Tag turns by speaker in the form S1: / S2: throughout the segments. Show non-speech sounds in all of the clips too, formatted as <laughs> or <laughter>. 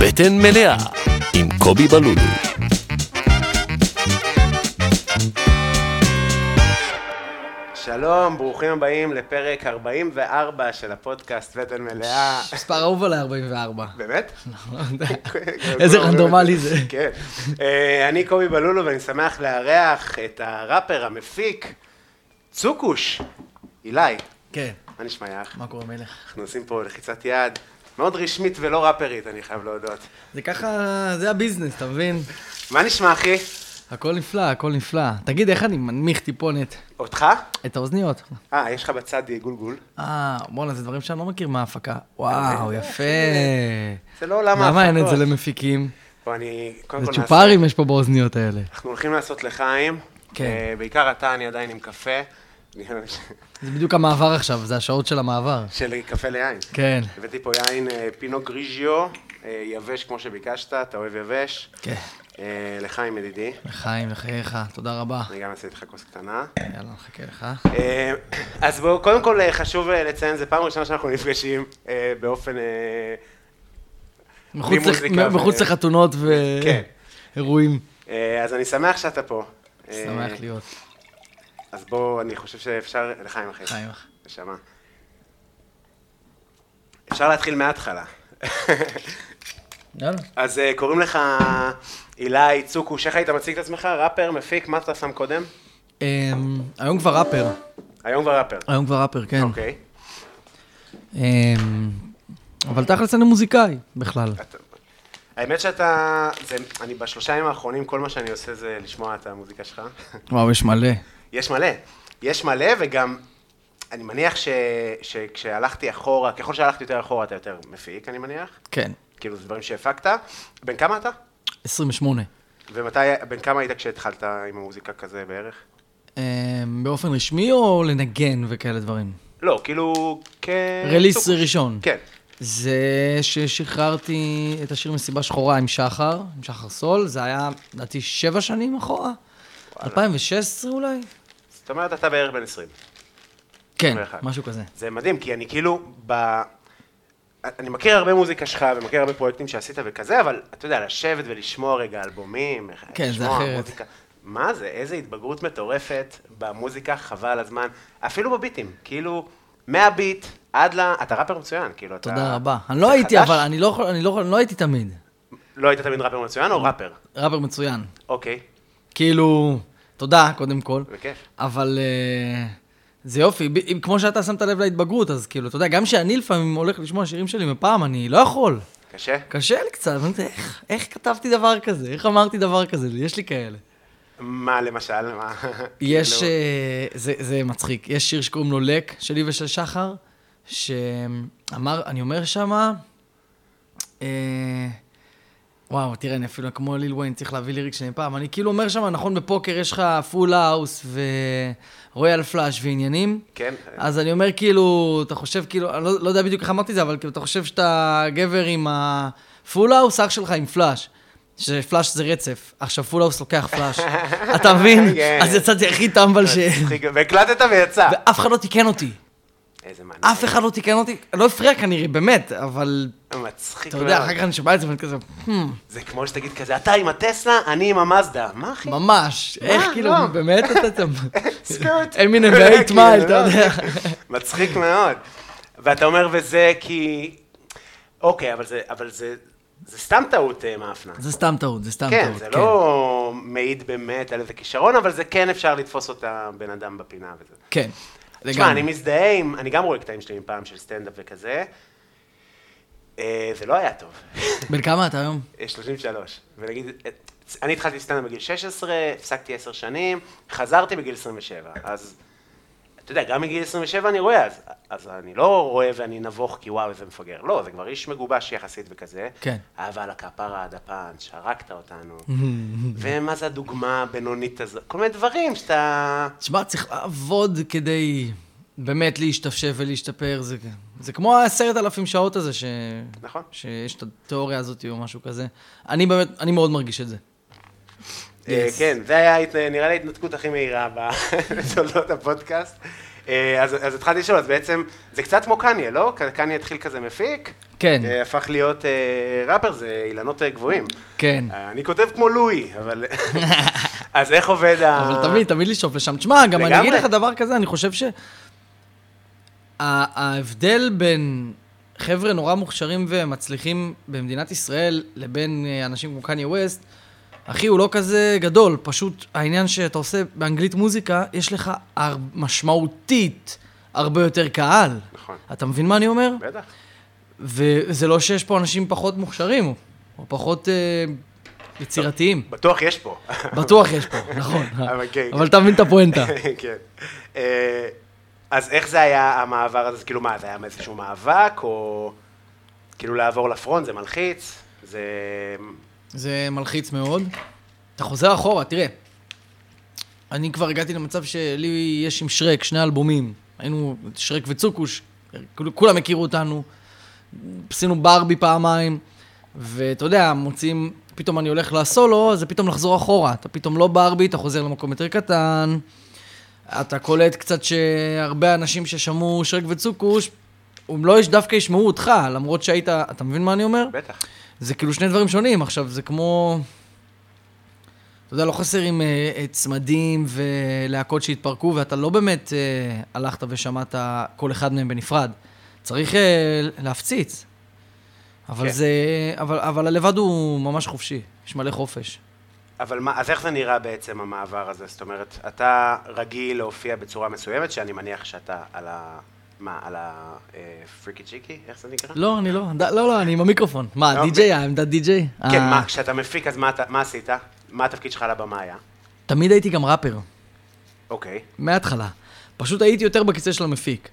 S1: בטן מלאה עם קובי בלולו.
S2: שלום, ברוכים הבאים לפרק 44 של הפודקאסט בטן
S3: <laughs>
S2: מלאה.
S3: מספר אהוב עליי
S2: <laughs>
S3: 44.
S2: באמת?
S3: איזה רנדומלי זה.
S2: <laughs> כן. אה, אני קובי בלולו ואני שמח לארח את הראפר המפיק, צוקוש. אילי,
S3: כן.
S2: מה נשמע יח?
S3: מה קורה מלך?
S2: אנחנו עושים פה לחיצת יד מאוד רשמית ולא ראפרית, אני חייב להודות.
S3: זה ככה, זה הביזנס, אתה מבין?
S2: מה נשמע, אחי?
S3: הכל נפלא, הכל נפלא. תגיד, איך אני מנמיך טיפונת
S2: אותך?
S3: את האוזניות?
S2: אה, יש לך בצד גולגול.
S3: אה, בואנה, זה דברים שאני לא מכיר מההפקה. וואו, יפה.
S2: אה, זה לא עולם
S3: למה אין את זה
S2: ההפקות.
S3: למפיקים?
S2: בוא, אני קודם
S3: זה
S2: כל נעשה...
S3: צ'ופרים יש פה באוזניות האלה.
S2: אנחנו הולכים לעשות לחיים.
S3: כן.
S2: אה, בעיקר אתה, אני עדיין עם קפה.
S3: זה בדיוק המעבר עכשיו, זה השעות של המעבר.
S2: של קפה ליין.
S3: כן.
S2: הבאתי פה יין אה, פינו גריז'יו, אה, יבש כמו שביקשת, אתה אוהב יבש.
S3: כן.
S2: אה, לחיים ידידי,
S3: לחיים, לחייך, תודה רבה.
S2: אני גם אעשה איתך כוס קטנה.
S3: יאללה, נחכה לך.
S2: אה, אז בואו, קודם כל אה, חשוב אה, לציין, זו פעם ראשונה שאנחנו נפגשים אה, באופן... אה,
S3: מחוץ לח-
S2: מוזיקה ו-
S3: מחוץ לחתונות
S2: כן.
S3: ואירועים.
S2: אה, אז אני שמח שאתה פה. אה,
S3: שמח להיות.
S2: אז בואו, אני חושב שאפשר... לחיים אחי.
S3: חיים אחי.
S2: נשמה. אפשר להתחיל מההתחלה. <laughs>
S3: יאללה.
S2: אז אה, קוראים לך אילי צוקוש, איך היית מציג את עצמך? ראפר, מפיק, מה אתה שם קודם?
S3: אמ, היום כבר ראפר,
S2: היום כבר ראפר.
S3: היום כבר ראפר, כן.
S2: אוקיי.
S3: אמ, אבל תכלס אני מוזיקאי בכלל.
S2: אתה- האמת שאתה, זה, אני בשלושה ימים האחרונים, כל מה שאני עושה זה לשמוע את המוזיקה שלך. <laughs>
S3: וואו, יש מלא.
S2: יש מלא. יש מלא, וגם, אני מניח ש, שכשהלכתי אחורה, ככל שהלכתי יותר אחורה, אתה יותר מפיק, אני מניח.
S3: כן.
S2: כאילו, זה דברים שהפקת. בן כמה אתה?
S3: 28.
S2: ומתי, בן כמה היית כשהתחלת עם המוזיקה כזה בערך?
S3: אמ, באופן רשמי או לנגן וכאלה דברים?
S2: לא, כאילו, כ...
S3: רליס
S2: צוקוש.
S3: ראשון.
S2: כן.
S3: זה ששחררתי את השיר מסיבה שחורה עם שחר, עם שחר סול, זה היה, לדעתי, שבע שנים אחורה? 2016 אולי?
S2: זאת אומרת, אתה בערך בן 20.
S3: כן,
S2: 21.
S3: משהו כזה.
S2: זה מדהים, כי אני כאילו, ב... אני מכיר הרבה מוזיקה שלך ומכיר הרבה פרויקטים שעשית וכזה, אבל אתה יודע, לשבת ולשמוע רגע אלבומים, אה,
S3: כן, זה
S2: לשמוע
S3: אחרת.
S2: מוזיקה. מה זה, איזה התבגרות מטורפת במוזיקה, חבל הזמן, אפילו בביטים, כאילו, מהביט עד ל... אתה ראפר מצוין, כאילו, אתה...
S3: תודה רבה. אני
S2: זה
S3: לא הייתי,
S2: חדש?
S3: אבל אני לא יכול, אני לא יכול- אני לא הייתי תמיד.
S2: לא היית תמיד ראפר מצוין או ראפר?
S3: ראפר מצוין.
S2: אוקיי,
S3: כאילו, תודה, קודם כל.
S2: בכיף.
S3: אבל אה, זה יופי, ב- אם- כמו שאתה שמת לב להתבגרות, אז כאילו, אתה יודע, גם שאני לפעמים הולך לשמוע שירים שלי מפעם, אני לא יכול.
S2: קשה?
S3: קשה לי קצת, אני אומר, איך, איך כתבתי דבר כזה? איך אמרתי דבר כזה? יש לי כאלה.
S2: מה למשל? מה?
S3: יש,
S2: כאילו,
S3: אה, זה, זה מצחיק, יש שיר שקוראים לו לק, שלי ושל שחר, שאמר, אני אומר שמה, אה, וואו, תראה, אני אפילו כמו ליל וויין, צריך להביא ליריק שלי פעם, אני כאילו אומר שמה, נכון, בפוקר יש לך פול האוס ורויאל פלאש ועניינים,
S2: כן.
S3: אז אני אומר, כאילו, אתה חושב, כאילו, אני לא, לא יודע בדיוק איך אמרתי את זה, אבל כאילו, אתה חושב שאתה גבר עם הפול האוס, אח שלך עם פלאש. שפלאש זה רצף, עכשיו פול האוס לוקח
S2: <laughs>
S3: פלאש, אתה מבין?
S2: כן.
S3: אז יצאתי הכי טמבל ש...
S2: מצחיק, והקלטת ויצא.
S3: ואף אחד לא תיקן אותי,
S2: איזה מעניין.
S3: אף אחד לא תיקן אותי, לא הפריע כנראה, באמת, אבל
S2: מצחיק
S3: אתה
S2: מאוד.
S3: יודע, אחר כך אני שומע את זה ואני כזה, "Hmm, "הם,
S2: זה כמו שתגיד כזה, אתה עם הטסלה, אני עם המאזדה. מה אחי? <laughs>
S3: ממש, איך
S2: מה?
S3: כאילו,
S2: לא.
S3: באמת
S2: <laughs>
S3: אתה... <laughs>
S2: סקוט.
S3: אין מיני
S2: <laughs>
S3: ואייט
S2: כאילו,
S3: מייל, אתה
S2: לא.
S3: יודע.
S2: מצחיק מאוד. ואתה אומר, וזה כי... אוקיי, אבל זה, אבל זה, זה סתם טעות אה, מאפנה.
S3: זה סתם טעות, זה סתם טעות,
S2: כן, זה לא מעיד באמת על איזה כישרון, אבל זה כן אפשר לתפוס אותה בן אדם בפינה וזה.
S3: כן,
S2: תשמע,
S3: לגמרי.
S2: אני מזדהה עם, אני גם רואה קטעים שלי מפעם של סטנדאפ וכזה. אה, זה לא היה טוב.
S3: בן כמה אתה היום?
S2: אה, 33. ונגיד, את- אני התחלתי סטנדאפ בגיל 16, הפסקתי 10 שנים, חזרתי בגיל 27. אז, אתה יודע, גם מגיל 27 אני רואה, אז, אז אני לא רואה ואני נבוך כי וואו, איזה מפגר. לא, זה כבר איש מגובש יחסית וכזה.
S3: כן.
S2: אבל הכפרה עד הפאנץ', הרגת אותנו. ומה זה הדוגמה הבינונית הזאת? כל מיני דברים שאתה...
S3: תשמע, צריך לעבוד כדי באמת להשתפשף ולהשתפר, זה, זה כמו העשרת אלפים שעות הזה, ש...
S2: נכון.
S3: שיש את התיאוריה הזאת או משהו כזה. אני באמת, אני מאוד מרגיש את זה.
S2: אה,
S3: Yes.
S2: כן, זה היה, ההת- נראה לי ההתנתקות הכי מהירה ב- בתולדות הפודקאסט. אה, אז אז התחלתי לשאול, אז בעצם, זה קצת כמו קניה, לא? ק- קניה התחיל כזה מפיק,
S3: כן.
S2: אה, הפך להיות אה, ראפר, זה אילנות אה, גבוהים.
S3: כן.
S2: אה, אני כותב כמו לואי,
S3: <laughs>
S2: אבל... אז איך עובד ה...
S3: אבל תמיד, תמיד לשאוף לשם. תשמע, גם אני
S2: לגמרי.
S3: אגיד לך דבר כזה, אני חושב שה- ההבדל בין חבר'ה נורא מוכשרים ומצליחים במדינת ישראל לבין אה, אנשים כמו קניה ווסט, אחי, הוא לא כזה גדול, פשוט העניין שאתה עושה באנגלית מוזיקה, יש לך הר... משמעותית הרבה יותר קהל.
S2: נכון.
S3: אתה מבין מה אני אומר?
S2: בטח.
S3: וזה לא שיש פה אנשים פחות מוכשרים, או פחות אה, יצירתיים.
S2: בטוח יש פה. <laughs>
S3: בטוח יש פה, נכון.
S2: אבל כן,
S3: אבל אתה מבין את הפואנטה.
S2: כן. אה, אז איך זה היה המעבר הזה? כאילו מה, זה היה איזשהו מאבק, או כאילו לעבור לפרונט, זה מלחיץ? זה...
S3: זה מלחיץ מאוד. אתה חוזר אחורה, תראה. אני כבר הגעתי למצב שלי יש עם שרק שני אלבומים. היינו שרק וצוקוש, כול- כולם הכירו אותנו. עשינו ברבי פעמיים, ואתה יודע, מוצאים, פתאום אני הולך לסולו, אז זה פתאום לחזור אחורה. אתה פתאום לא ברבי, אתה חוזר למקום יותר קטן. אתה קולט קצת שהרבה אנשים ששמעו שרק וצוקוש, הם לא יש- דווקא ישמעו אותך, למרות שהיית, אתה מבין מה אני אומר?
S2: בטח.
S3: זה כאילו שני דברים שונים עכשיו, זה כמו... אתה יודע, לא חסר עם אה, צמדים ולהקות שהתפרקו, ואתה לא באמת אה, הלכת ושמעת כל אחד מהם בנפרד. צריך אה, להפציץ. אבל
S2: כן.
S3: זה... אבל, אבל הלבד הוא ממש חופשי, יש מלא חופש.
S2: אבל מה, אז איך זה נראה בעצם המעבר הזה? זאת אומרת, אתה רגיל להופיע בצורה מסוימת, שאני מניח שאתה על ה... מה, על ה... אה, פריקי צ'יקי? איך זה נקרא?
S3: לא, אני לא, ד, לא, לא, אני עם המיקרופון. מה,
S2: לא,
S3: די-ג'יי, העמדת די-ג'יי?
S2: כן,
S3: אה,
S2: מה, כשאתה מפיק, אז מה אתה- מה עשית? מה התפקיד שלך על הבמה היה?
S3: תמיד הייתי גם ראפר,
S2: אוקיי,
S3: מההתחלה. פשוט הייתי יותר בכיסא של המפיק.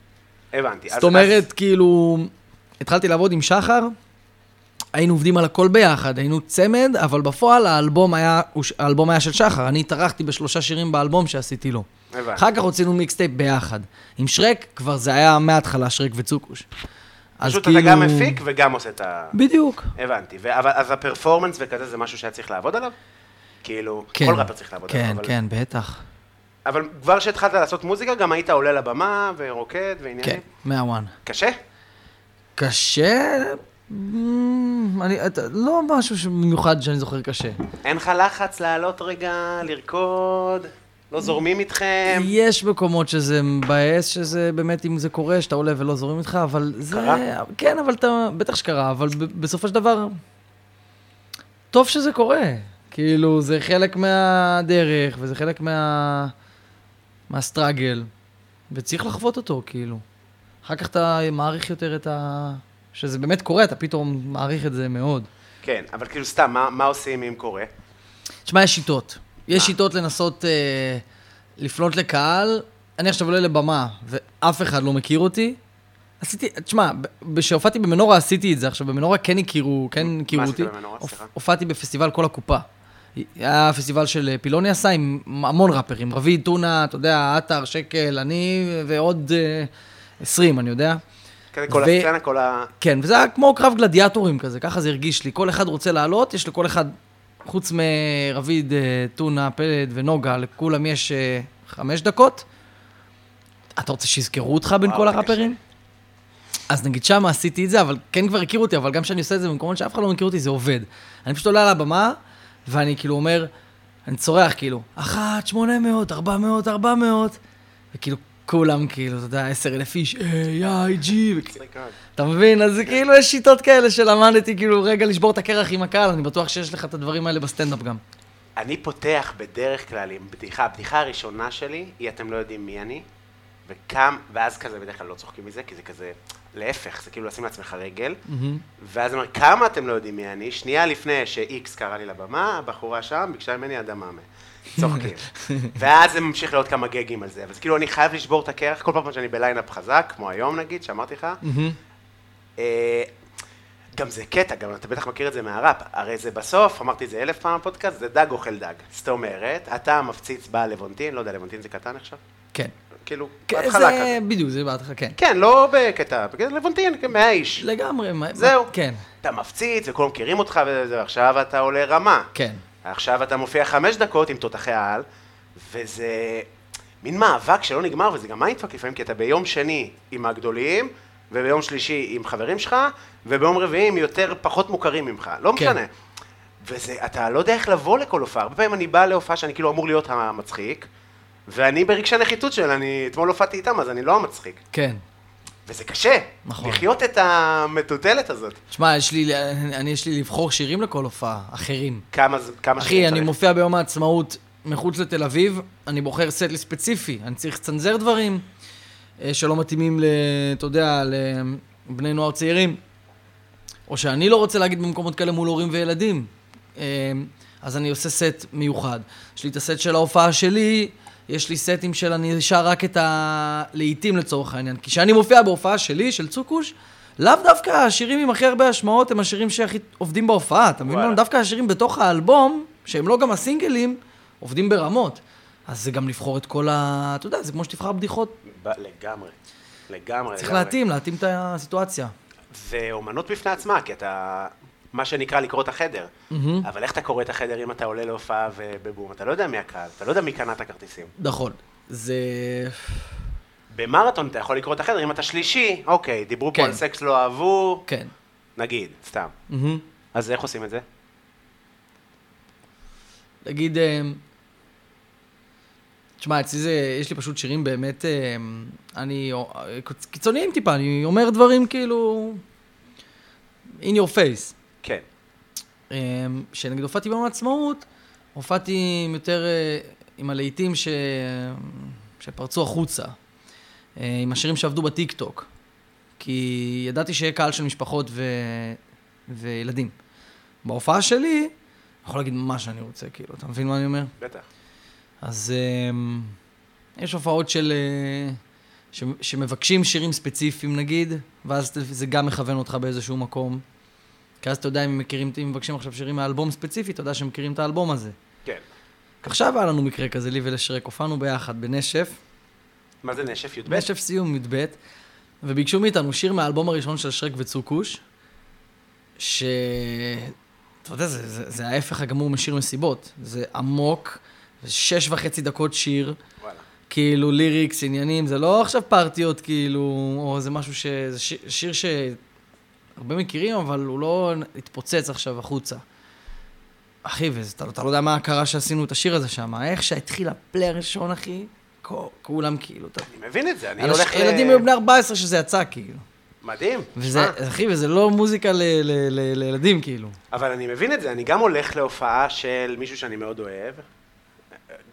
S2: הבנתי. אז-
S3: זאת אומרת, כאילו, התחלתי לעבוד עם שחר, היינו עובדים על הכל ביחד, היינו צמד, אבל בפועל האלבום היה, האלבום היה של שחר, אני התארחתי בשלושה שירים באלבום שעשיתי לו.
S2: אז- הבנתי.
S3: אחר כך הוצאנו מיקסטייפ ביחד. עם שרק, כבר זה היה מההתחלה שרק וצוקוש. אז כאילו-
S2: פשוט אתה גם מפיק וגם עושה את ה...
S3: בדיוק.
S2: הבנתי, ו- אבל אז הפרפורמנס וכזה זה משהו שהיה צריך לעבוד עליו? כאילו,
S3: כן.
S2: כל ראפר צריך לעבוד
S3: כן,
S2: עליו. אבל-
S3: כן, בטח.
S2: אבל כבר כשהתחלת לעשות מוזיקה, גם היית עולה לבמה ורוקד
S3: כן,
S2: ועניינים.
S3: מהוואן.
S2: קשה?
S3: קשה? אמ, אני, אתה- לא משהו במיוחד שאני זוכר קשה.
S2: אין לך לחץ לעלות רגע, לרקוד, לא זורמים איתכם?
S3: יש מקומות שזה מבאס, שזה באמת, אם זה קורה, שאתה עולה ולא זורם איתך, אבל זה...
S2: קרה?
S3: כן, אבל אתה... בטח שקרה, אבל ב- בסופו של דבר, טוב שזה קורה. כאילו, זה חלק מהדרך, וזה חלק מה... מהסטראגל, וצריך לחוות אותו, כאילו. אחר כך אתה מעריך יותר את ה... שזה באמת קורה, אתה פתאום מעריך את זה מאוד.
S2: כן, אבל כאילו סתם, מה- מה עושים אם קורה?
S3: תשמע, יש שיטות. יש שיטות לנסות אה, לפנות לקהל. אני עכשיו עולה לבמה, ואף אחד לא מכיר אותי. עשיתי, תשמע, ב- כשהופעתי במנורה עשיתי את זה. עכשיו, במנורה כן הכירו, כן הכירו
S2: עשית
S3: אותי.
S2: במנורה?
S3: הופ-
S2: סליחה.
S3: הופעתי בפסטיבל כל הקופה. היה פסטיבל של אה, פילוני עשה עם המון ראפרים, רביד, טונה, אתה יודע, עטר, שקל, אני ועוד אה, 20, אני יודע.
S2: כזה כל
S3: ו-
S2: הסצנה, כל ה...
S3: כן, וזה היה כמו קרב גלדיאטורים כזה, ככה זה הרגיש לי. כל אחד רוצה לעלות, יש לכל אחד, חוץ מרביד, אה, טונה, פלד ונוגה, לכולם יש אה, חמש דקות. אתה רוצה שיזכרו אותך בין
S2: וואו,
S3: כל
S2: זה קשה.
S3: הראפרים? אז נגיד שמה עשיתי את זה, אבל כן כבר הכירו אותי, אבל גם כשאני עושה את זה במקומות שאף אחד לא מכיר אותי, זה עובד. אני פשוט עולה על הבמה, ואני כאילו אומר, אני צורח כאילו, אחת, שמונה מאות, ארבע מאות, ארבע מאות, וכאילו כולם כאילו, אתה יודע, עשר אלף איש, איי, איי, ג'י, וכאילו... אתה מבין? אז זה כאילו יש שיטות כאלה שלמדתי, כאילו רגע לשבור את הקרח עם הקהל, אני בטוח שיש לך את הדברים האלה בסטנדאפ גם.
S2: אני פותח בדרך כלל עם בדיחה, הבדיחה הראשונה שלי היא אתם לא יודעים מי אני, וקם, ואז כזה בדרך כלל לא צוחקים מזה, כי זה כזה, להפך, זה כאילו לשים לעצמך רגל, ואז אני אומר, כמה אתם לא יודעים מי אני? שנייה לפני שאיקס קרא לי לבמה, הבחורה שם ביקשה ממני אדממה. צוחקים. ואז זה ממשיך לעוד כמה גגים על זה, אבל זה כאילו אני חייב לשבור את הקרח כל פעם שאני בליינאפ חזק, כמו היום נגיד, שאמרתי לך, אה, גם זה קטע, גם אתה בטח מכיר את זה מהראפ, הרי זה בסוף, אמרתי את זה אלף פעם בפודקאסט, זה דג אוכל דג. זאת אומרת, אתה מפציץ בלוונטין, לא יודע, לבונטין זה קטן עכשיו?
S3: כן.
S2: כאילו,
S3: כן,
S2: בהתחלה
S3: זה-
S2: כזה.
S3: בדיוק, זה בהתחלה, כן.
S2: כן, לא בקטע, בקטע לבונטין, כמאה איש.
S3: לגמרי. מה-
S2: כן. זהו.
S3: כן,
S2: אתה מפציץ, וכולם מכירים אותך, וזה, ועכשיו אתה עולה רמה.
S3: כן.
S2: עכשיו אתה מופיע חמש דקות עם תותחי העל, וזה... מין מאבק שלא נגמר, וזה גם מיינדפאק לפעמים, כי אתה ביום שני עם הגדולים, וביום שלישי עם חברים שלך, וביום רביעי עם יותר פחות מוכרים ממך, לא
S3: כן.
S2: משנה. וזה, אתה לא יודע איך לבוא לכל הופעה, הרבה פעמים אני בא להופעה שאני כאילו אמור להיות המצחיק, ואני ברגשי נחיתות של, אני אתמול הופעתי איתם, אז אני לא המצחיק.
S3: כן.
S2: וזה קשה,
S3: נכון.
S2: לחיות את המטוטלת הזאת.
S3: תשמע, יש לי, אני, יש לי לבחור שירים לכל הופעה, אחרים.
S2: כמה, ז- כמה
S3: אחי,
S2: שאני
S3: אני
S2: צריך.
S3: מופיע ביום העצמאות מחוץ לתל אביב, אני בוחר סט ספציפי, אני צריך לצנזר דברים אה, שלא מתאימים, ל- אתה יודע, לבני נוער צעירים, או שאני לא רוצה להגיד במקומות כאלה מול הורים וילדים, אה, אז אני עושה סט מיוחד. יש לי את הסט של ההופעה שלי, יש לי סטים של אני שר רק את הלהיטים לצורך העניין, כי כשאני מופיע בהופעה שלי, של צוקוש, לאו דווקא השירים עם הכי הרבה השמעות הם השירים שהכי עובדים בהופעה, אתה מבין?
S2: וואלה.
S3: מה? דווקא השירים בתוך האלבום, שהם לא גם הסינגלים, עובדים ברמות. אז זה גם לבחור את כל ה... אתה יודע, זה כמו שתבחר בדיחות.
S2: ב- לגמרי, לגמרי.
S3: צריך
S2: לגמרי.
S3: להתאים, להתאים את הסיטואציה.
S2: זה אומנות בפני עצמה, כי אתה, מה שנקרא לקרוא את החדר.
S3: מהמם.
S2: אבל איך אתה קורא את החדר אם אתה עולה להופעה ובבום? אתה לא יודע מי הקהל, אתה לא יודע מי קנה את הכרטיסים.
S3: נכון. זה...
S2: במרתון אתה יכול לקרוא את החדר, אם אתה שלישי, אוקיי, דיברו פה
S3: כן.
S2: על סקס לא אהבו,
S3: כן.
S2: נגיד, סתם.
S3: מהמם.
S2: אז איך עושים את זה?
S3: נגיד... אמ, תשמע, אצלי זה, יש לי פשוט שירים באמת, אמ, אני אה, קיצוניים טיפה, אני אומר דברים כאילו, in your face.
S2: כן.
S3: אמ, שנגיד הופעתי ביום העצמאות, הופעתי עם יותר, אה, עם הלהיטים ש... שפרצו החוצה, אה, עם השירים שעבדו בטיקטוק, כי ידעתי שיהיה קהל של משפחות ו... וילדים. בהופעה שלי, אני יכול להגיד מה שאני רוצה, כאילו, אתה מבין מה אני אומר?
S2: בטח.
S3: אז אמ, יש הופעות של... אה, ש... שמבקשים שירים ספציפיים נגיד, ואז זה גם מכוון אותך באיזשהו מקום. כי אז אתה יודע אם הם מכירים, אם מבקשים עכשיו שירים מהאלבום ספציפי, אתה יודע שהם מכירים את האלבום הזה.
S2: כן.
S3: עכשיו היה לנו מקרה כזה, לי ולשרק, הופענו ביחד בנשף,
S2: מה זה נשף י"ב?
S3: נשף סיום י"ב, וביקשו מאיתנו שיר מהאלבום הראשון של שרק וצוקוש, ש... אתה יודע, זה, זה, זה ההפך הגמור משיר מסיבות. זה עמוק, זה שש וחצי דקות שיר,
S2: וואלה.
S3: כאילו ליריקס, עניינים, זה לא עכשיו פרטיות, כאילו, או זה משהו ש... זה שיר, שיר שהרבה מכירים, אבל הוא לא התפוצץ עכשיו החוצה. אחי, ואתה לא- אתה לא יודע מה קרה שעשינו את השיר הזה שם, אה? איך שהתחיל הפלי הראשון, אחי, כל- כולם כאילו, אתה...
S2: אני מבין את זה, אני
S3: אנש-
S2: הולך ל...
S3: ילדים היו בני 14 שזה יצא, כאילו.
S2: מדהים. אה.
S3: וזה, אחי, וזה לא מוזיקה ל- ל- ל- לילדים, כאילו.
S2: אבל אני מבין את זה, אני גם הולך להופעה של מישהו שאני מאוד אוהב,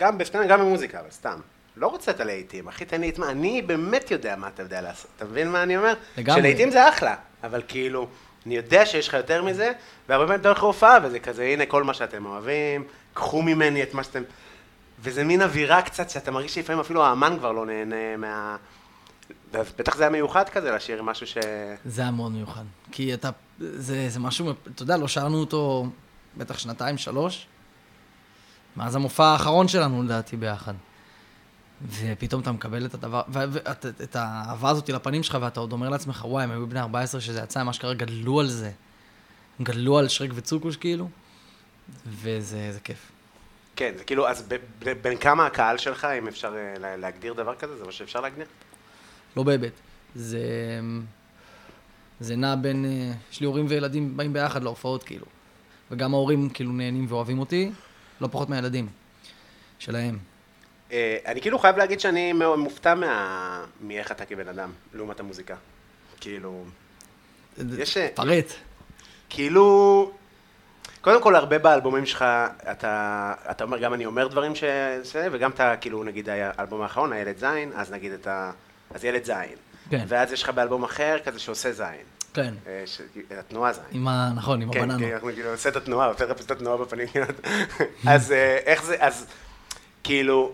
S2: גם בסטנד, גם במוזיקה, אבל סתם. לא רוצה את הלהיטים, אחי, תן לי את מה, אני באמת יודע מה אתה יודע לעשות, אתה מבין מה אני אומר?
S3: לגמרי.
S2: שלהיטים זה אחלה, אבל כאילו, אני יודע שיש לך יותר מזה, והרבה פעמים אתה הולך להופעה, וזה כזה, הנה כל מה שאתם אוהבים, קחו ממני את מה שאתם... וזה מין אווירה קצת, שאתה מרגיש שלפעמים אפילו האמן כבר לא נהנה מה... אז בטח זה היה מיוחד כזה, לשיר משהו ש...
S3: זה היה מאוד מיוחד. כי אתה, זה, זה משהו, אתה יודע, לא שרנו אותו בטח שנתיים, שלוש, מאז המופע האחרון שלנו, לדעתי, ביחד. ופתאום אתה מקבל את הדבר, ו- ו- את- את האהבה הזאת לפנים שלך, ואתה עוד אומר לעצמך, וואי, הם היו בני 14 שזה יצא, הם אשכרה גדלו על זה. הם גדלו על שרק וצוקוש, כאילו, וזה זה כיף.
S2: כן, זה כאילו, אז ב- ב- בין כמה הקהל שלך, אם אפשר אה, לה- להגדיר דבר כזה, זה מה שאפשר להגדיר?
S3: לא באמת. זה... זה נע בין... אה, יש לי הורים וילדים באים ביחד להופעות, כאילו. וגם ההורים כאילו נהנים ואוהבים אותי, לא פחות מהילדים שלהם.
S2: אה, אני כאילו חייב להגיד שאני מאוד מופתע מה... מאיך אתה כבן אדם, לעומת המוזיקה. כאילו, יש, אה,
S3: פרט.
S2: כאילו, קודם כל הרבה באלבומים שלך, אתה, אתה אומר, גם אני אומר דברים ש... זה, וגם אתה, כאילו, נגיד האלבום האחרון, הילד זין, אז נגיד אתה, אז ילד זין.
S3: כן.
S2: ואז יש לך באלבום אחר כזה שעושה זין.
S3: כן.
S2: אה, ש... התנועה זין.
S3: עם ה... נכון, עם
S2: כן,
S3: הבננות.
S2: כן, אנחנו כאילו עושה את התנועה, יותר לחפש את התנועה בפנים. אז אה, איך זה, אז כאילו,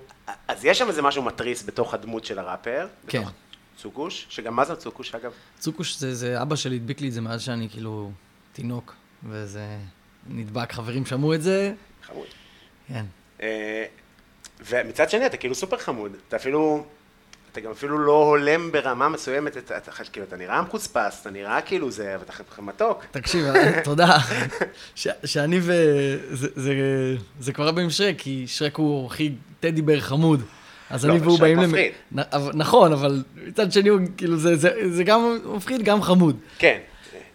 S2: אז יש שם איזה משהו מתריס בתוך הדמות של הראפר.
S3: כן.
S2: בתוך צוקוש, שגם מה זה צוקוש אגב?
S3: צוקוש זה, זה אבא שלי הדביק לי את זה מאז שאני כאילו תינוק, וזה נדבק. חברים שמעו את זה,
S2: חמוד.
S3: כן.
S2: אה, ומצד שני אתה כאילו סופר חמוד, אתה אפילו, אתה גם אפילו לא הולם ברמה מסוימת, אתה, אתה, כאילו, אתה נראה מחוספס, אתה נראה כאילו זה, אבל אתה מתוק.
S3: תקשיב, אה, <laughs> תודה. ש- שאני ו... זה- זה- זה כבר הרבה עם שרק, כי שרק הוא הכי טדי בר חמוד. אז
S2: לא,
S3: אני
S2: אבל
S3: והוא
S2: שי
S3: באים... למ-
S2: מפחיד.
S3: נ- אבל- נכון, אבל מצד שני, הוא כאילו, זה- זה זה גם מפחיד, גם חמוד.
S2: כן.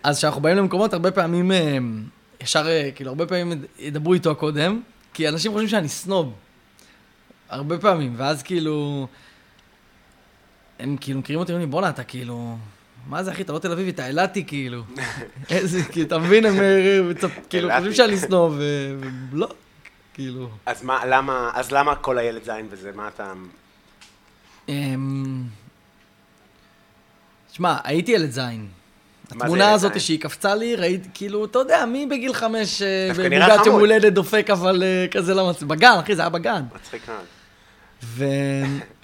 S3: אז כשאנחנו באים למקומות, הרבה פעמים, אה, ישר, אה, כאילו, הרבה פעמים יד- ידברו איתו קודם, כי אנשים חושבים שאני סנוב. הרבה פעמים, ואז כאילו... הם כאילו מכירים אותי, אומרים לי, בואנה, אתה כאילו... מה זה, אחי, אתה לא תל אביבי, אתה אילתי, כאילו. איזה, כאילו, אתה מבין, הם אה, מצפ- כאילו
S2: אילתי.
S3: חושבים שאני סנוב, ו- ולא, כאילו...
S2: אז מה, למה, אז למה כל הילד זין וזה? מה אתה...
S3: אמ, שמע, הייתי ילד זין.
S2: זה
S3: התמונה
S2: ילד
S3: הזאת
S2: זין?
S3: שהיא קפצה לי, ראיתי, כאילו, אתה יודע, מי בגיל חמש אה,
S2: דווקא נראה
S3: במוגת יום
S2: חמוד.
S3: הולדת דופק, אבל אה, כזה למצ... בגן, אחי, זה היה בגן.
S2: מצחיק מאוד.
S3: ו...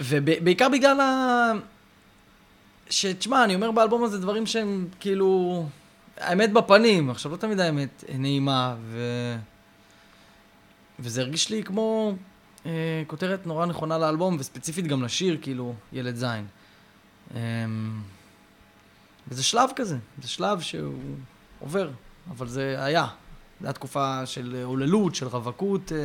S3: ובעיקר בגלל ה... שתשמע, אני אומר באלבום הזה דברים שהם כאילו... האמת בפנים, עכשיו לא תמיד האמת נעימה, ו... וזה הרגיש לי כמו אה, כותרת נורא נכונה לאלבום, וספציפית גם לשיר, כאילו, ילד זין. אה, וזה שלב כזה, זה שלב שהוא עובר, אבל זה היה. זו הייתה תקופה של הוללות, של רווקות. אה,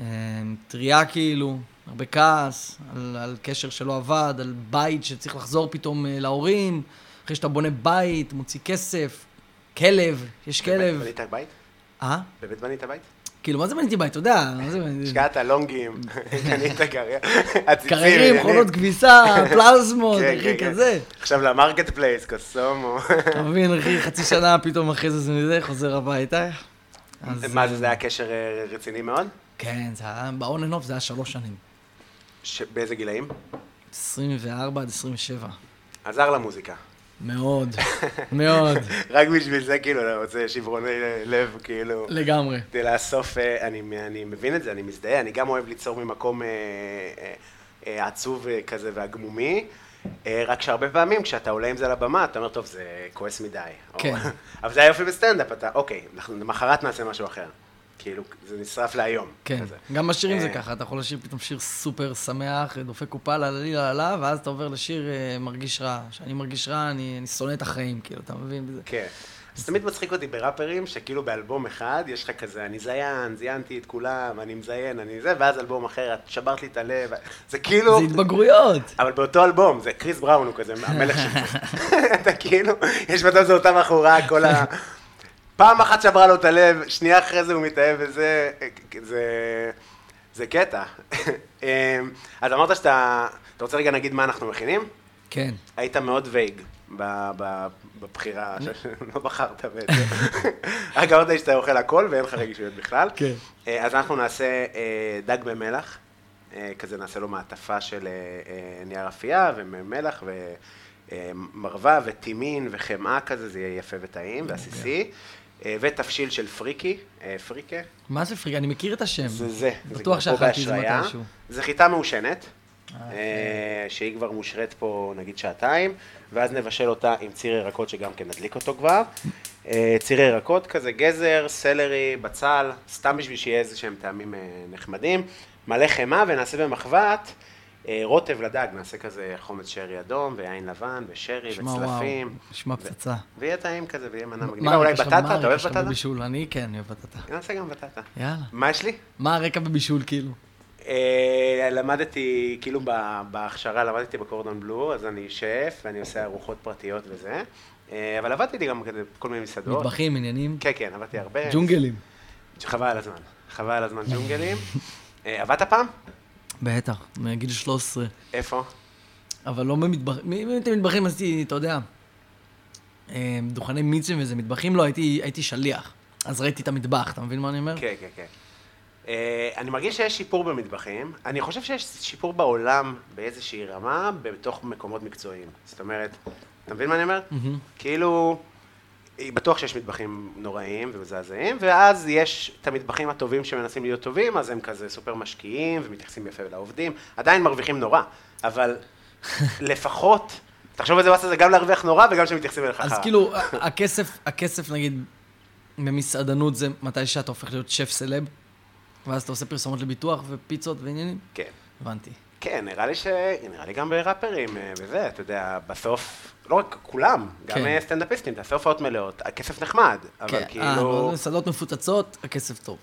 S3: אה, טריה כאילו, הרבה כעס, על, על קשר שלא עבד, על בית שצריך לחזור פתאום אה, להורים, אחרי שאתה בונה בית, מוציא כסף, כלב, יש כלב.
S2: בנית בית?
S3: אה?
S2: באמת בנית בית?
S3: כאילו, מה זה בניתי בית? אתה יודע, מה זה בניתי?
S2: השקעת
S3: <laughs>
S2: לונגים, קנית גריה, עציצים,
S3: קררים,
S2: עניינים.
S3: חולות כביסה, פלזמות,
S2: <laughs> כן,
S3: אחי,
S2: כן, כן.
S3: כזה.
S2: עכשיו למרקט פלייס, קוסומו.
S3: אתה מבין, אחי, חצי שנה פתאום אחרי זה זה מזה, חוזר הביתה. אז,
S2: מה
S3: אה,
S2: זה, זה היה קשר אה, רציני מאוד?
S3: כן, זה היה, ב-on and off זה היה שלוש שנים.
S2: ש- באיזה גילאים?
S3: 24 עד 27.
S2: עזר למוזיקה. <laughs>
S3: מאוד, מאוד,
S2: רק בשביל זה, כאילו, אני רוצה שברוני לב, כאילו.
S3: לגמרי.
S2: כדי לאסוף, אה, אני, אני מבין את זה, אני מזדהה, אני גם אוהב ליצור ממקום אה, אה, אה, עצוב אה, כזה והגמומי, אה, רק שהרבה פעמים כשאתה עולה עם זה לבמה, אתה אומר, טוב, זה כועס מדי. או-
S3: כן.
S2: <laughs> אבל זה היופי בסטנדאפ, אתה, אוקיי, אנחנו למחרת נעשה משהו אחר. כאילו, זה נשרף להיום.
S3: כן,
S2: כזה.
S3: גם בשירים זה
S2: אה.
S3: ככה, אתה יכול לשיר פתאום שיר סופר שמח, דופק קופה ללילה ללה, ואז אתה עובר לשיר אה, מרגיש רע. כשאני מרגיש רע, אני אני שונא את החיים, כאילו, אתה מבין? בזה?
S2: כן. אז תמיד מצחיק אותי בראפרים, שכאילו באלבום אחד יש לך כזה, אני זיין, זיינתי את כולם, אני מזיין, אני זה, ואז אלבום אחר, את שברת לי את הלב, זה כאילו...
S3: זה התבגרויות.
S2: אבל באותו אלבום, זה קריס בראון הוא כזה, המלך שלך. <laughs> אתה כאילו, יש מצב זו אותה בחורה, כל ה... פעם אחת שברה לו את הלב, שנייה אחרי זה הוא מתאהב וזה, זה, זה קטע. <laughs> אמ, אז אמרת שאתה, אתה רוצה רגע נגיד מה אנחנו מכינים?
S3: כן.
S2: היית מאוד וייג ב- ב- בבחירה, <laughs> לא בחרת בעצם. <laughs> רק אמרת לי שאתה אוכל הכל ואין לך רגישויות בכלל.
S3: כן.
S2: אה, אז אנחנו נעשה אה, דג במלח, אה, כזה נעשה לו מעטפה של אה, אה, נייר אפייה ומלח ומרווה וטימין וחמאה כזה, זה יהיה יפה וטעים ועסיסי. אה, ותבשיל של פריקי, אה, פריקה.
S3: מה זה פריק? אני מכיר את השם.
S2: זה זה, זה
S3: בטוח
S2: כבר פה
S3: שאכלתי את זה
S2: בהשריה.
S3: מתישהו.
S2: זה חיטה מעושנת,
S3: אוקיי.
S2: אה, שהיא כבר מושרית פה נגיד שעתיים, ואז נבשל אותה עם ציר ירקות שגם כן נדליק אותו כבר. אה, ציר ירקות כזה, גזר, סלרי, בצל, סתם בשביל שיהיה איזה שהם טעמים אה, נחמדים. מלא חמאה ונעשה במחבת. אה, רוטב לדג, נעשה כזה חומץ שרי אדום, ויין לבן, ושרי,
S3: נשמע וואו,
S2: וצלפים.
S3: נשמע פצצה.
S2: ויהיה טעים כזה, ויהיה מנה
S3: מה
S2: מגניבה. אולי
S3: הרקע שלך-
S2: בטטה,
S3: מה
S2: אתה
S3: הרקע
S2: אוהב
S3: שלך
S2: בטטה?
S3: בבישול, אני כן אוהב בטטה.
S2: נעשה גם בטטה.
S3: יאללה.
S2: מה יש לי?
S3: מה הרקע בבישול, כאילו?
S2: אה, למדתי, כאילו ב- בהכשרה למדתי בקורדון בלו, אז אני שף ואני עושה ארוחות פרטיות וזה. אה, אבל עבדתי גם כזה בכל מיני מסעדות.
S3: מטבחים, עניינים?
S2: לא. כן, כן, עבדתי הרבה.
S3: ג'ונגלים.
S2: חבל על הזמן. חבל על הזמן ג'ונגלים. אה, עבדת פעם?
S3: בטח, מגיל 13.
S2: איפה?
S3: אבל לא במטבחים, אם הייתי מטבחים עשיתי, אתה יודע, אה, דוכני מיצים וזה, מטבחים לא, הייתי, הייתי שליח. אז ראיתי את המטבח, אתה מבין מה אני אומר?
S2: כן, כן, כן. אה, אני מרגיש שיש שיפור במטבחים. אני חושב שיש שיפור בעולם באיזושהי רמה, בתוך מקומות מקצועיים. זאת אומרת, אתה מבין מה אני אומר? כאילו, אה, בטוח שיש מטבחים נוראים ומזעזעים, ואז יש את המטבחים הטובים שמנסים להיות טובים, אז הם כזה סופר משקיעים ומתייחסים יפה לעובדים. עדיין מרוויחים נורא,
S3: <laughs>
S2: אבל לפחות, תחשוב איזה באסה זה גם להרוויח נורא וגם שמתייחסים אליך
S3: אז
S2: חרא.
S3: כאילו, ה- הכסף, הכסף נגיד, במסעדנות זה מתי שאתה הופך להיות שף סלב, ואז אתה עושה פרסומות לביטוח ופיצות ועניינים?
S2: כן.
S3: הבנתי.
S2: כן, נראה לי ש... נראה לי גם בראפרים אה, וזה, אתה יודע, בסוף, לא רק כולם, גם
S3: כן.
S2: אה, סטנדאפיסטים, תעשה הופעות מלאות, הכסף נחמד, אבל
S3: כן, אה,
S2: כאילו,
S3: אבל מסעדות מפוצצות, הכסף טוב.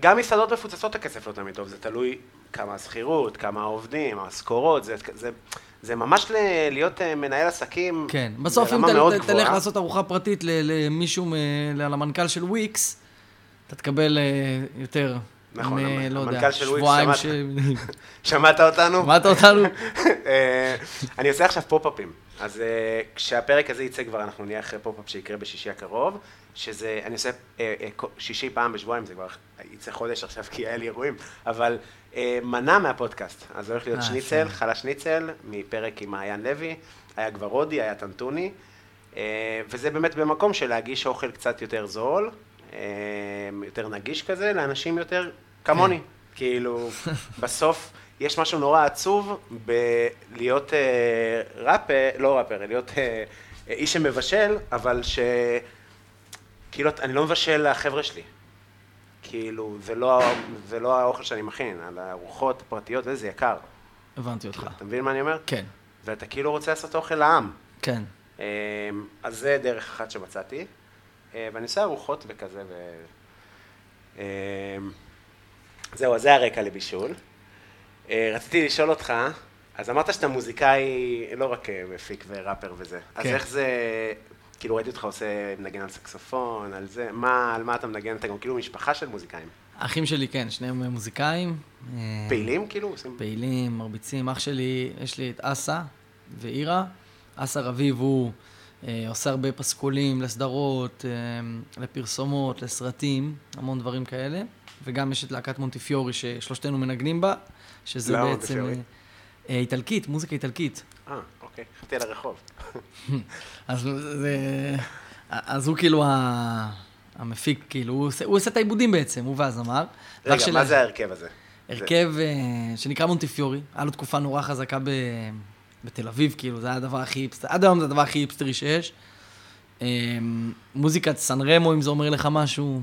S2: גם מסעדות מפוצצות הכסף לא תמיד טוב, זה תלוי כמה השכירות, כמה העובדים, המשכורות, זה, זה, זה ממש ל, להיות אה, מנהל עסקים
S3: כן, בסוף אם
S2: ברמה
S3: תל-
S2: מאוד
S3: ת-
S2: גבוהה.
S3: תלך לעשות ארוחה פרטית ל- למישהו, מ- ל- למנכ"ל של וויקס, אתה תקבל אה, יותר.
S2: נכון,
S3: מ-
S2: המ-
S3: לא יודע,
S2: המנכ"ל של וויקס,
S3: שבועיים
S2: שמעת אותנו?
S3: שמעת אותנו?
S2: <laughs> אה, אני עושה עכשיו פופ-אפים, אז אה, כשהפרק הזה יצא כבר, אנחנו נהיה אחרי פופ-אפ שיקרה בשישי הקרוב, שזה, אני עושה אה, אה, כל- שישי פעם בשבועיים, זה כבר יצא חודש עכשיו כי היה לי אירועים, אבל אה, מנה מהפודקאסט, אז הולך להיות
S3: אה,
S2: שניצל,
S3: יפה.
S2: חלה שניצל, מפרק עם מעיין לוי, היה כבר הודי, היה טנטוני, אה, וזה באמת במקום של להגיש אוכל קצת יותר זול, אה, יותר נגיש כזה, לאנשים יותר כמוני. כאילו, בסוף יש משהו נורא עצוב בלהיות אה, ראפר, לא ראפר, להיות אה, איש שמבשל, אבל ש... כאילו, אני לא מבשל לחבר'ה שלי. כאילו, זה לא, זה לא האוכל שאני מכין, על הארוחות הפרטיות, זה, זה יקר.
S3: הבנתי
S2: <laughs>
S3: אותך.
S2: אתה מבין מה אני אומר?
S3: כן,
S2: ואתה כאילו רוצה לעשות אוכל לעם.
S3: כן.
S2: אמ, אז זה דרך אחת שמצאתי, אה, ואני עושה ארוחות וכזה, ו... אמ, זהו, אז זה הרקע לבישול. אה, רציתי לשאול אותך, אז אמרת שאתה מוזיקאי, לא רק אה, מפיק וראפר וזה, אז
S3: כן.
S2: איך זה, כאילו ראיתי אותך עושה, מנגן על סקסופון, על זה, מה, על מה אתה מנגן, אתה גם כאילו משפחה של מוזיקאים.
S3: האחים שלי, כן, שניהם אה, מוזיקאים. אה,
S2: פעילים כאילו? עושים...
S3: פעילים, מרביצים. אח שלי, יש לי את אסא ואירה. אסא רביב הוא אה, עושה הרבה פסקולים לסדרות, אה, לפרסומות, לסרטים, המון דברים כאלה. וגם יש את להקת מונטיפיורי ששלושתנו מנגנים בה, שזה
S2: למה
S3: בעצם...
S2: מונטיפיורי?
S3: אה, איטלקית, מוזיקה איטלקית.
S2: אה, אוקיי, חשבתי על הרחוב.
S3: לא אז, זה, אז הוא כאילו ה, המפיק, כאילו, הוא עושה, הוא עושה את העיבודים בעצם, הוא והזמר. ואח
S2: רגע,
S3: שלי-
S2: מה זה ההרכב הזה?
S3: הרכב אה, שנקרא מונטיפיורי, היה לו תקופה נורא חזקה ב... בתל אביב, כאילו, זה היה הדבר הכי היפסטרי, עד היום זה הדבר הכי היפסטרי שיש. אה, מוזיקת סן רמו, אם זה אומר לך משהו.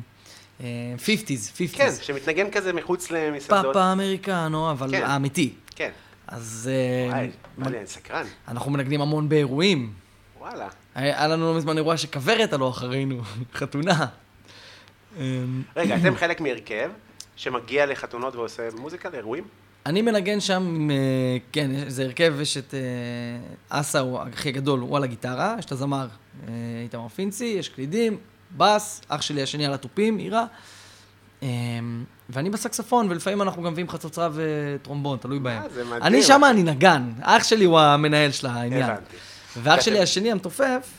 S3: אה, 50's, 50's.
S2: כן, שמתנגן כזה מחוץ למסעדות.
S3: פאפה אמריקנו, אבל
S2: כן.
S3: האמיתי.
S2: כן.
S3: אז אה,
S2: וואי, בא לי, אני סקרן.
S3: אנחנו מנגנים המון באירועים.
S2: וואלה.
S3: היה היה לנו לא מזמן אירוע שכוורת עלו אחרינו, <laughs> חתונה. אה,
S2: רגע, אתם חלק מהרכב שמגיע לחתונות ועושה מוזיקה לאירועים?
S3: אני מנגן שם, אה, כן, זה הרכב, יש את אה, אסא, הוא הכי גדול, הוא על הגיטרה, יש את הזמר אה, איתמר פינצי, יש קלידים, בס, אח שלי השני על התופים, עירה, אה, ואני בסקספון, ולפעמים אנחנו גם מביאים חצוצרה וטרומבון, תלוי בהם.
S2: אה, זה מדהים.
S3: אני שם, אני נגן, אח שלי הוא המנהל של העניין.
S2: הבנתי. כן,
S3: ואח שלי השני, המתופף,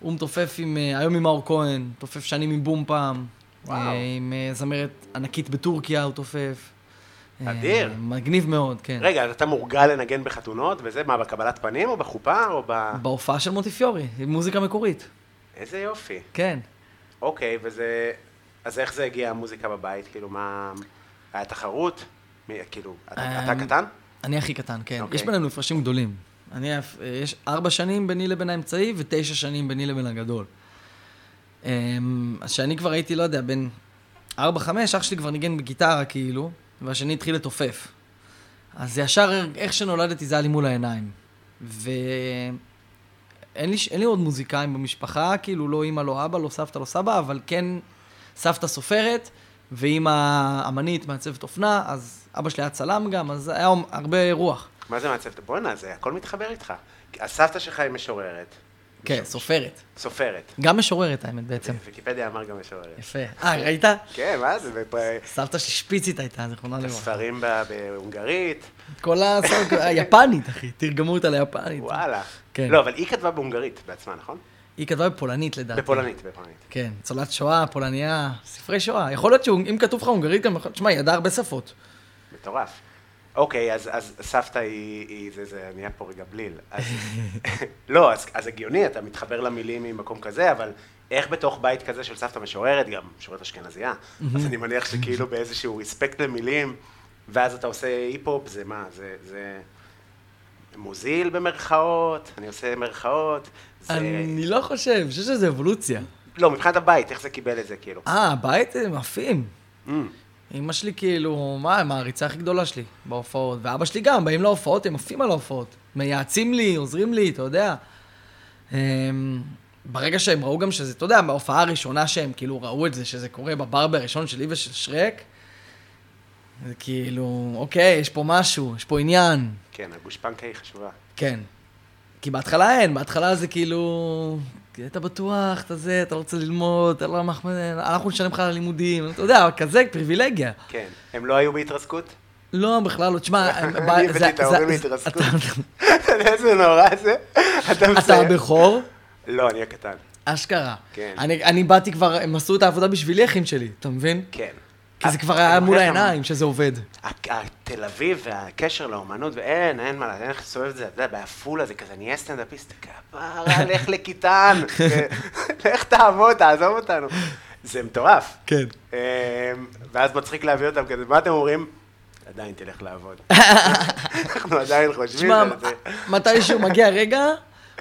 S3: הוא מתופף עם, אה, היום עם מאור כהן, תופף שנים עם בום פעם.
S2: וואו.
S3: אה, עם אה, זמרת ענקית בטורקיה הוא תופף. אה,
S2: אדיר.
S3: מגניב מאוד, כן.
S2: רגע, אז אתה מורגל לנגן בחתונות וזה? מה, בקבלת פנים או בחופה או ב...
S3: בהופעה של מונטיפיורי, עם מוזיקה מקורית.
S2: איזה יופי.
S3: כן.
S2: אוקיי, וזה... אז איך זה הגיע המוזיקה בבית? כאילו, מה... היה תחרות? מי- כאילו, אתה אתה
S3: אמ,
S2: קטן?
S3: אני הכי קטן, כן.
S2: אוקיי.
S3: יש בינינו הפרשים גדולים. אני, אף- אה, יש ארבע שנים ביני לבין האמצעי ותשע שנים ביני לבין הגדול. אמ, אז שאני כבר הייתי, לא יודע, בן ארבע, חמש, אח שלי כבר ניגן בגיטרה כאילו, והשני התחיל לתופף. אז ישר איך שנולדתי זה היה לי מול העיניים. ואין לי, ש- אין לי עוד מוזיקאים במשפחה, כאילו לא אימא, לא אבא, לא סבתא, לא סבא, אבל כן סבתא סופרת, ואימא אמנית, מעצבת אופנה, אז אבא שלי היה צלם גם, אז היה הרבה רוח.
S2: מה זה מעצב? בואנה, זה הכל מתחבר איתך. הסבתא שלך היא משוררת.
S3: כן, סופרת.
S2: סופרת.
S3: גם משוררת האמת בעצם.
S2: ויקיפדיה אמר גם משוררת.
S3: יפה. אה, ראית?
S2: כן, מה זה? בפ-
S3: סבתא שלי שפיצית הייתה, זיכרונה לברכה.
S2: ספרים ב- בהונגרית.
S3: כל הסרט, היפנית, אחי, תרגמו אותה ליפנית.
S2: וואלה.
S3: כן.
S2: לא, אבל היא כתבה בהונגרית בעצמה, נכון?
S3: היא כתבה בפולנית לדעתי.
S2: בפולנית, בפולנית.
S3: כן, ניצולת שואה, פולניה, ספרי שואה. יכול להיות שאם כתוב לך הונגרית, גם יכול- תשמע, היא ידעה הרבה שפות.
S2: מטורף. אוקיי, אז, אז סבתא היא, היא זה, זה נהיה פה רגע בליל.
S3: <laughs>
S2: אז, לא, אז, אז הגיוני, אתה מתחבר למילים ממקום כזה, אבל איך בתוך בית כזה של סבתא משוררת, גם משוררת אשכנזייה, אז אני מניח שכאילו באיזשהו רספקט למילים, ואז אתה עושה היפ-הופ, זה מה, זה, זה מוזיל במרכאות, אני עושה מרכאות, זה...
S3: אני לא חושב, אני חושב שזה אבולוציה.
S2: לא, מבחינת הבית, איך זה קיבל את זה, כאילו.
S3: אה, הבית הם עפים.
S2: Mm.
S3: אמא שלי כאילו, מה, הם העריצה הכי גדולה שלי בהופעות. ואבא שלי גם, באים להופעות, הם עפים על ההופעות. מייעצים לי, עוזרים לי, אתה יודע. אמ, ברגע שהם ראו גם שזה, אתה יודע, בהופעה הראשונה שהם כאילו ראו את זה, שזה קורה בברבי הראשון שלי ושל שרק, זה כאילו, אוקיי, יש פה משהו, יש פה עניין.
S2: כן, הגושפנקה היא חשובה.
S3: כן. כי בהתחלה אין, בהתחלה זה כאילו... כי אתה בטוח, אתה זה, אתה רוצה ללמוד, אתה לא מחמד, אנחנו נשלם לך על הלימודים, אתה יודע, כזה פריבילגיה.
S2: כן. הם לא היו בהתרסקות?
S3: לא, בכלל לא, תשמע,
S2: אני
S3: ב-
S2: הבאתי
S3: זה-
S2: את ההורים
S3: זה-
S2: להתרסקות.
S3: אתה-
S2: אתה יודע איזה נורא זה? אתה
S3: אתה
S2: מסיים.
S3: הבכור?
S2: לא, אני הקטן.
S3: אשכרה.
S2: כן.
S3: אני, אני באתי כבר, הם עשו את העבודה בשבילי, אחים שלי, אתה מבין?
S2: כן.
S3: כי זה
S2: אה,
S3: כבר היה
S2: אני
S3: מול
S2: מוכיח לך-
S3: העיניים שזה עובד.
S2: ה- ה- תל אביב והקשר לאומנות, ואין, אין מה, אין איך לסובב את זה, אתה יודע, בעפולה זה כזה, נהיה סטנדאפיסט, כפרה, לך
S3: <laughs>
S2: לקיטן, <laughs> לך תעמוד, תעזוב אותנו. זה מטורף.
S3: כן.
S2: אמ, ואז מצחיק להביא אותם כזה, מה אתם אומרים? עדיין תלך
S3: <laughs>
S2: לעבוד. אנחנו עדיין חושבים
S3: תשמע,
S2: על זה.
S3: מתישהו מגיע רגע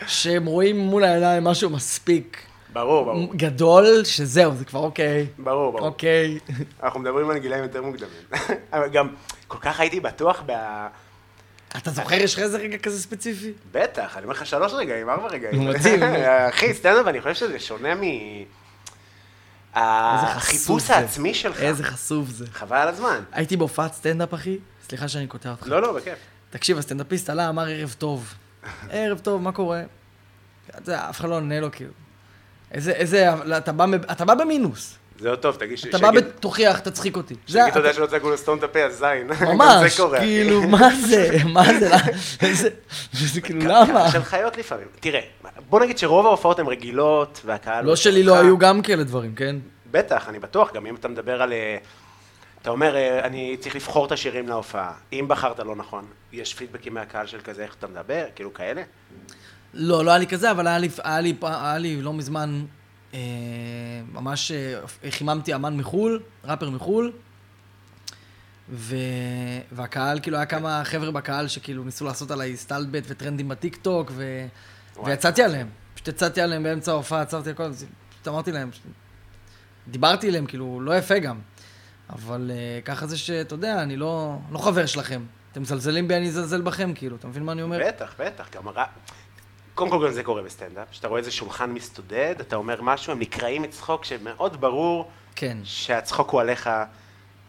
S3: שהם רואים מול העיניים משהו מספיק
S2: ברור, ברור.
S3: גדול, שזהו, זה כבר אוקיי.
S2: ברור, ברור.
S3: אוקיי.
S2: אנחנו מדברים על גילאים יותר מוקדמים. <laughs> אבל גם, כל כך הייתי בטוח ב...
S3: <laughs> אתה זוכר, יש לך איזה רגע כזה ספציפי?
S2: בטח, אני אומר לך שלוש רגעים, ארבע רגעים.
S3: נו, מדהים, נו.
S2: <laughs> אחי, סטנדאפ, אני חושב שזה שונה מ...
S3: איזה חשוף
S2: החיפוש
S3: זה.
S2: העצמי שלך.
S3: איזה חשוף זה.
S2: חבל על הזמן.
S3: הייתי בהופעת סטנדאפ, אחי. סליחה שאני קוטע אותך.
S2: לא, לא, בכיף.
S3: תקשיב, הסטנדאפיסט עלה, אמר ערב טוב. <laughs> ערב טוב, מה קורה? אתה יודע, אף אחד לא עונה לו, כאילו. איזה, איזה, אבל אתה בא, מב- אתה בא במינוס.
S2: זה עוד טוב, תגיד ש...
S3: אתה בא
S2: שיגיד-
S3: ותוכיח, תצחיק אותי. זה
S2: שיגיד
S3: ה-
S2: תודה שלא צעקו לו סתום את הפה, אז זין. גם <laughs>
S3: ממש,
S2: זה קורה.
S3: כאילו, מה זה? מה
S2: <laughs>
S3: זה? <laughs> איזה, זה כאילו, למה?
S2: קהל של חיות לפעמים. תראה, בוא נגיד שרוב ההופעות הן רגילות, והקהל...
S3: לא שלי לא
S2: איתך.
S3: היו גם כאלה דברים, כן?
S2: בטח, אני בטוח, גם אם אתה מדבר על... אה, אתה אומר, אה, אני צריך לבחור את השירים להופעה. אם בחרת לא נכון, יש פידבקים מהקהל של כזה, איך אתה מדבר, כאילו כאלה?
S3: לא, לא היה לי כזה, אבל היה לי, היה לי, פ- היה לי לא מזמן, אה, ממש אה, חיממתי אמן מחו"ל, ראפר מחו"ל, ו... והקהל, כאילו, היה כמה חבר'ה בקהל שכאילו ניסו לעשות עליי סטלבט וטרנדים בטיקטוק, ו...
S2: וואי.
S3: ויצאתי עליהם. פשוט יצאתי עליהם באמצע ההופעה, עצרתי הכל, אז פשוט אמרתי להם, ש- דיברתי אליהם, כאילו, לא יפה גם. אבל אה, ככה זה שאתה יודע, אני לא, לא חבר שלכם. אתם מזלזלים בי, אני אזלזל בכם, כאילו, אתה מבין מה אני אומר?
S2: בטח, בטח, גם הרע... קודם כל גם זה קורה בסטנדאפ, שאתה רואה איזה שולחן מסתודד, אתה אומר משהו, הם נקרעים מצחוק שמאוד ברור
S3: כן.
S2: שהצחוק הוא עליך,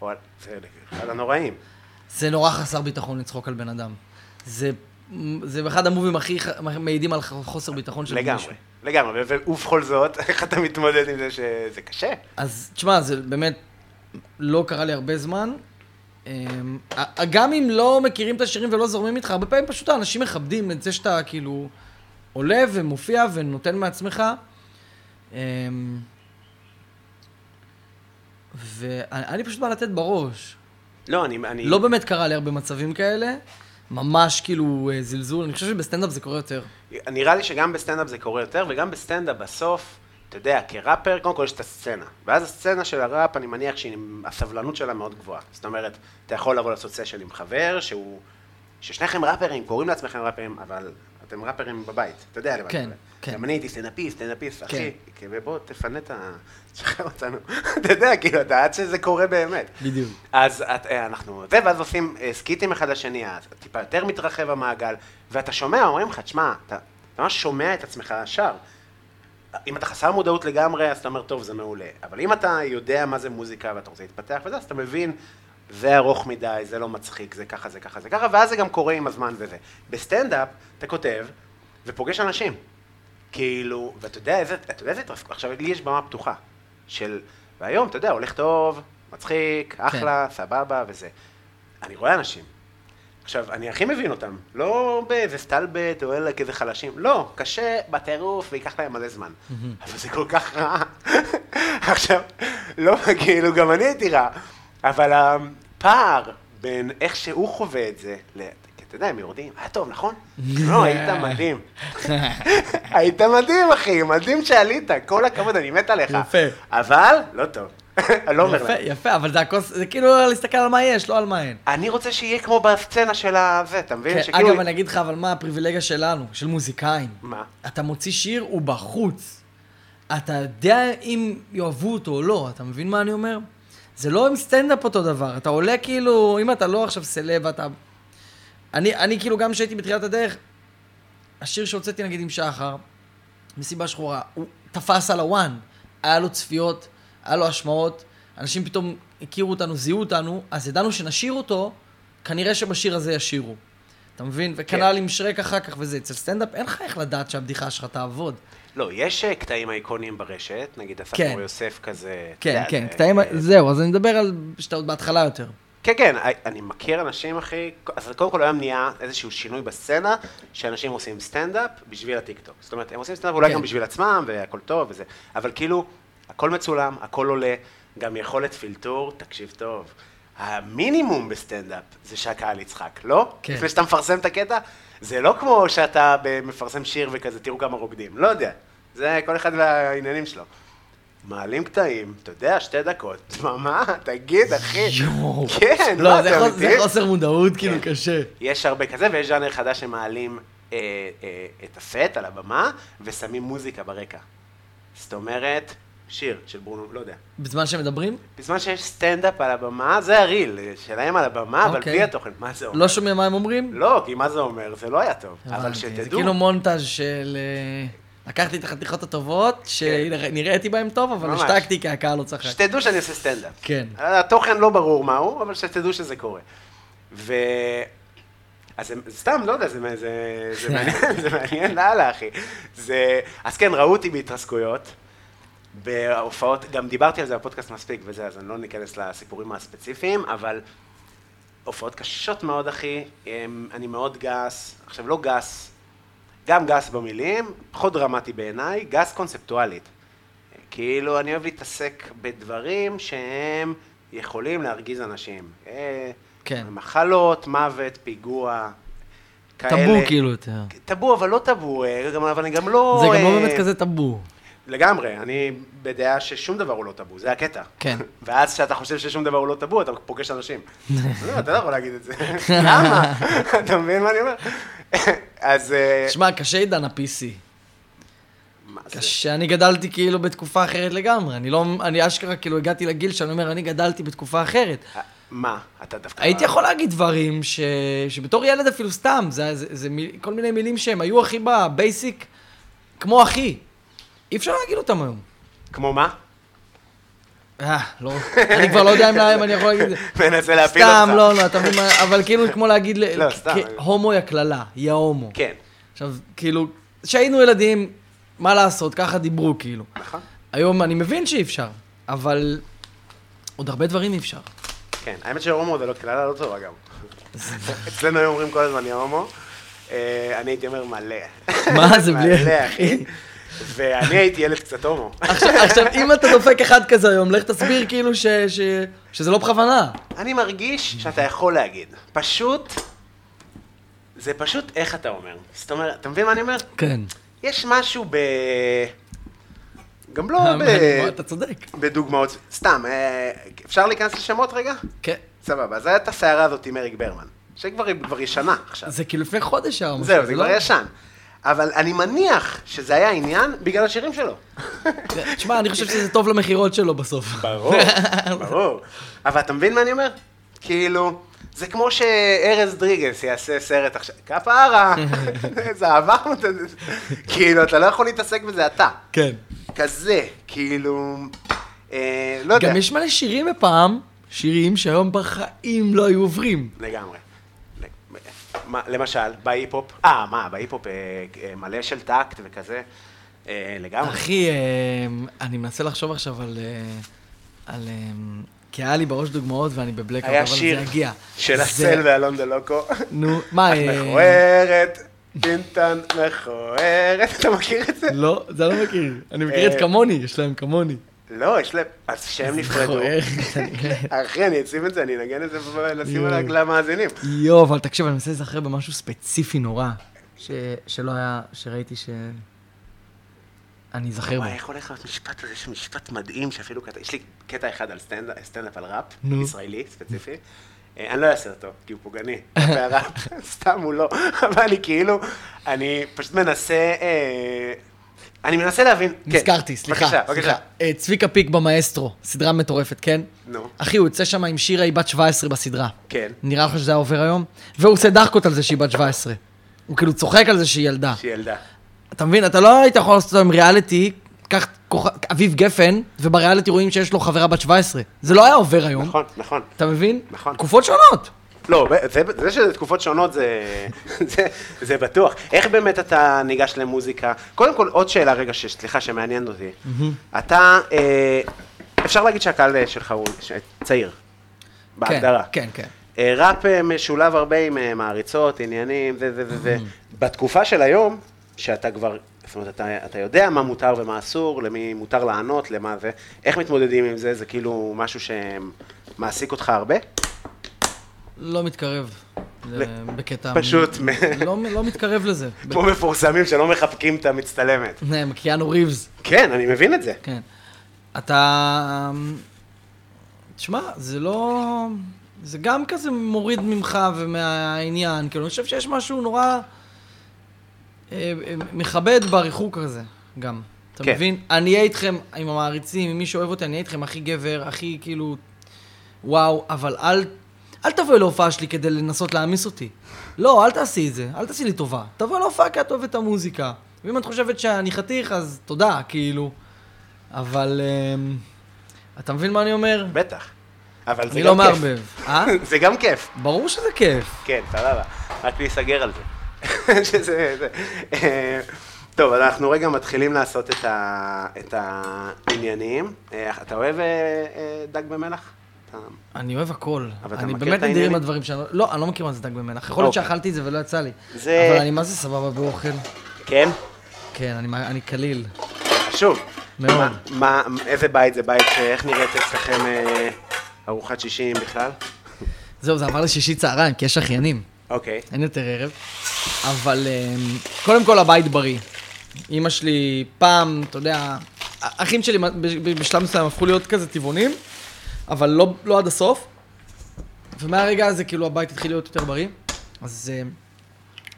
S2: או על... זה אחד הנוראים.
S3: זה נורא חסר ביטחון לצחוק על בן אדם. זה, זה אחד המובים הכי ח- מעידים על ח- חוסר ביטחון של מישהו.
S2: לגמרי, לגמרי, ו- ו- ובכל זאת, <laughs> איך אתה מתמודד עם זה שזה קשה?
S3: אז תשמע, זה באמת לא קרה לי הרבה זמן. אמ, ה- גם אם לא מכירים את השירים ולא זורמים איתך, הרבה פעמים פשוט האנשים מכבדים את זה שאתה כאילו עולה ומופיע ונותן מעצמך. אמ, ואני אני פשוט בא לתת בראש.
S2: לא, אני... אני...
S3: לא באמת קרה לי הרבה מצבים כאלה. ממש כאילו אה, זלזול, אני חושב שבסטנדאפ זה קורה יותר.
S2: נראה לי שגם בסטנדאפ זה קורה יותר, וגם בסטנדאפ בסוף, אתה יודע, כראפר, קודם כל יש את הסצנה. ואז הסצנה של הראפ, אני מניח שהסבלנות שלה מאוד גבוהה. זאת אומרת, אתה יכול לבוא לעשות סשן עם חבר, שהוא... ששניכם ראפרים, קוראים לעצמכם ראפרים, אבל אתם ראפרים בבית, אתה יודע למה. אני
S3: כן,
S2: מתכוון.
S3: כן.
S2: גם אני הייתי סטנדאפיסט, סטנדאפיסט, אחי,
S3: כן.
S2: ובוא תפנה את ה... <laughs> תשחרר אותנו. אתה יודע, כאילו, אתה עד שזה קורה באמת.
S3: בדיוק.
S2: אז את, אה, אנחנו, זה, ואז עושים אה, סקיטים אחד לשני, אז טיפה יותר מתרחב המעגל, ואתה שומע, אומרים לך, תשמע, אתה אתה ממש שומע את עצמך ישר. אם אתה חסר מודעות לגמרי, אז אתה אומר, טוב, זה מעולה. אבל אם אתה יודע מה זה מוזיקה ואתה רוצה להתפתח וזה, אז אתה מבין, זה ארוך מדי, זה לא מצחיק, זה ככה, זה ככה, זה ככה, ואז זה גם קורה עם הזמן וזה. בסטנדאפ, אתה כותב, ופוגש אנשים. כאילו, ואתה יודע איזה, אתה יודע איזה התרסקות, עכשיו לי יש במה פתוחה, של, והיום, אתה יודע, הולך טוב, מצחיק, אחלה, כן. סבבה וזה. אני רואה אנשים. עכשיו, אני הכי מבין אותם, לא באיזה סטלבט או אלה כאיזה חלשים, לא, קשה, בטירוף, וייקח להם מלא זמן. אבל זה כל כך רע. <laughs> עכשיו, לא, כאילו, גם אני הייתי רע, אבל הפער בין איך שהוא חווה את זה, ל... כי אתה יודע, הם יורדים, היה טוב,
S3: <laughs>
S2: נכון? לא, היית מדהים. <laughs> היית מדהים, אחי, מדהים שעלית, כל הכבוד, אני מת עליך.
S3: יפה.
S2: אבל, לא טוב. <laughs> אני לא אומר
S3: יפה,
S2: להם.
S3: יפה, אבל זה הכוס, זה כאילו להסתכל על מה יש, לא על מה אין.
S2: אני רוצה שיהיה כמו בסצנה של הזה, אתה מבין?
S3: כן,
S2: שכאילו-
S3: אגב, אני אגיד לך, אבל מה הפריבילגיה שלנו, של מוזיקאים?
S2: מה?
S3: אתה מוציא שיר, הוא בחוץ. אתה יודע אם יאהבו אותו או לא, אתה מבין מה אני אומר? זה לא עם סטנדאפ אותו דבר, אתה עולה כאילו, אם אתה לא עכשיו סלב, אתה... אני, אני כאילו, גם כשהייתי בתחילת הדרך, השיר שהוצאתי נגיד עם שחר, מסיבה שחורה, הוא תפס על הוואן, היה לו צפיות, היה לו השמעות, אנשים פתאום אה, הכירו אותנו, זיהו אותנו, אז ידענו שנשאיר אותו, כנראה שבשיר הזה ישירו. אתה מבין? וכנ"ל עם שרק אחר כך וזה. אצל סטנדאפ אין לך איך לדעת שהבדיחה שלך תעבוד.
S2: לא, יש אה, קטעים אייקוניים ברשת, נגיד אסף
S3: כן.
S2: מור יוסף כזה. אה, אתה
S3: כן,
S2: יודע,
S3: כן,
S2: זה-
S3: קטעים... זהו, אז אני מדבר על... שאתה עוד בהתחלה יותר.
S2: כן, כן, אי- אני מכיר אנשים, אחי, אז קודם כל היום נהיה איזשהו שינוי בסצנה, שאנשים עושים סטנדאפ בשביל הטיקטוק. זאת אומרת, הם עושים סטנדאפ אולי
S3: כן.
S2: גם בשביל עצמם, והכל טוב וזה, אבל כאילו, הכל מצולם, הכל עולה, גם יכולת פילטור, תקשיב טוב. המינימום בסטנדאפ זה שהקהל יצחק, לא?
S3: כן.
S2: לפני שאתה מפרסם את הקטע, זה לא כמו שאתה ב- מפרסם שיר וכזה, תראו כמה רוקדים, לא יודע. זה כל אחד והעניינים שלו. מעלים קטעים, אתה יודע, שתי דקות, <laughs> דממה, תגיד, אחי.
S3: יואו.
S2: כן,
S3: לא,
S2: מה,
S3: זה
S2: אתה
S3: חוס-
S2: אמיתי?
S3: זה חוסר מודעות, כאילו,
S2: כן.
S3: קשה.
S2: יש הרבה כזה, ויש ז'אנר חדש שמעלים אה, אה, את הסט על הבמה, ושמים מוזיקה ברקע. זאת אומרת, שיר של ברונו, לא יודע.
S3: בזמן שמדברים,
S2: בזמן שיש סטנדאפ על הבמה, זה הריל, אה, שלהם על הבמה, אבל
S3: אוקיי.
S2: בלי התוכן, מה זה אומר?
S3: לא שומעים מה הם אומרים?
S2: לא, כי מה זה אומר? זה לא היה טוב. אבל
S3: הבנתי, זה
S2: שתדעו,
S3: כאילו מונטאז' של... אה, לקחתי את החתיכות הטובות, שנראיתי בהן טוב, אבל
S2: כן. ממש.
S3: השתקתי כי הקהל לא צחק.
S2: שתדעו שאני עושה סטנדאפ.
S3: כן.
S2: התוכן לא ברור מהו, אבל שתדעו שזה קורה. ו... אז זה, סתם, לא יודע, זה, זה, זה מעניין, זה מעניין לאללה, אחי. זה... אז כן, ראו אותי בהתרסקויות, בהופעות, גם דיברתי על זה בפודקאסט מספיק וזה, אז אני לא ניכנס לסיפורים הספציפיים, אבל הופעות קשות מאוד, אחי. אמ, אני מאוד גס, עכשיו, לא גס, גם גס במילים, פחות דרמטי בעיניי, גס קונספטואלית. כאילו, אני אוהב להתעסק בדברים שהם יכולים להרגיז אנשים. אה,
S3: כן.
S2: מחלות, מוות, פיגוע, כאלה.
S3: טאבו כאילו יותר.
S2: טאבו, אבל לא טאבו, אה, גם- אבל אני גם לא...
S3: זה גם לא
S2: אה,
S3: באמת כזה טאבו.
S2: לגמרי, אני בדעה ששום דבר הוא לא טאבו, זה הקטע.
S3: כן.
S2: <laughs> ואז כשאתה חושב ששום דבר הוא לא טאבו, אתה פוגש
S3: <laughs>
S2: אנשים. לא, אתה לא יכול להגיד את זה. <laughs> למה? <laughs> אתה מבין מה אני אומר? <laughs> אז... אה,
S3: שמע, קשה עידן ה-PC.
S2: מה זה?
S3: קשה, אני גדלתי כאילו בתקופה אחרת לגמרי. אני לא, אני אשכרה כאילו הגעתי לגיל שאני אומר, אני גדלתי בתקופה אחרת.
S2: אה, מה? אתה דווקא...
S3: הייתי יכול להגיד דברים ש... שבתור ילד אפילו סתם, זה, זה, זה מיל... כל מיני מילים שהם היו הכי בבייסיק, כמו אחי. אי אפשר להגיד אותם היום.
S2: כמו מה?
S3: אה, לא, אני כבר לא יודע אם להם אני יכול להגיד את זה.
S2: <laughs> מנסה להפיל אותך.
S3: סתם, לא, לא, אתה מבין מה, אבל כאילו כמו להגיד, ל-
S2: לא, סתם.
S3: כ- הומו יא קללה, יא הומו.
S2: כן.
S3: עכשיו, כאילו, כשהיינו ילדים, מה לעשות, ככה דיברו, כאילו.
S2: נכון.
S3: היום אני מבין שאי אפשר, אבל עוד הרבה דברים
S2: <laughs>
S3: אי אפשר.
S2: כן, האמת שהומו זה לא קללה לא טובה גם.
S3: <laughs>
S2: אצלנו היו אומרים כל הזמן, יא הומו. אה, אני הייתי אומר מלא.
S3: מה זה בלי...
S2: מלא, אחי. ואני הייתי ילד קצת הומו.
S3: <laughs> עכשיו, עכשיו, אם אתה דופק אחד כזה היום, לך תסביר כאילו ש, ש, שזה לא בכוונה.
S2: אני מרגיש שאתה יכול להגיד. פשוט, זה פשוט איך אתה אומר. זאת אומרת, אתה מבין מה אני אומר?
S3: כן.
S2: יש משהו ב... גם
S3: <laughs>
S2: לא ב...
S3: אה, אתה צודק.
S2: בדוגמאות, סתם, אה, אפשר להיכנס לשמות רגע?
S3: כן.
S2: סבבה, אז הייתה הסערה הזאת עם אריק ברמן, שכבר היא כבר ישנה עכשיו.
S3: זה כאילו לפני חודש היה משהו,
S2: זהו, זה כבר
S3: לא-
S2: ישן. אבל אני מניח שזה היה עניין בגלל השירים שלו.
S3: תשמע, אני חושב שזה טוב למכירות שלו בסוף. <laughs>
S2: ברור, ברור. אבל אתה מבין מה אני אומר? כאילו, זה כמו שארז דריגס יעשה סרט עכשיו,
S3: <laughs>
S2: כפרה, זה עבר, כאילו, אתה לא יכול להתעסק בזה, אתה.
S3: כן.
S2: כזה, כאילו, אה, לא יודע.
S3: גם יש מלא שירים מפעם, שירים שהיום בחיים לא היו עוברים.
S2: לגמרי. מה- למשל, בהיפ-הופ, אה, מה, בהיפ-הופ אה, אה, מלא של טקט וכזה, אה, לגמרי.
S3: אחי, אה, אני מנסה לחשוב עכשיו על... אה, על... אה, כי היה לי בראש דוגמאות ואני בבלקאוט,
S2: היה
S3: אבל זה
S2: שיר
S3: יגיע.
S2: של
S3: זה-
S2: הסל ואלון דלוקו.
S3: נו, מה,
S2: את
S3: אה,
S2: מכוערת, פינטון מכוערת, אתה מכיר את זה?
S3: לא, זה לא מכיר. אני מכיר את
S2: אה,
S3: כמוני, יש להם כמוני.
S2: לא, יש להם, אז שהם נפרדו.
S3: <laughs> מכוערת, אני רואה.
S2: אחי, אני אשים את זה, אני אנגן את זה, ב- נשים
S3: יואו.
S2: על למאזינים.
S3: יואו, אבל תקשיב, אני מנסה להיזכר במשהו ספציפי נורא, ש- שלא היה, שראיתי ש... אני אזכר בו.
S2: וואי, איך הולך להיות משפט הזה, יש משפט מדהים שאפילו קטע, יש לי קטע אחד על סטנדאפ, סטנדאפ על ראפ,
S3: נו.
S2: ישראלי, ספציפי. אה, אני לא אעשה אותו, כי הוא פוגעני,
S3: <laughs>
S2: כלפי הראפ, סתם הוא לא, אבל אני כאילו, אני פשוט מנסה, אה, אני מנסה להבין, כן.
S3: נזכרתי, סליחה.
S2: בבקשה,
S3: סליחה.
S2: בבקשה.
S3: אה, צביקה פיק במאסטרו, סדרה מטורפת, כן?
S2: נו.
S3: אחי, הוא יוצא שם עם שירה, היא בת 17 בסדרה.
S2: כן.
S3: נראה לך שזה היה עובר היום? והוא עושה דחקות על זה שהיא בת 17. הוא כאילו צוחק על זה שהיא ילדה.
S2: שהיא ילדה.
S3: אתה מבין, אתה לא היית יכול לעשות אותם ריאליטי, קח כוכב- אביב גפן, ובריאליטי רואים שיש לו חברה בת 17. זה לא היה עובר היום.
S2: נכון, נכון.
S3: אתה מבין?
S2: נכון.
S3: תקופות שונות.
S2: לא, זה, זה שזה תקופות שונות זה, זה, זה בטוח. איך באמת אתה ניגש למוזיקה? קודם כל, עוד שאלה רגע, ש- סליחה, שמעניינת אותי. אתה, אה, אפשר להגיד שהקהל אה, שלך הוא ש- צעיר, בהגדרה.
S3: כן, כן.
S2: אה, ראפ אה, משולב הרבה עם אה, מעריצות, עניינים, זה, זה, זה, זה. בתקופה של היום, שאתה כבר, זאת אומרת, אתה, אתה יודע מה מותר ומה אסור, למי מותר לענות, למה זה, איך מתמודדים עם זה? זה כאילו משהו שמעסיק אותך הרבה?
S3: לא מתקרב. זה בקטע...
S2: פשוט מ-
S3: לא לא מתקרב
S2: <laughs>
S3: לזה. <laughs>
S2: כמו מפורסמים שלא מחבקים את המצטלמת.
S3: כן, קיאנו ריבס.
S2: כן, אני מבין את זה.
S3: כן. אתה... תשמע, זה לא... זה גם כזה מוריד ממך ומהעניין. כאילו, אני חושב שיש משהו נורא אה, אה, מכבד בריחוק הזה, גם. אתה
S2: כן.
S3: מבין? אני אהיה איתכם, עם המעריצים, עם מי שאוהב אותי, אני אהיה איתכם הכי גבר, הכי כאילו... וואו, אבל אל... אל תבואי להופעה שלי כדי לנסות להעמיס אותי. לא, אל תעשי את זה, אל תעשי לי טובה. תבואי להופעה כי את אוהבת את המוזיקה. ואם את חושבת שאני חתיך, אז תודה, כאילו. אבל... אמ, אתה מבין מה אני אומר?
S2: בטח. אבל זה
S3: אני
S2: גם
S3: לא
S2: כיף.
S3: מערבב. אה?
S2: <laughs> זה גם כיף.
S3: ברור שזה כיף.
S2: כן, סבבה. רק להיסגר על זה. <laughs> שזה... זה. אה, טוב, אז אנחנו רגע מתחילים לעשות את, ה... את העניינים. אה, אתה אוהב אה, אה, דג במלח? אתה-
S3: אני אוהב הכל.
S2: אבל אתה
S3: אני
S2: מכיר
S3: באמת
S2: את
S3: נדיר עם
S2: העניינים?
S3: הדברים שאני... לא- לא, אני לא מכיר מה זה דג במלח. יכול להיות
S2: אוקיי.
S3: שאכלתי את זה ולא יצא לי.
S2: זה-
S3: אבל אני מה זה סבבה באוכל.
S2: כן?
S3: כן, אני- אני קליל.
S2: חשוב.
S3: מאוד.
S2: מה, מה, איזה בית זה בית, ש- איך נראית אצלכם אה, ארוחת שישים בכלל?
S3: זהו, זה עבר לשישי צהריים, כי יש אחיינים.
S2: אוקיי.
S3: אין יותר ערב. אבל אמ, קודם כל הבית בריא. אימא שלי פעם, אתה יודע, האחים שלי ב- ב- בשלב מסוים הפכו להיות כזה טבעונים, אבל לא, לא עד הסוף. ומהרגע הזה כאילו הבית התחיל להיות יותר בריא. אז אמ,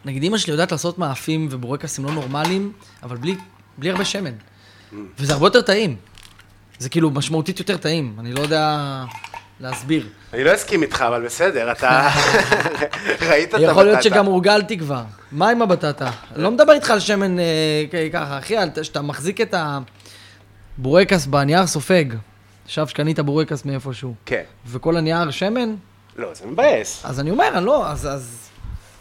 S3: נגיד אימא שלי יודעת לעשות מאפים ובורקסים לא נורמליים, אבל בלי, בלי הרבה שמן. וזה הרבה יותר טעים. זה כאילו משמעותית יותר טעים, אני לא יודע להסביר.
S2: אני לא אסכים איתך, אבל בסדר,
S3: <laughs>
S2: אתה ראית את הבטטה.
S3: יכול להיות שגם הורגלתי כבר. מה עם הבטטה? אני לא מדבר איתך על שמן אה, כ- ככה, אחי, על- שאתה מחזיק את הבורקס בנייר סופג. עכשיו שקנית בורקס מאיפשהו,
S2: כן.
S3: וכל הנייר שמן,
S2: לא, זה מבאס.
S3: אז אני אומר, אני לא, אז, אז,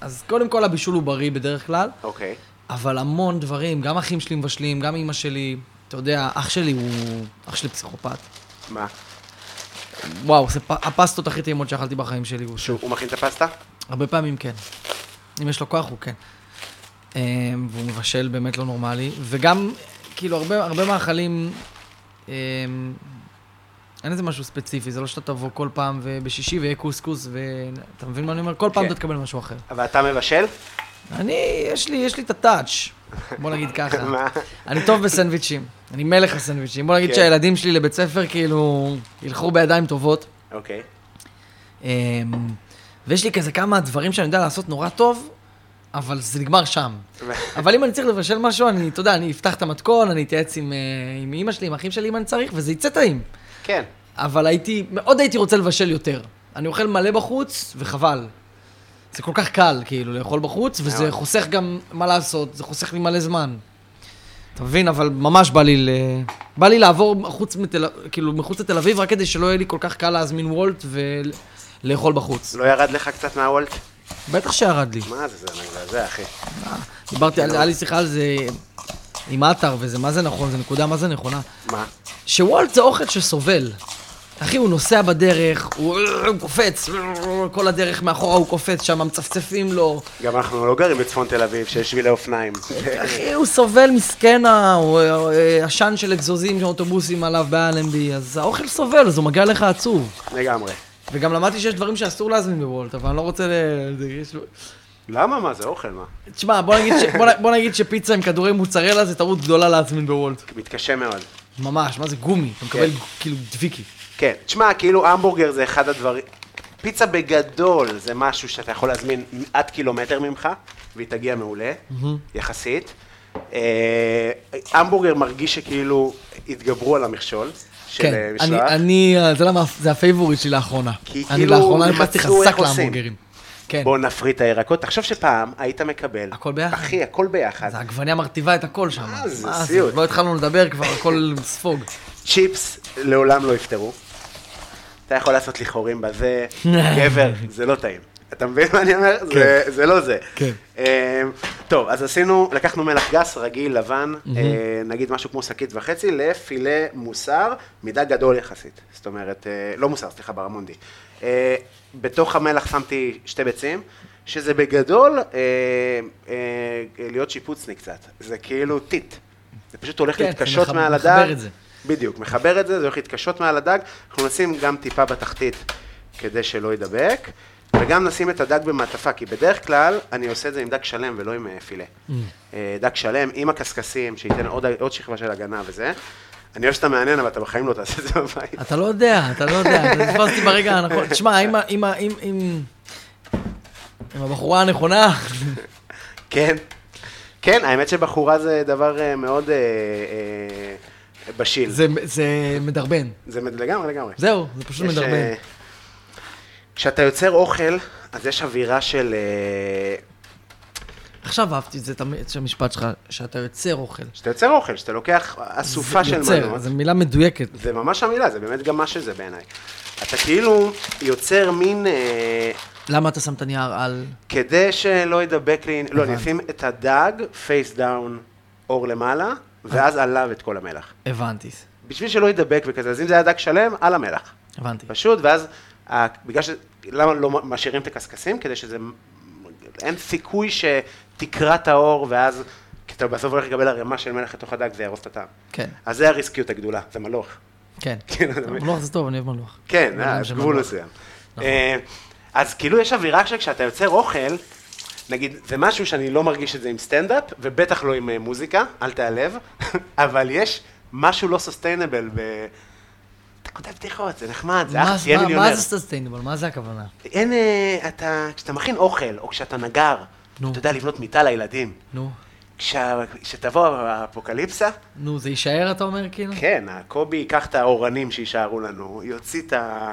S3: אז קודם כל הבישול הוא בריא בדרך כלל,
S2: אוקיי.
S3: אבל המון דברים, גם אחים שלי מבשלים, גם אימא שלי, אתה יודע, אח שלי הוא, אח שלי פסיכופת.
S2: מה?
S3: וואו, זה פ... הפסטות הכי טעימות שאכלתי בחיים שלי, הוא
S2: שהוא הוא מכין את הפסטה?
S3: הרבה פעמים כן. אם יש לו כוח, הוא כן. אמ, והוא מבשל באמת לא נורמלי, וגם, כאילו, הרבה, הרבה מאכלים, אמ, אין איזה משהו ספציפי, זה לא שאתה תבוא כל פעם ובשישי ויהיה קוסקוס, ואתה מבין מה אני אומר? כל פעם
S2: כן.
S3: אתה תקבל משהו אחר.
S2: אבל אתה מבשל?
S3: אני, יש לי, יש לי את הטאץ', בוא נגיד
S2: <laughs>
S3: ככה.
S2: מה?
S3: אני טוב בסנדוויצ'ים, אני מלך הסנדוויצ'ים. בוא נגיד
S2: כן.
S3: שהילדים שלי לבית ספר, כאילו, ילכו בידיים טובות.
S2: אוקיי.
S3: אמ, ויש לי כזה כמה דברים שאני יודע לעשות נורא טוב, אבל זה נגמר שם. אבל אם אני צריך לבשל משהו, אני, אתה יודע, אני אפתח את המתכון, אני אתייעץ עם, אה, עם אימא שלי, עם אחים שלי, אם אני צריך, וזה יצא טעים.
S2: כן.
S3: אבל הייתי, מאוד הייתי רוצה לבשל יותר. אני אוכל מלא בחוץ, וחבל. זה כל כך קל, כאילו, לאכול בחוץ, וזה
S2: מאוד.
S3: חוסך גם מה לעשות, זה חוסך לי מלא זמן. אתה מבין? אבל ממש בא לי ל... בא לי לעבור מחוץ, מתל... כאילו, מחוץ לתל אביב, רק כדי שלא יהיה לי כל כך קל להזמין וולט ולאכול בחוץ.
S2: לא ירד לך קצת מהוולט?
S3: בטח שירד לי.
S2: מה זה, זה מזעזע, אחי.
S3: דיברתי, על- היה לי שיחה על זה עם עטר, וזה מה זה נכון, זו נקודה מה זה נכונה.
S2: מה?
S3: שוולט זה אוכל שסובל. אחי, הוא נוסע בדרך, הוא הוא קופץ, כל הדרך מאחורה הוא קופץ, שם מצפצפים לו.
S2: גם אנחנו לא גרים בצפון תל אביב, שיש שבילי
S3: <laughs>
S2: אופניים.
S3: אחי, הוא סובל מסכן ה- הוא- אה, עשן של אגזוזים של אוטובוסים עליו באלנבי, אז האוכל סובל, אז הוא מגיע לך עצוב.
S2: לגמרי.
S3: וגם למדתי שיש דברים שאסור להזמין בוולט, אבל אני לא רוצה ל... זה- יש-
S2: למה? מה זה אוכל, מה?
S3: תשמע, בוא נגיד ש- בוא נ- בוא נגיד שפיצה עם כדורי מוצרלה זה טעות גדולה להזמין בוולט.
S2: מתקשה מאוד.
S3: ממש, מה זה גומי? אתה מקבל כאילו דביקי.
S2: כן. תשמע, כאילו המבורגר זה אחד הדברים... פיצה בגדול זה משהו שאתה יכול להזמין עד קילומטר ממך, והיא תגיע מעולה, יחסית. אה, המבורגר מרגיש שכאילו התגברו על המכשול של אה,
S3: כן, אני,
S2: משלוח.
S3: אני, אה, אתה יודע מה, זה הפייבוריט שלי לאחרונה.
S2: כי
S3: אני
S2: כאילו
S3: לאחרונה נכנסתי
S2: מצאו איך
S3: חזק
S2: עושים.
S3: להמבורגרים. כן.
S2: בוא נפריט את הירקות. תחשוב שפעם היית מקבל...
S3: הכל ביחד.
S2: אחי, הכל ביחד.
S3: אז העגבניה מרטיבה את הכל שם.
S2: מה אה, זה, סיוט.
S3: לא התחלנו לדבר כבר, הכל ספוג.
S2: צ'יפס לעולם לא יפתרו. אתה יכול לעשות לי חורים
S3: <laughs>
S2: בזה, גבר, זה לא טעים. אתה מבין מה אני אומר? זה, זה לא זה.
S3: כן.
S2: אה, טוב, אז עשינו, לקחנו מלח גס, רגיל, לבן, אה, נגיד משהו כמו שקית וחצי, לפילה מוסר, מידה גדול יחסית. זאת אומרת, אה, לא מוסר, סליחה, ברמונדי. אה, בתוך המלח שמתי שתי ביצים, שזה בגדול אה, אה, להיות שיפוצני קצת. זה כאילו טיט. זה פשוט הולך
S3: כן, זה
S2: להתקשות
S3: מחב-
S2: מעל
S3: מחבר
S2: הדג.
S3: את זה.
S2: בדיוק, מחבר את זה, זה הולך להתקשות מעל הדג, אנחנו נשים גם טיפה בתחתית כדי שלא יידבק, וגם נשים את הדג במעטפה, כי בדרך כלל אני עושה את זה עם דג שלם ולא עם אה, פילה.
S3: Mm.
S2: אה, דג שלם עם הקשקשים, שייתן עוד, עוד שכבה של הגנה וזה. אני אוהב שאתה מעניין, אבל אתה בחיים לא תעשה את זה בבית.
S3: אתה לא יודע, אתה לא יודע, אתה נתפסתי ברגע הנכון. תשמע, אם ה- אם ה- אם- אם- עם הבחורה הנכונה,
S2: כן, כן, האמת שבחורה זה דבר אה, מאוד אה, אה, בשיל. זה,
S3: זה- זה מדרבן.
S2: זה מד- לגמרי, לגמרי.
S3: זהו, זה פשוט
S2: יש,
S3: מדרבן.
S2: אה, כשאתה יוצר אוכל, אז יש אווירה של... אה,
S3: עכשיו אהבתי את זה, את המ- את המשפט שלך, שאתה יוצר אוכל.
S2: כשאתה יוצר אוכל, כשאתה לוקח אסופה
S3: זה
S2: של
S3: יוצר,
S2: מנות,
S3: זו מילה מדויקת.
S2: זה ממש המילה, זה באמת גם מה שזה בעיניי. אתה כאילו יוצר מין... אה,
S3: למה אתה שם את הנייר על...
S2: כדי שלא ידבק לי... לא, אני אשים את הדג פייס דאון אור למעלה,
S3: אה.
S2: ואז עליו את כל המלח.
S3: הבנתי,
S2: בשביל שלא ידבק וכזה, אז אם זה היה דג שלם, על המלח.
S3: הבנתי.
S2: פשוט, ואז ה- בגלל ש... למה לא משאירים את הקשקשים? כדי שזה... אין סיכוי שתקרע את האור, ואז... כי אתה בסוף הולך לקבל ערימה של מלח לתוך הדג, זה יהרוס את הטעם.
S3: כן,
S2: אז זה הריסקיות הגדולה, זה מלוך.
S3: כן.
S2: כן, אתה מבין?
S3: מלוח זה טוב, אני אוהב מלוח.
S2: כן,
S3: אני
S2: אה,
S3: אדם
S2: יש
S3: של
S2: גבול
S3: מלוח.
S2: מסוים. אה, אז כאילו יש אווירה שכשאתה יוצר אוכל, נגיד, זה משהו שאני לא מרגיש את זה עם סטנדאפ, ובטח לא עם אה, מוזיקה, אל תיעלב, <laughs> אבל יש משהו לא סוסטיינבל ב... אתה כותב בדיחות, זה נחמד, זה
S3: מה-
S2: אחלה, תהיה
S3: מה-
S2: מיליונר.
S3: מה זה סוסטיינבל? מה זה הכוונה?
S2: אין, אה, אתה, כשאתה מכין אוכל, או כשאתה נגר,
S3: נו.
S2: אתה יודע לבנות מיטה לילדים.
S3: נו,
S2: כשה- כשתבוא האפוקליפסה,
S3: נו, זה יישאר, אתה אומר, כאילו?
S2: כן, הקובי ייקח את האורנים שיישארו לנו, יוציא את ה...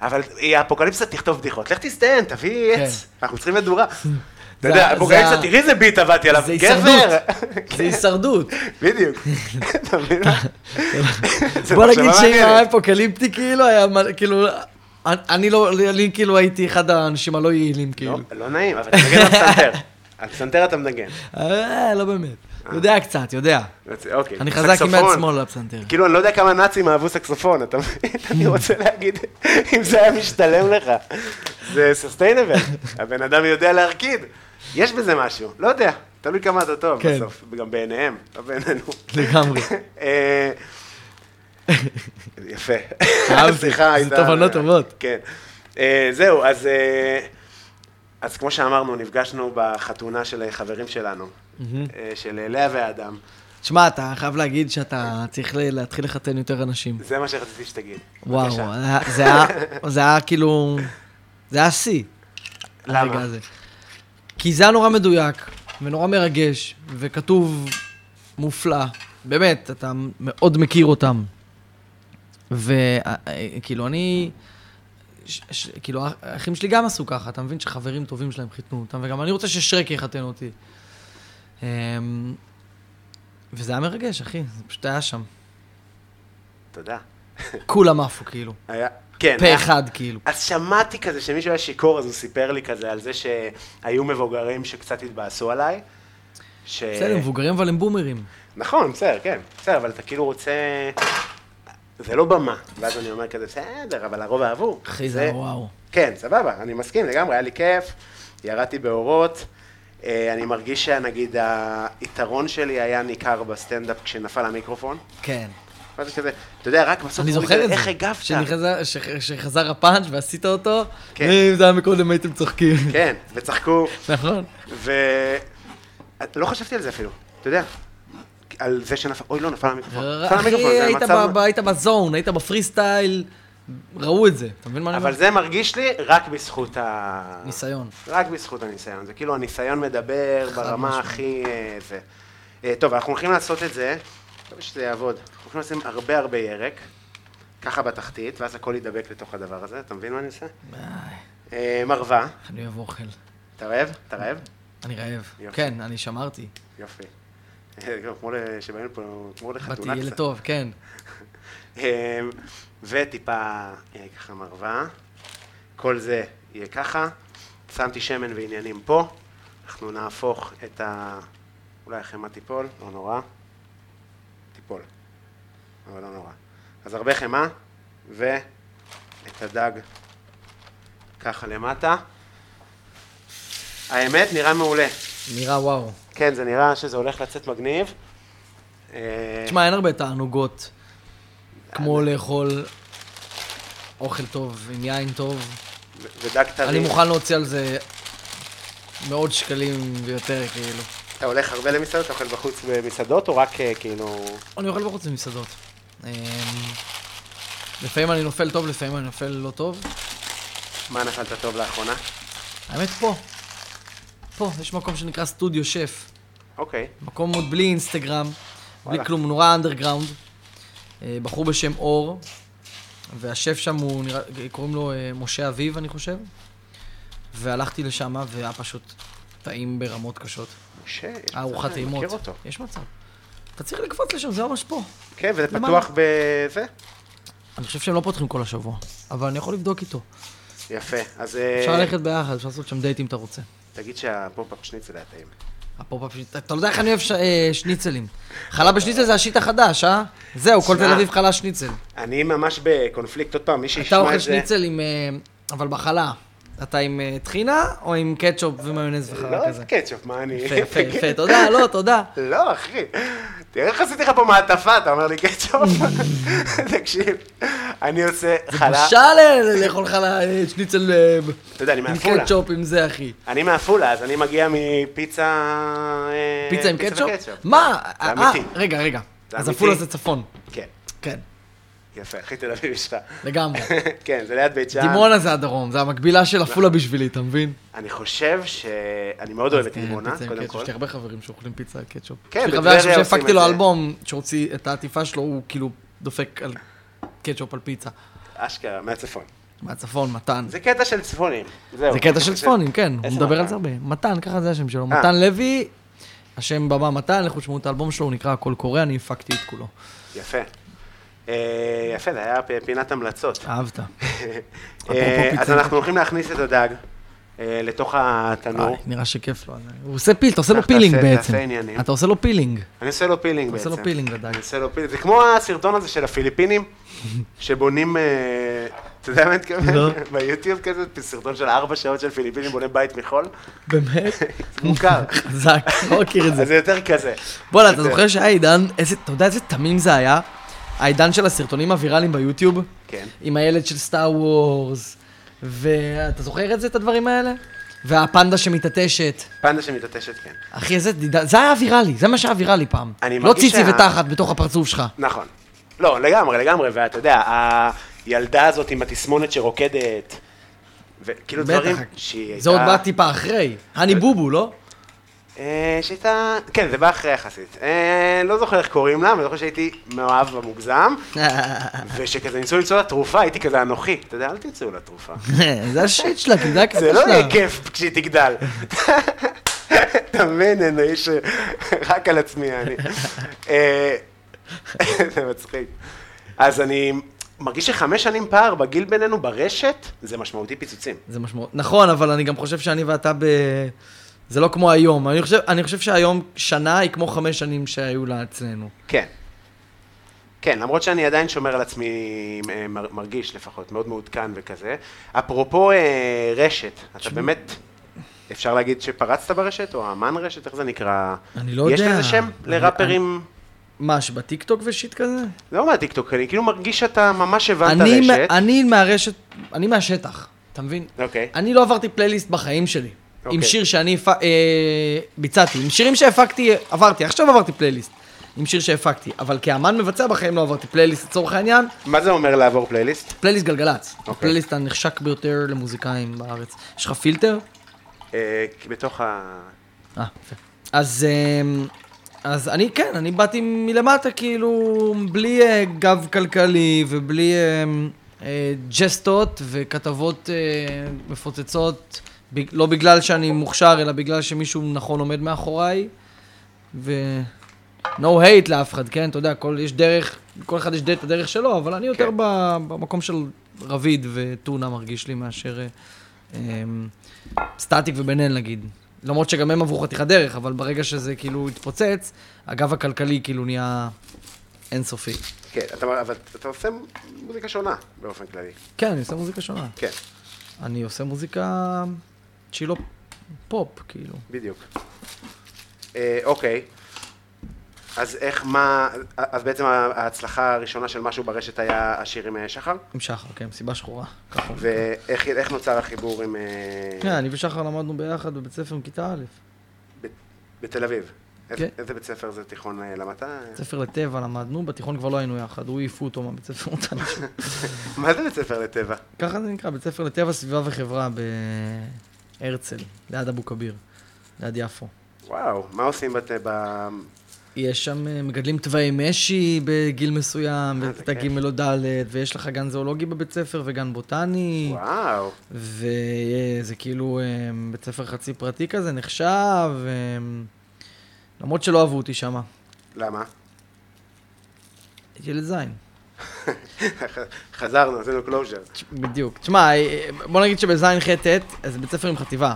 S2: אבל היא האפוקליפסה תכתוב בדיחות, לך תסתיין, תביא
S3: כן.
S2: עץ, אנחנו צריכים
S3: <laughs>
S2: מדורה. אתה
S3: זה-
S2: יודע, האפוקליפסה,
S3: זה-
S2: תראי איזה ביט עבדתי עליו,
S3: זה
S2: <laughs> גבר! כן,
S3: הישרדות. זה הישרדות. <laughs>
S2: בדיוק. אתה מבין? זה
S3: בוא
S2: מחשבה
S3: נגיד שאם
S2: מעניינת. לא,
S3: היה אפוקליפטי, כאילו, היה מלא- כאילו... אני- אני לא, אני כאילו הייתי אחד האנשים הלא יעילים, כאילו.
S2: לא, לא נעים, אבל אתה מנגן על פסנתר. על פסנתר אתה מנגן.
S3: אה, לא באמת. יודע קצת, יודע.
S2: אוקיי.
S3: אני חזק עם יד
S2: סקסופון.
S3: שמאל על הפסנתר.
S2: כאילו, אני לא יודע כמה נאצים אהבו סקסופון, אתה מבין? <laughs> אני רוצה להגיד, אם זה היה משתלם לך. זה סוסטיינבל,
S3: <laughs>
S2: הבן אדם יודע להרקיד. יש בזה משהו, לא יודע, תלוי כמה אתה טוב
S3: כן.
S2: בסוף, גם בעיניהם, לא בעינינו.
S3: לגמרי.
S2: <laughs> אה, יפה. <laughs>
S3: אהבתי,
S2: השיחה
S3: זה
S2: הייתה-
S3: תובנות טובות.
S2: כן. אה, זהו, אז... אה, אז כמו שאמרנו, נפגשנו בחתונה של חברים שלנו, אה, של לאה ואדם.
S3: תשמע, אתה חייב להגיד שאתה צריך ל- להתחיל לחתן יותר אנשים.
S2: זה מה שרציתי שתגיד.
S3: וואו, אה.
S2: בבקשה.
S3: היה- זה היה, זה היה כאילו, זה היה שיא.
S2: למה?
S3: הרגע הזה. כי זה היה נורא מדויק, ונורא מרגש, וכתוב מופלא. באמת, אתה מאוד מכיר אותם. וכאילו, כאילו, אני... ש, ש, כאילו, האח- האחים שלי גם עשו ככה, אתה מבין שחברים טובים שלהם חיתנו אותם, וגם אני רוצה ששרק יחתן אותי. אמ, וזה היה מרגש, אחי, זה פשוט היה
S2: <laughs>
S3: שם.
S2: תודה.
S3: כולם עפו, כאילו.
S2: היה, כן.
S3: פה
S2: היה-
S3: אחד, כאילו.
S2: אז שמעתי כזה שמישהו היה שיכור, אז הוא סיפר לי כזה על זה שהיו מבוגרים שקצת התבאסו עליי. ש...
S3: בסדר, מבוגרים אבל הם בומרים.
S2: נכון, בסדר, כן. בסדר, אבל אתה כאילו רוצה... זה לא במה. ואז אני אומר כזה, בסדר, אבל הרוב אהבו.
S3: אחי, זה היה וואו.
S2: כן, סבבה, אני מסכים לגמרי, היה לי כיף, ירדתי באורות. אה, אני מרגיש שנגיד היתרון שלי היה ניכר בסטנדאפ כשנפל המיקרופון.
S3: כן.
S2: ואז כזה, אתה יודע, רק בסוף...
S3: אני
S2: אמרו לי
S3: זוכר
S2: כזה,
S3: את זה.
S2: איך הגבת?
S3: שנכנס- ש- שחזר הפאנץ' ועשית אותו,
S2: כן.
S3: אם זה היה מקודם הייתם צוחקים.
S2: כן, וצחקו.
S3: נכון.
S2: ו... לא חשבתי על זה אפילו, אתה יודע. על זה שנפל, אוי לא, נפל המיקרופון. נפל
S3: אה, אחי,
S2: המיקרופון,
S3: היית
S2: זה מצב...
S3: ב- ב- היית בזון, היית בפרי סטייל, ראו את זה. אתה מבין מה אני
S2: אבל
S3: אומר?
S2: זה מרגיש לי רק בזכות ה...
S3: ניסיון.
S2: רק בזכות הניסיון. זה כאילו הניסיון מדבר
S3: חד
S2: ברמה
S3: משמעית.
S2: הכי... אה, זה. אה, טוב, אנחנו הולכים לעשות את זה, מקווה שזה יעבוד. אנחנו הולכים לשים הרבה הרבה ירק, ככה בתחתית, ואז הכל יידבק לתוך הדבר הזה, אתה מבין מה אני עושה? אה, מרווה,
S3: אני אוהב אוכל.
S2: אתה רעב? אתה רעב?
S3: אני רעב.
S2: יופי.
S3: כן, אני שמרתי.
S2: יופי. אה, גם כמו ל- שבאים פה, כמו
S3: באתי
S2: לחתונה
S3: ילד
S2: קצת.
S3: טוב, כן.
S2: אה, וטיפה אה, ככה מרווה. כל זה יהיה ככה. שמתי שמן ועניינים פה. אנחנו נהפוך את ה... אולי החמאה תיפול, לא נורא. תיפול, אבל לא נורא. אז הרבה חמאה, ואת הדג ככה למטה. האמת, נראה מעולה.
S3: נראה וואו.
S2: כן, זה נראה שזה הולך לצאת מגניב. אה,
S3: תשמע, אין הרבה תענוגות כמו לאכול אוכל טוב עם יין טוב.
S2: ו- ודג טרי.
S3: אני מוכן להוציא על זה מאות שקלים ויותר, כאילו.
S2: אתה הולך הרבה למסעדות? אתה אוכל בחוץ במסעדות, או רק אה, כאילו...
S3: אני אוכל בחוץ במסעדות. אמ, לפעמים אני נופל טוב, לפעמים אני נופל לא טוב.
S2: מה נפלת טוב לאחרונה?
S3: האמת, פה. פה, יש מקום שנקרא סטודיו שף.
S2: אוקיי.
S3: מקום עוד בלי אינסטגרם, בלי
S2: וואלה.
S3: כלום, הוא נורא אנדרגראונד. אה, בחור בשם אור, והשף שם הוא נראה, קוראים לו אה, משה אביב, אני חושב. והלכתי לשם, והיה פשוט טעים ברמות קשות.
S2: משה, יש
S3: הארוחת
S2: מצב, אני
S3: אה, טעימות.
S2: מכיר אותו.
S3: יש מצב. אתה צריך לקפוץ לשם, זה ממש פה.
S2: כן, וזה
S3: למעלה.
S2: פתוח בזה?
S3: אני חושב שהם לא פותחים כל השבוע, אבל אני יכול לבדוק איתו.
S2: יפה. אז אה,
S3: אפשר ללכת ביחד, אפשר לעשות שם דייט אם אתה רוצה.
S2: תגיד שהפופ-אפ שניצל היה טעים.
S3: הפופ-אפ שלי, אתה יודע איך אני אוהב ש- אה, שניצלים. חלה בשניצל זה השיט החדש, אה? זהו, כל
S2: שמע.
S3: תל אביב חלה שניצל.
S2: אני ממש בקונפליקט, עוד פעם, מי
S3: אתה
S2: שישמע
S3: אוכל
S2: את זה...
S3: שניצל עם... אה, אבל בחלה. אתה עם אה, טחינה או עם קטשופ ומיונז וחלה
S2: לא,
S3: כזה?
S2: זה קטשופ, מה אני...
S3: יפה, יפה, יפה, תודה, לא, תודה.
S2: <laughs> לא, אחי, תראה איך עשיתי לך פה מעטפה, אתה אומר לי קטשופ? <laughs> תקשיב, אני עושה חלה...
S3: בושה ל- לאכול חלה, אה, שניצל אה,
S2: אתה יודע, אני
S3: עם
S2: מעפולה.
S3: קטשופ, עם זה, אחי.
S2: אני מעפולה, אז אני מגיע מפיצה... אה,
S3: פיצה עם קטשופ?
S2: וקטשופ.
S3: מה?
S2: כן. זה
S3: אה,
S2: אמיתי.
S3: רגע, רגע.
S2: זה
S3: אז
S2: אמיתי.
S3: עפולה זה צפון.
S2: כן,
S3: כן,
S2: יפה, הכי תל אביבי שלך.
S3: לגמרי.
S2: <laughs> כן, זה ליד בית שאן.
S3: דימונה זה הדרום, זה המקבילה של
S2: נכון.
S3: עפולה בשבילי, אתה מבין? כן,
S2: אני חושב ש... אני מאוד אוהב את דימונה,
S3: אה, פיצה עם
S2: קודם
S3: קטשופ,
S2: כל.
S3: יש לי הרבה חברים שאוכלים פיצה עם קטשופ.
S2: כן,
S3: יש לי
S2: בטבריה
S3: חבר עכשיו
S2: עושים את
S3: שהפקתי לו
S2: זה.
S3: אלבום, שהוציא את העטיפה שלו, הוא כאילו דופק על קטשופ על פיצה.
S2: אשכרה, מהצפון.
S3: מהצפון, מתן.
S2: זה קטע של צפונים, זהו.
S3: זה קטע של
S2: זה-
S3: צפונים, כן, הוא
S2: איזה
S3: מדבר
S2: מתן?
S3: על זה הרבה. מתן, ככה זה השם שלו.
S2: אה.
S3: מתן לוי, השם במה מתן, לכו תשמעו את האלבום שלו, הוא נקרא הכל קורא, אני הפקתי את כולו.
S2: יפה. אה, יפה, זה היה פ- פינת המלצות.
S3: אהבת.
S2: אה,
S3: פיצה.
S2: אז אנחנו הולכים להכניס את הדג אה, לתוך התנור.
S3: אה, נראה שכיף לו. אז- הוא עושה פיל, אתה עושה לו
S2: תעשה-
S3: פילינג
S2: תעשה
S3: בעצם.
S2: עניינים.
S3: אתה עושה לו פילינג.
S2: אני עושה לו פילינג
S3: עושה
S2: בעצם.
S3: לו פילינג לדג.
S2: אני עושה לו פילינג. זה כמו הסרטון הזה של
S3: <laughs>
S2: הפיליפינים, שבונים, אה, אתה יודע מה אני מתכוון?
S3: לא.
S2: <laughs> ביוטיוב כזה, סרטון של ארבע שעות של פיליפינים בונה בית
S3: <laughs>
S2: מחול. <laughs>
S3: באמת?
S2: זה מוכר.
S3: חזק, לא מכיר את זה.
S2: אז זה יותר כזה.
S3: בואנה, אתה
S2: יותר.
S3: זוכר שהיה עידן, איזה, אתה יודע איזה תמים זה היה? העידן של הסרטונים הוויראליים ביוטיוב?
S2: כן.
S3: עם הילד של סטאר וורס, ואתה זוכר את זה, את הדברים האלה? והפנדה שמתעטשת.
S2: פנדה שמתעטשת, כן.
S3: אחי, איזה, דידה- זה היה ויראלי, זה מה שהיה ויראלי פעם.
S2: אני
S3: לא
S2: מרגיש
S3: ציצי
S2: שה-
S3: ותחת בתוך הפרצוף שלך.
S2: נכון. לא, לגמרי, לגמרי, ואתה יודע, הילדה הזאת עם התסמונת שרוקדת, וכאילו
S3: בטח,
S2: דברים
S3: אחי.
S2: שהיא הייתה...
S3: זה עוד בא טיפה אחרי. אני
S2: <laughs>
S3: בובו, לא?
S2: אה, שהייתה... כן, זה בא אחרי יחסית. אה, לא זוכר איך קוראים לה, אבל אני זוכר שהייתי מאוהב במוגזם, ושכזה ניסו למצוא לה תרופה, הייתי כזה אנוכי. אתה יודע, אל תמצאו לה תרופה.
S3: <laughs> זה השיט שלה, כי זה הקטע
S2: זה לא
S3: שלה.
S2: יהיה כיף כשהיא תגדל. <laughs> אתה מבין, אין, איש <laughs> רק על עצמי אני. אה, <laughs> זה מצחיק. אז אני מרגיש שחמש שנים פער בגיל בינינו ברשת, זה משמעותי פיצוצים.
S3: זה משמעות. נכון, אבל אני גם חושב שאני ואתה ב... זה לא כמו היום. אני חושב, אני חושב שהיום שנה היא כמו חמש שנים שהיו לה אצלנו.
S2: כן. כן, למרות שאני עדיין שומר על עצמי, אה, מר- מרגיש לפחות, מאוד מעודכן וכזה. אפרופו אה, רשת, אתה באמת, אפשר להגיד שפרצת ברשת, או אמן רשת, איך זה נקרא?
S3: אני לא
S2: יש
S3: יודע.
S2: לזה שם
S3: אני-
S2: לראפרים?
S3: מה, שבטיקטוק ושיט כזה?
S2: לא מהטיקטוק, אני כאילו מרגיש שאתה ממש הבנת
S3: אני,
S2: רשת.
S3: מה- אני מהרשת, אני מהשטח, אתה מבין?
S2: אוקיי.
S3: אני לא עברתי פלייליסט בחיים שלי. עם
S2: אוקיי.
S3: שיר שאני הפ... אה, ביצעתי, עם שירים שהפקתי, עברתי, עכשיו עברתי פלייליסט. עם שיר שהפקתי, אבל כאמן מבצע בחיים לא עברתי פלייליסט לצורך העניין,
S2: מה זה אומר לעבור פלייליסט?
S3: פלייליסט גלגלצ.
S2: אוקיי.
S3: הפלייליסט הנחשק ביותר למוזיקאים בארץ. יש לך פילטר?
S2: אה, כי בתוך ה...
S3: אה, יפה. אז, אמ, אז אני, כן, אני באתי מלמטה, כאילו, בלי אה, גב כלכלי ובלי אמ, אה, ג'סטות וכתבות אה, מפוצצות, בג- לא בגלל שאני מוכשר, אלא בגלל שמישהו נכון עומד מאחוריי. ו... no hate לאף אחד, כן? אתה יודע, כל, יש דרך, כל אחד יש ד- את הדרך שלו, אבל אני יותר ב- במקום של רביד וטונה מרגיש לי מאשר אה, אמ, סטטיק ובן אל נגיד. למרות שגם הם עברו חתיכת דרך, אבל ברגע שזה כאילו התפוצץ, הגב הכלכלי כאילו נהיה אינסופי.
S2: כן, אתה- אבל אתה עושה מוזיקה שונה באופן כללי.
S3: כן, אני עושה מוזיקה שונה.
S2: כן,
S3: אני עושה מוזיקה שהיא לא פופ, כאילו.
S2: בדיוק. אה, אוקיי. אז איך, מה, אז בעצם ההצלחה הראשונה של משהו ברשת היה השיר עם אה, שחר?
S3: עם שחר, כן, מסיבה שחורה. ככה הוא נקרא.
S2: ואיך איך נוצר החיבור עם... אה,
S3: כן, אני ושחר למדנו ביחד בבית ספר בכיתה א'.
S2: בתל אביב. איזה-
S3: כן.
S2: איזה בית ספר זה תיכון אה, למדת?
S3: <laughs> בית ספר לטבע למדנו, בתיכון כבר לא היינו יחד, הוא העיפו אותו מהבית ספר
S2: <laughs>
S3: אותנו.
S2: מה זה בית ספר לטבע?
S3: ככה זה נקרא, בית ספר לטבע, סביבה וחברה בהרצל, ליד אבו כביר, ליד יפו.
S2: וואו, מה עושים בת... ב-
S3: יש שם, אה, מגדלים תוואי משי בגיל מסוים,
S2: אה, זה
S3: בכיתה
S2: כיף.
S3: ג' או ד', ויש לך גן זואולוגי בבית ספר וגן בוטני,
S2: וואו,
S3: וזה כאילו אה, בית ספר חצי פרטי כזה, נחשב, אה, למרות שלא אהבו אותי שמה.
S2: למה? <laughs>
S3: ילד זין.
S2: חזרנו, עשינו קלוז'ר.
S3: בדיוק. תשמע, אה, בוא נגיד שבזין ח' ט', אז זה בית ספר עם חטיבה.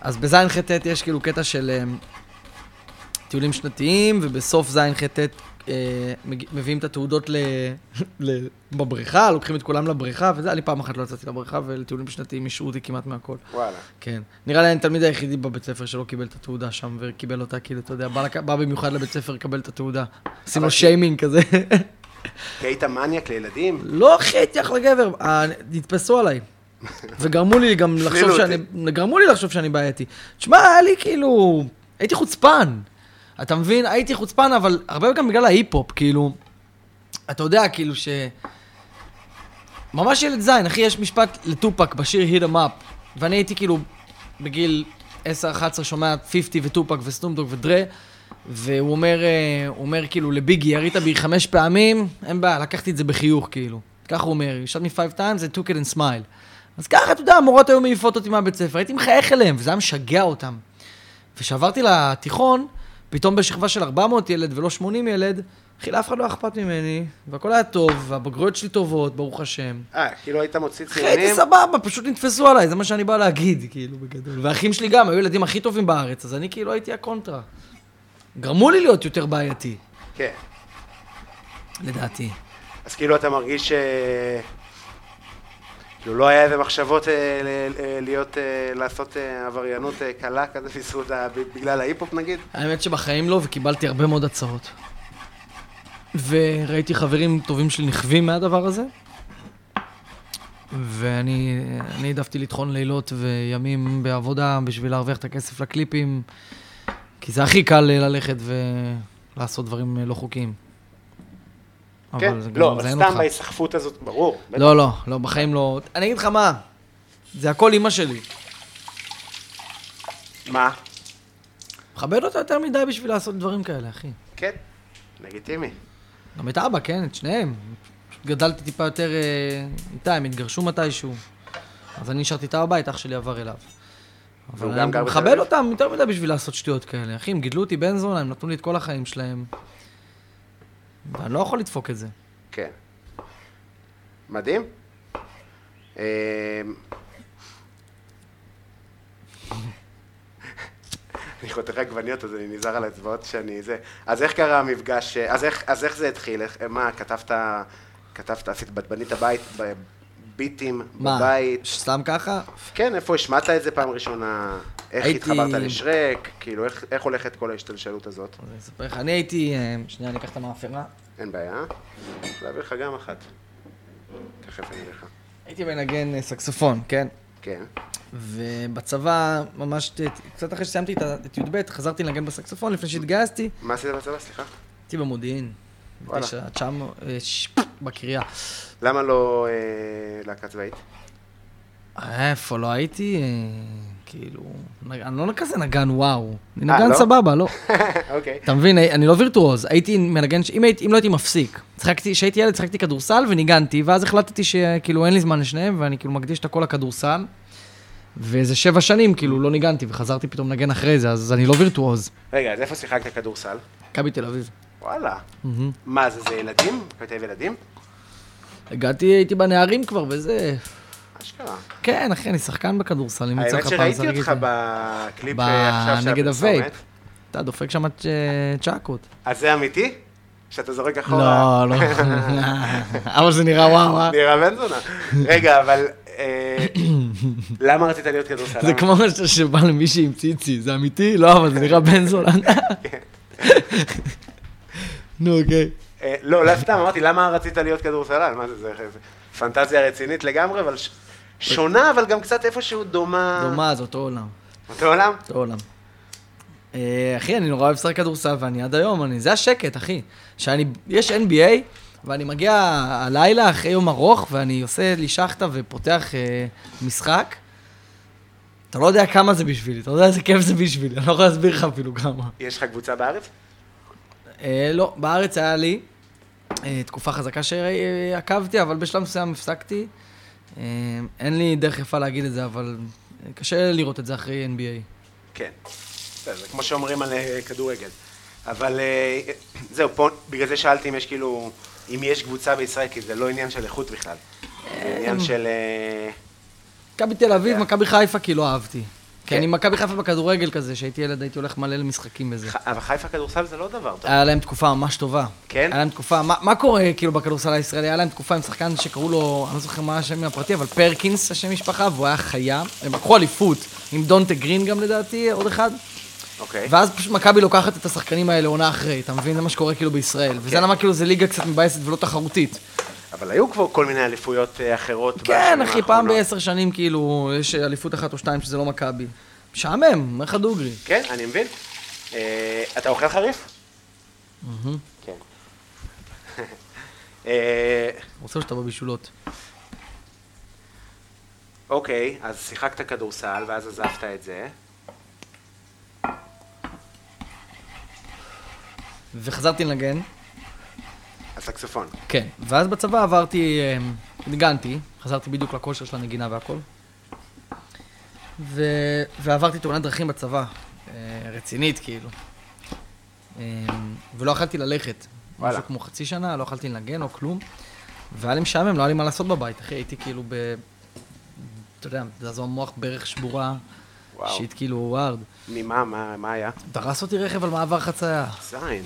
S3: אז בזין ח' ט' יש כאילו קטע של אה, טיולים שנתיים, ובסוף זין ח' ט' אה, מג- מביאים את התעודות ל... ל... בבריכה, לוקחים את כולם לבריכה, וזה, אני פעם אחת לא יצאתי לבריכה, ולטיולים שנתיים השעו אותי כמעט מהכל.
S2: וואלה.
S3: כן. נראה לי אני התלמיד היחידי בבית ספר שלא קיבל את התעודה שם, וקיבל אותה, כאילו, אתה יודע, בא, לק... בא במיוחד לבית ספר לקבל את התעודה. עושים לו
S2: אבל-
S3: שיימינג כזה.
S2: כי היית מניאק לילדים?
S3: לא אחי, הייתי אחלה גבר, אה, נתפסו עליי. וגרמו לי גם לחשוב
S2: הפלילו
S3: שאני, גרמו לי לחשוב שאני בעייתי. תשמע, היה לי כאילו, הייתי חוצפן. אתה מבין? הייתי חוצפן, אבל הרבה גם בגלל ההיפ-הופ, כאילו, אתה יודע, כאילו ש... ממש ילד זין, אחי, יש משפט לטופק בשיר Hit 'em up, ואני הייתי כאילו בגיל 10-11 שומע 50 וטופק וסנומדוג ודרה, והוא אומר, אה, הוא אומר כאילו לביגי, ירית בי חמש פעמים, אין בעיה, לקחתי את זה בחיוך כאילו. ככה הוא אומר, you shot me five times and took it and smile. אז ככה, אתה יודע, המורות היו מעיפות אותי מהבית ספר, הייתי מחייך אליהם, וזה היה משגע אותם. וכשעברתי לתיכון, פתאום בשכבה של 400 ילד ולא 80 ילד, אחי, לאף אחד לא היה אכפת ממני, והכל היה טוב, והבגרויות שלי טובות, ברוך השם.
S2: אה, כאילו היית מוציא
S3: אחי, הייתי
S2: ציונים?
S3: סבבה, פשוט נתפסו עליי, זה מה שאני בא להגיד, כאילו, בגדול. והאחים שלי גם, היו ילדים הכי טובים בארץ, אז אני כאילו הייתי הקונטרה. גרמו לי להיות יותר בעייתי,
S2: כן.
S3: לדעתי.
S2: אז כאילו אתה מרגיש ש... כאילו לא היה איזה מחשבות אה, ל- אה, להיות, אה, לעשות אה, עבריינות אה, קלה כזה בזכות, ה- בגלל ההיפ-הופ נגיד?
S3: האמת שבחיים לא, וקיבלתי הרבה מאוד הצעות. וראיתי חברים טובים שלי נכווים מהדבר הזה, ואני אני העדפתי לטחון לילות וימים בעבודה בשביל להרוויח את הכסף לקליפים, כי זה הכי קל אה, ללכת ולעשות דברים אה, לא חוקיים.
S2: כן,
S3: זה גם
S2: לא, אבל
S3: מזיין
S2: סתם
S3: אותך.
S2: בהיסחפות הזאת, ברור. בטח.
S3: לא, לא, לא, בחיים לא. אני אגיד לך מה, זה הכל אימא שלי.
S2: מה?
S3: מכבד אותה יותר מדי בשביל לעשות דברים כאלה, אחי.
S2: כן, לגיטימי.
S3: גם את אבא, כן, את שניהם. פשוט גדלתי טיפה יותר אה, איתה, הם התגרשו מתישהו. אז אני נשארתי איתה בבית, אח שלי עבר אליו.
S2: והוא
S3: אבל
S2: גם
S3: אני
S2: גר
S3: גם
S2: בתל אביב?
S3: מכבד אותם יותר מדי בשביל לעשות שטויות כאלה. אחי, הם גידלו אותי בן זונה, הם נתנו לי את כל החיים שלהם. ואני לא יכול לדפוק את זה.
S2: כן. מדהים. אמ, אני חותך עגבניות, אז אני נזהר על האצבעות שאני זה. אז איך קרה המפגש, אז איך, אז איך זה התחיל? איך, מה, כתבת, כתבת, עשית, בנית בית, ב- ביטים
S3: מה,
S2: בבית?
S3: סתם ככה?
S2: כן, איפה השמעת את זה פעם ראשונה? איך
S3: הייתי-
S2: התחברת לשרק? כאילו, איך, איך הולכת כל ההשתלשלות הזאת?
S3: אז אני אספר לך, אני הייתי... אה, שנייה, אני אקח את המאפרה.
S2: אין בעיה. להביא לך גם אחת. תכף אני אביא לך.
S3: הייתי מנגן אה, סקסופון, כן?
S2: כן.
S3: ובצבא, ממש ת- קצת אחרי שסיימתי את ה- את י"ב, חזרתי לנגן בסקסופון לפני שהתגייסתי.
S2: מה עשית בצבא? סליחה.
S3: הייתי במודיעין.
S2: וואלה.
S3: בתשע, תשע מאות, אה, ש- בקריה.
S2: למה לא אה, להקה צבאית?
S3: איפה, לא הייתי, אה, כאילו, נג- אני לא כזה נגן וואו. אני
S2: אה,
S3: נגן
S2: לא? <laughs>
S3: סבבה, לא.
S2: <laughs> אוקיי.
S3: אתה מבין, הי- אני לא וירטואוז, הייתי מנגן, ש- אם, הייתי, אם לא הייתי מפסיק. צחקתי, כשהייתי ילד צחקתי כדורסל וניגנתי, ואז החלטתי שכאילו אין לי זמן לשניהם, ואני כאילו מקדיש את הכל לכדורסל. ואיזה שבע שנים כאילו לא ניגנתי, וחזרתי פתאום לנגן אחרי זה, אז אני לא וירטואוז.
S2: רגע, אז איפה שיחקת כדורסל?
S3: מכבי תל אביב.
S2: וואלה. מה זה, זה ילדים? כותב ילדים?
S3: הגעתי, הייתי בנערים כבר, וזה...
S2: אשכרה.
S3: כן, אחי, אני שחקן בכדורסל, אם יוצא לך
S2: האמת
S3: פעם
S2: שראיתי
S3: זרק את
S2: אותך
S3: זה.
S2: בקליפ
S3: ב-
S2: אה, עכשיו של
S3: נגד
S2: הפרסומת.
S3: הווייפ. אתה דופק שם את אה, צ'קות.
S2: אז זה אמיתי? שאתה זורק אחורה? <laughs>
S3: לא, לא. אבל זה נראה וואו, אה?
S2: נראה בן זונה. רגע, אבל...
S3: <laughs>
S2: אה, למה רצית להיות כדורסל?
S3: זה כמו משהו שבא למישהי עם ציצי, זה אמיתי? לא, אבל זה נראה בן
S2: <laughs>
S3: זונה.
S2: כן.
S3: נו, אוקיי.
S2: אה, לא, לא סתם, אמרתי, למה רצית להיות כדורסלן? מה זה, זה זה פנטזיה רצינית לגמרי, אבל ש- שונה, אבל גם קצת איפשהו דומה.
S3: דומה, זה אותו עולם.
S2: אותו עולם?
S3: אותו עולם. אה, אחי, אני נורא אוהב לשחק כדורסל, ואני עד היום, אני... זה השקט, אחי. שאני... יש NBA, ואני מגיע הלילה אחרי יום ארוך, ואני עושה לי שחטה ופותח אה, משחק. אתה לא יודע כמה זה בשבילי, אתה לא יודע איזה כיף זה בשבילי, <laughs> אני לא יכול להסביר לך אפילו כמה.
S2: יש לך קבוצה בארץ?
S3: אה, לא, בארץ היה לי אה, תקופה חזקה שעקבתי, אבל בשלב מסוים הפסקתי. אה, אין לי דרך יפה להגיד את זה, אבל אה, קשה לראות את זה אחרי NBA.
S2: כן. בסדר, זה כמו שאומרים על אה, כדורגל. אבל אה, זהו, פה, בגלל זה שאלתי אם יש כאילו, אם יש קבוצה בישראל, כי זה לא עניין של איכות בכלל. זה עניין של... אה,
S3: מכבי תל אביב,
S2: כן.
S3: מכבי חיפה, כי לא אהבתי.
S2: כן.
S3: כי אני מכבי חיפה בכדורגל כזה, כשהייתי ילד הייתי הולך מלא למשחקים בזה.
S2: ח- אבל חיפה כדורסל זה לא דבר טוב.
S3: היה להם תקופה ממש טובה.
S2: כן?
S3: היה להם תקופה, מה, מה קורה כאילו בכדורסל הישראלי? היה להם תקופה עם שחקן שקראו לו, אני לא זוכר מה השם הפרטי, אבל פרקינס, השם משפחה, והוא היה חיה. הם לקחו אליפות, עם דונטה גרין גם לדעתי, עוד אחד.
S2: אוקיי.
S3: ואז פשוט מכבי לוקחת את השחקנים האלה עונה אחרי, אתה מבין? זה מה שקורה כאילו בישראל.
S2: כן.
S3: וזה למה כאילו זה ליגה קצת מבאסת ולא תחרותית.
S2: אבל היו כבר כל מיני אליפויות אה, אחרות
S3: כן,
S2: בשנים
S3: אחי, פעם
S2: האחרונות.
S3: בעשר שנים כאילו, יש אליפות אחת או שתיים שזה לא מכבי. משעמם, אומר לך דוגרי.
S2: כן, אני מבין. אה, אתה אוכל חריף? כן. <laughs> אה,
S3: רוצה שאתה בבישולות.
S2: אוקיי, אז שיחקת כדורסל, ואז עזבת את זה.
S3: וחזרתי לנגן.
S2: הסקסופון.
S3: כן. ואז בצבא עברתי, אה, ניגנתי, חזרתי בדיוק לכושר של הנגינה והכל. ו... ועברתי תאונת דרכים בצבא, אה, רצינית כאילו. אה, ולא יכלתי ללכת.
S2: וואלה.
S3: משהו כמו חצי שנה, לא יכלתי לנגן או כלום. והיה לי משעמם, לא היה לי מה לעשות בבית, אחי, הייתי כאילו ב... אתה יודע, זעזוע מוח ברך שבורה,
S2: וואו.
S3: שיט כאילו ווארד.
S2: ממה? מה- מה היה?
S3: דרס אותי רכב על מעבר חצייה.
S2: <laughs> זין.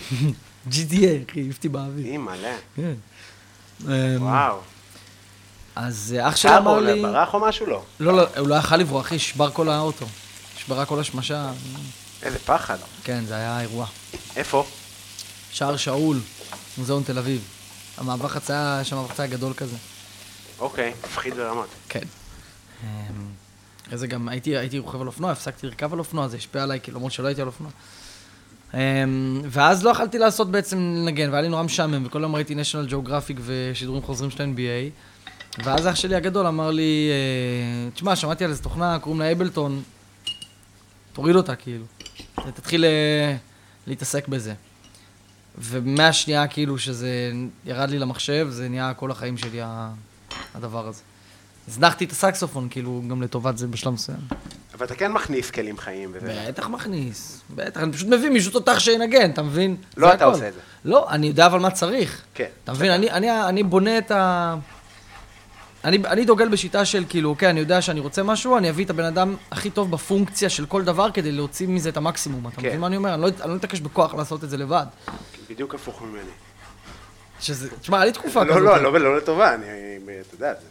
S3: GTA, אחי, העיף אותי באוויר.
S2: אימא'לה.
S3: כן. אמ,
S2: וואו.
S3: אז אה, אח שלי
S2: שמה
S3: אמר
S2: או
S3: לי...
S2: ברח או משהו? לא.
S3: לא, לא, הוא לא יכל לברוח, אחי, שבר כל האוטו. שברה כל השמשה.
S2: איזה פחד.
S3: כן, זה היה אירוע.
S2: איפה?
S3: שער שאול, מוזיאון תל אביב. המעבר חצייה, היה שם מעבר חצייה גדול כזה.
S2: אוקיי, מפחיד ברמות.
S3: כן. אחרי זה גם הייתי, הייתי רוכב על אופנוע, הפסקתי לרכב על אופנוע, זה השפיע עליי, כאילו, למרות שלא הייתי על אופנוע. אמ, ואז לא יכלתי לעשות בעצם לנגן, והיה לי נורא משעמם, וכל יום ראיתי national geographic ושידורים חוזרים של NBA. ואז אח שלי הגדול אמר לי, אה, תשמע, שמעתי על איזה תוכנה, קוראים לה אייבלטון, תוריד אותה כאילו. תתחיל אה, להתעסק בזה. ומהשנייה כאילו שזה ירד לי למחשב, זה נהיה כל החיים שלי ה- הדבר הזה. הזנחתי את הסקסופון כאילו גם לטובת זה בשלב מסוים.
S2: אבל אתה כן מכניס כלים חיים וזה.
S3: בטח מכניס, בטח, אני פשוט מביא מישהו תותח שינגן, אתה מבין?
S2: לא
S3: זה
S2: אתה
S3: הכל.
S2: עושה את זה.
S3: לא, אני יודע אבל מה צריך.
S2: כן.
S3: אתה מבין, אני, אני, אני בונה את ה... אני, אני דוגל בשיטה של כאילו, אוקיי, אני יודע שאני רוצה משהו, אני אביא את הבן אדם הכי טוב בפונקציה של כל דבר כדי להוציא מזה את המקסימום. אתה
S2: כן.
S3: מבין מה אני אומר? אני לא, אני לא מתעקש בכוח לעשות את זה לבד.
S2: בדיוק הפוך ממני.
S3: שזה, תשמע, היה לי תקופה
S2: לא,
S3: כזאת. אה,
S2: לא, לא, לא לטובה, אני, אתה יודע, זה-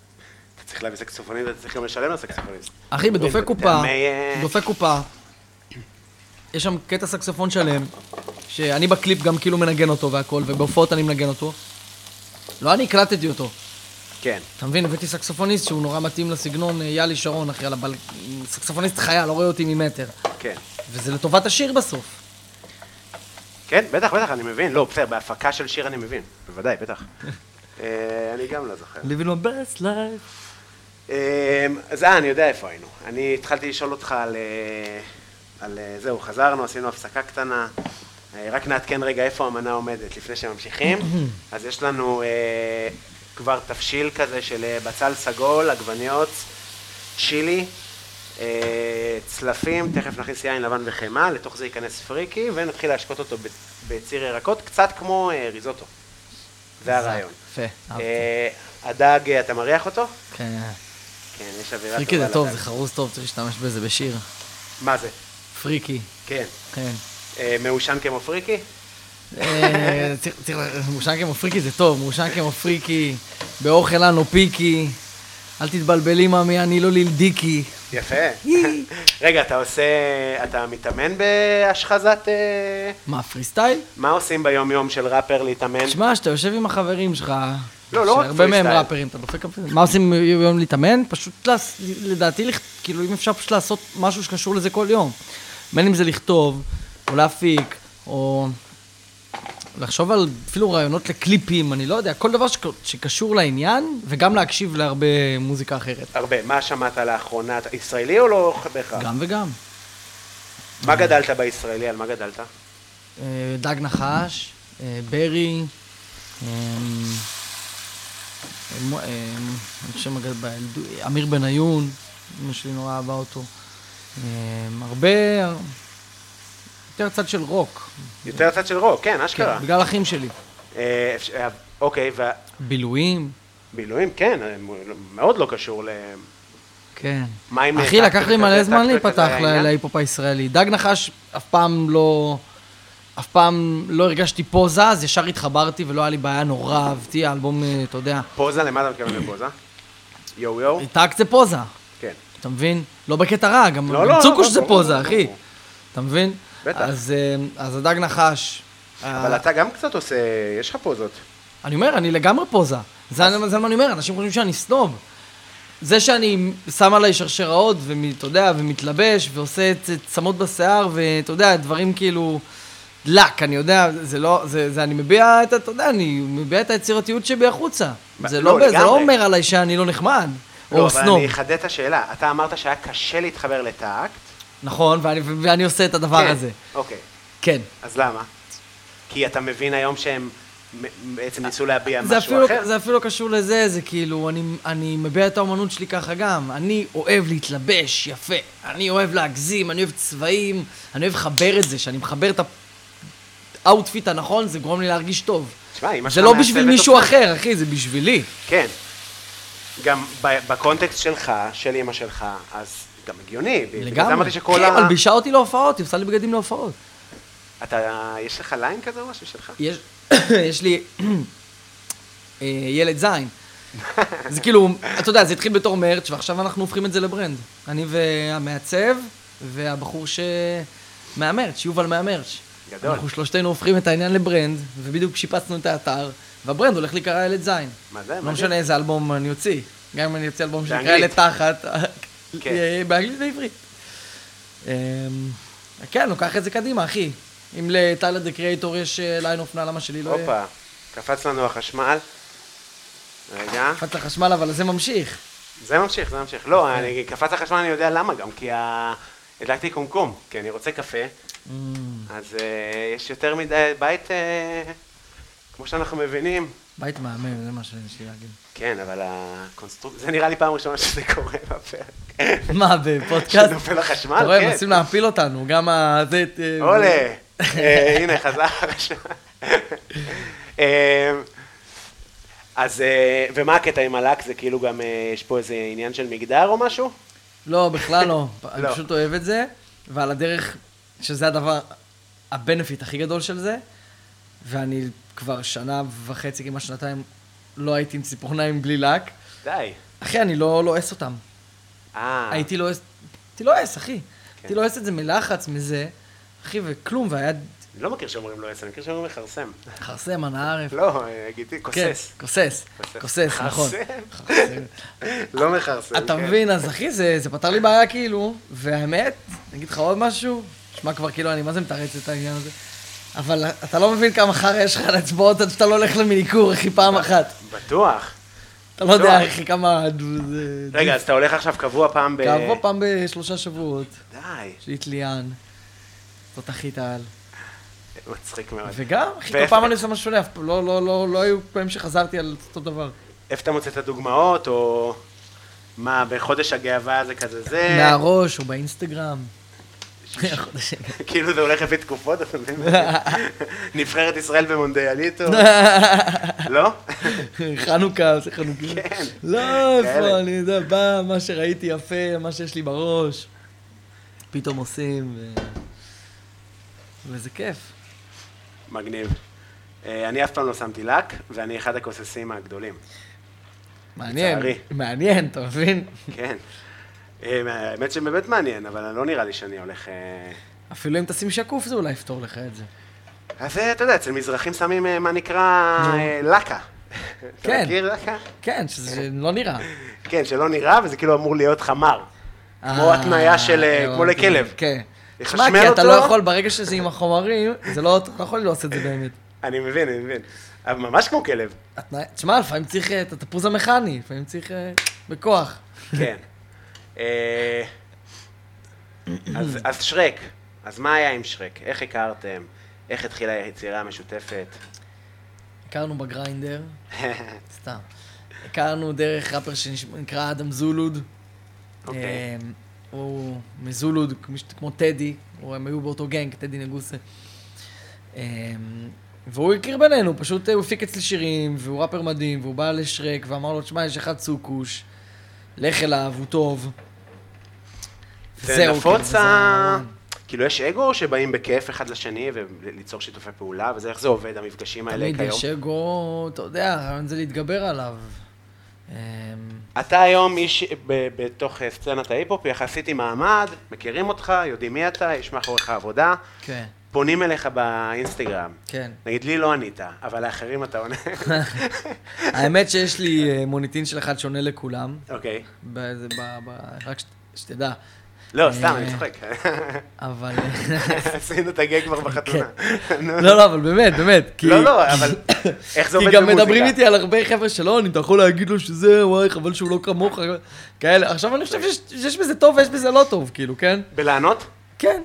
S2: אתה צריך להביא סקסופוניסט, אתה צריך גם לשלם לסקסופוניסט.
S3: אחי, בדופק קופה,
S2: מטעמי, אה,
S3: דופק קופה, יש שם קטע סקסופון שלם, שאני בקליפ גם כאילו מנגן אותו והכל, ובהופעות אני מנגן אותו. לא אני הקלטתי אותו.
S2: כן.
S3: אתה מבין, הבאתי סקסופוניסט שהוא נורא מתאים לסגנון אה, יאלי שרון, אחי, על הבל... סקסופוניסט חיה, לא רואה אותי ממטר.
S2: כן.
S3: וזה לטובת השיר בסוף.
S2: כן, בטח, בטח, אני מבין. לא, בסדר, בהפקה של שיר <laughs> אני מבין. בוודאי, בטח. אה, אני גם לא זוכר.
S3: living my best life.
S2: אה, אז אה, אני יודע איפה היינו. אני התחלתי לשאול אותך על... אה, על אה, זהו, חזרנו, עשינו הפסקה קטנה. אה, רק נעדכן רגע איפה המנה עומדת לפני שממשיכים. אז יש לנו אה, כבר תבשיל כזה של אה, בצל סגול, עגבניות, צ'ילי, אה, צלפים, תכף נכניס יין לבן וחמאה, לתוך זה ייכנס פריקי, ונתחיל להשקות אותו ב- בציר ירקות, קצת כמו אה, ריזוטו. זה הרעיון.
S3: יפה, אהבתי.
S2: אה, הדג, אה, אתה מריח אותו?
S3: כן.
S2: כן, יש אווירה טובה.
S3: פריקי זה טוב,
S2: לדג.
S3: זה חרוז טוב, צריך להשתמש בזה בשיר.
S2: מה זה?
S3: פריקי,
S2: כן.
S3: כן.
S2: אה, מעושן כמו פריקי?
S3: אה, צריך, צריך, מורשן כמו פריקי זה טוב, מורשן כמו פריקי, באוכל לנו פיקי, אל תתבלבלי מאמי, אני לא לילדיקי.
S2: יפה.
S3: יי.
S2: <laughs> רגע, אתה עושה... אתה מתאמן בהשחזת... אה,
S3: מה, פרי סטייל?
S2: מה עושים ביום-יום של ראפר להתאמן?
S3: תשמע, שאתה יושב עם החברים שלך,
S2: לא, לא רק
S3: שהרבה מהם
S2: freestyle.
S3: ראפרים, אתה דופק... על- מה עושים יום להתאמן? פשוט, לעס- לדעתי, לכ- כאילו, אם אפשר פשוט לעשות משהו שקשור לזה כל יום. בין אם זה לכתוב, או להפיק, או לחשוב על אפילו רעיונות לקליפים, אני לא יודע, כל דבר שק- שקשור לעניין, וגם להקשיב להרבה מוזיקה אחרת.
S2: הרבה. מה שמעת לאחרונה? אתה ישראלי או לא בהכרח?
S3: גם וגם.
S2: מה גדלת בישראלי? על מה גדלת?
S3: אה, דג נחש, אה, ברי, אה, אה, מו- אה, אני חושב מגד- בילדות- אמיר בניון, אמא שלי נורא אהבה אותו. אה, הרבה, יותר צד של רוק,
S2: יותר צד של רוק, כן, אשכרה.
S3: כן, בגלל אחים שלי.
S2: אה, אפשר- אה, אוקיי,
S3: בילויים,
S2: והבילויים, כן, אה, מ- מאוד לא קשור ל...
S3: כן.
S2: מה עם אה,
S3: אחי,
S2: טקטיקה
S3: לקח לי מלא
S2: כזה,
S3: זמן
S2: טקטיקה כזה
S3: להיפתח
S2: היה
S3: ל-
S2: עניין?
S3: להיפ-הופ הישראלי. דג נחש אף פעם לא... אף פעם לא הרגשתי פוזה, אז ישר התחברתי ולא היה לי בעיה, נורא אהבתי, האלבום, אה, אתה יודע,
S2: פוזה, למה אתה מתכוון לפוזה? יואו יואו?
S3: טאק זה פוזה.
S2: כן.
S3: אתה מבין? לא בקטע רע, גם
S2: לא, לא,
S3: צוקוש
S2: לא,
S3: זה
S2: ברור,
S3: פוזה,
S2: ברור.
S3: אחי. אתה מבין?
S2: בטח.
S3: אז, אה, אז הדג נחש.
S2: אבל
S3: אה,
S2: אתה גם קצת עושה, יש לך פוזות.
S3: אני אומר, אני לגמרי פוזה. זה זה מה אני אומר, אנשים חושבים שאני סנוב. זה שאני שם עליי שרשראות, ואתה יודע, ומתלבש, ועושה את את צמות בשיער, ואתה יודע, דברים כאילו... דלק, אני יודע, זה לא, זה, זה אני מביע את, ה- אתה יודע, אני מביע את היצירתיות שבי החוצה.
S2: ב-
S3: זה
S2: לא,
S3: לא, ב- זה לא
S2: לגמרי.
S3: אומר עליי שאני לא נחמד,
S2: לא,
S3: או
S2: אבל
S3: סנוב.
S2: אני אחדד את השאלה. אתה אמרת שהיה קשה להתחבר לטאקט.
S3: נכון, ואני, ואני עושה את הדבר
S2: כן.
S3: הזה.
S2: אוקיי,
S3: כן.
S2: אז למה? כי אתה מבין היום שהם מ- בעצם ניסו להביע
S3: זה
S2: משהו
S3: אפילו,
S2: אחר?
S3: זה אפילו לא קשור לזה, זה כאילו, אני, אני מביע את האומנות שלי ככה גם. אני אוהב להתלבש יפה, אני אוהב להגזים, אני אוהב צבעים, אני אוהב לחבר את זה, שאני מחבר את האוטפיט הנכון, זה גורם לי להרגיש טוב.
S2: תשמע, אמא
S3: זה
S2: שלך
S3: לא
S2: מעצבת
S3: בשביל מישהו
S2: אותך.
S3: אחר, אחי, זה בשבילי.
S2: כן. גם ב- בקונטקסט שלך, של אמא שלך, אז גם הגיוני. בגלל זה
S3: לגמרי.
S2: אמרתי שכל
S3: כן,
S2: ה...
S3: מלבישה אותי להופעות, היא עושה לי בגדים להופעות.
S2: אתה, יש לך ליין כזה או משהו שלך?
S3: יש, יש <coughs> לי אה, ילד זין. זה כאילו, אתה יודע, זה התחיל בתור מרץ' ועכשיו אנחנו הופכים את זה לברנד. אני והמעצב והבחור ש... מהמרץ', יובל מהמרץ'.
S2: גדול.
S3: אנחנו שלושתנו הופכים את העניין לברנד, ובדיוק שיפצנו את האתר, והברנד הולך להיקרא ילד זין.
S2: מה זה?
S3: לא
S2: מה זה?
S3: משנה איזה אלבום אני אוציא. גם אם אני אוציא אלבום שנקרא
S2: באנגלית.
S3: ילד תחת,
S2: כן.
S3: יהיה <laughs> באנגלית ובעברית. אמ, כן, לוקח את זה קדימה, אחי. אם לטיילר דה קריאטור יש אה, ליין אופנה, למה שלי לא יהיה?
S2: הופה, קפץ לנו החשמל. רגע.
S3: קפץ לחשמל, אבל זה ממשיך.
S2: זה ממשיך, זה ממשיך. לא, אני קפץ החשמל, אני יודע למה גם, כי ה... הדלקתי קומקום, כי אני רוצה קפה,
S3: אמ,
S2: אז אה, יש יותר מדי בית, אה, כמו שאנחנו מבינים.
S3: בית מהמם, זה מה שיש לי להגיד. <laughs>
S2: כן, אבל הקונסטרוקציה, זה נראה לי פעם ראשונה שזה <laughs> קורה בפרק.
S3: מה,
S2: <laughs>
S3: בפודקאסט?
S2: שנופל החשמל,
S3: אתה רואה,
S2: כן.
S3: הם מנסים להפיל אותנו, גם ה... זה... אה,
S2: עולה. אה, הנה, חזר עכשיו. אה, אז, אה, ומה הקטע עם הלק? זה כאילו גם, אה, יש פה איזה עניין של מגדר או משהו?
S3: לא,
S2: <laughs>
S3: בכלל לא. אני
S2: לא.
S3: פשוט אוהב את זה, ועל הדרך, שזה הדבר, הבנפיט הכי גדול של זה, ואני כבר שנה וחצי, כמעט שנתיים, לא הייתי עם ציפורניים בלי לק.
S2: די.
S3: אחי, אני לא לועס אותם.
S2: אה,
S3: הייתי לועס, הייתי לועס, אחי. הייתי
S2: כן.
S3: לועס את זה מלחץ, מזה, אחי, וכלום, והיה
S2: אני לא מכיר שאומרים לא עשר, אני מכיר שאומרים מכרסם.
S3: חרסם, אנא ערף.
S2: לא, גידי, כוסס.
S3: כן, כוסס,
S2: כוסס.
S3: כוסס, נכון.
S2: מכרסם. לא מכרסם,
S3: אתה
S2: כן.
S3: מבין, אז אחי, זה, זה פתר לי בעיה כאילו, והאמת, אני אגיד לך עוד משהו, שמע כבר כאילו, אני מה זה מתרץ את העניין הזה, אבל
S2: לא.
S3: אתה לא מבין כמה חרא יש לך על אצבעות עד שאתה לא הולך למיניקור, אחי, פעם אחת.
S2: בטוח.
S3: אתה לא יודע, אחי, כמה... זה-
S2: רגע, אז אתה הולך עכשיו קבוע פעם ב...
S3: קבוע פעם בשלושה שבועות,
S2: די,
S3: יש לי את ליאן, תותחית העל.
S2: מצחיק מאוד.
S3: וגם, אחי, כל
S2: ואיך-
S3: פעם אני עושה משהו שונה, אף פעם- לא- לא לא- לא היו פעמים שחזרתי על אותו דבר.
S2: איפה אתה מוצא את הדוגמאות, או... מה, בחודש הגאווה זה כזה זה?
S3: מהראש או באינסטגרם.
S2: <laughs> כאילו זה הולך לפי תקופות, אתה
S3: <laughs>
S2: מבין? נבחרת ישראל במונדיאליטו, לא?
S3: חנוכה, עושה חנוכה.
S2: כן.
S3: לא,
S2: כאלה.
S3: איפה, אני יודע, בא, מה שראיתי יפה, מה שיש לי בראש, פתאום עושים, ו... וזה כיף.
S2: מגניב. אה, אני אף פעם לא שמתי לק, ואני אחד הכוססים
S3: <laughs>
S2: הגדולים.
S3: מעניין,
S2: לצערי.
S3: מעניין, אתה מבין?
S2: כן. אה, האמת שבאמת מעניין, אבל לא נראה לי שאני הולך... אה,
S3: אפילו אם תשים שקוף זה אולי יפתור לך את זה.
S2: אז אה, אתה יודע, אצל מזרחים שמים אה, מה נקרא אה, לקה.
S3: כן.
S2: אתה מכיר לקה?
S3: כן, שזה לא נראה.
S2: כן, שלא נראה, וזה כאילו אמור להיות חמר. כמו
S3: אה,
S2: התניה של, אה,
S3: הבנתי,
S2: כמו לכלב.
S3: כן.
S2: לחשמל
S3: תשמע, כי אתה
S2: אותו?
S3: לא יכול, ברגע שזה עם החומרים, זה לא, אתה לא יכול לעשות את זה באמת.
S2: אני מבין, אני מבין. אבל ממש כמו
S3: <laughs>
S2: כלב.
S3: התנאי- תשמע, לפעמים צריך אה, את התפוז המכני, לפעמים צריך אה, בכוח.
S2: כן. אה, אז- אז שרק, אז מה היה עם שרק? איך הכרתם? איך התחילה היצירה
S3: <laughs>
S2: המשותפת?
S3: הכרנו בגריינדר, סתם. הכרנו דרך ראפר שנקרא אדם זולוד.
S2: אוקיי.
S3: אה, הוא מזולוד, כמו ש- כמו טדי, הוא- הם היו באותו גנג, טדי נגוסה. אה, והוא הכיר בינינו, פשוט אה, הוא הפיק אצלי שירים, והוא ראפר מדהים, והוא בא לשרק, ואמר לו, תשמע, יש אחד סוכוש, לך אליו, הוא טוב.
S2: זה
S3: וזהו, כאילו,
S2: נפוץ
S3: וזה
S2: ה...
S3: המון.
S2: כאילו, יש אגו או שבאים בכיף אחד לשני וליצור שיתופי פעולה וזה? איך זה עובד, המפגשים האלה
S3: תמיד
S2: כיום?
S3: יש אגו, אתה יודע, הרעיון זה להתגבר עליו. אמ,
S2: אתה היום איש ב- בתוך אה, סצנת ההיפ-הופ, יחסית עם מעמד, מכירים אותך, יודעים מי אתה, יש מאחוריך עבודה,
S3: כן,
S2: פונים אליך באינסטגרם.
S3: כן.
S2: נגיד, לי לא ענית, אבל לאחרים אתה
S3: <laughs>
S2: עונה.
S3: האמת שיש לי אה, מוניטין של אחד שונה לכולם,
S2: אוקיי.
S3: ב- זה ב- ב- רק ש- שתדע,
S2: לא, סתם,
S3: אה,
S2: אני
S3: <laughs>
S2: צוחק.
S3: אבל... אה,
S2: עשינו את הגג כבר בחתונה. נו.
S3: <laughs> לא, לא, אבל באמת, באמת. כי-
S2: לא, לא, אבל
S3: <coughs>
S2: איך זה
S3: כי
S2: עובד
S3: גם
S2: במוזיקה?
S3: מדברים איתי על הרבה חבר'ה שלא עונים, אתה יכול להגיד לו שזה, וואי, חבל שהוא לא כמוך, כאלה. עכשיו אני חושב שיש- שיש בזה טוב ויש בזה לא טוב, כאילו, כן?
S2: בלענות?
S3: כן.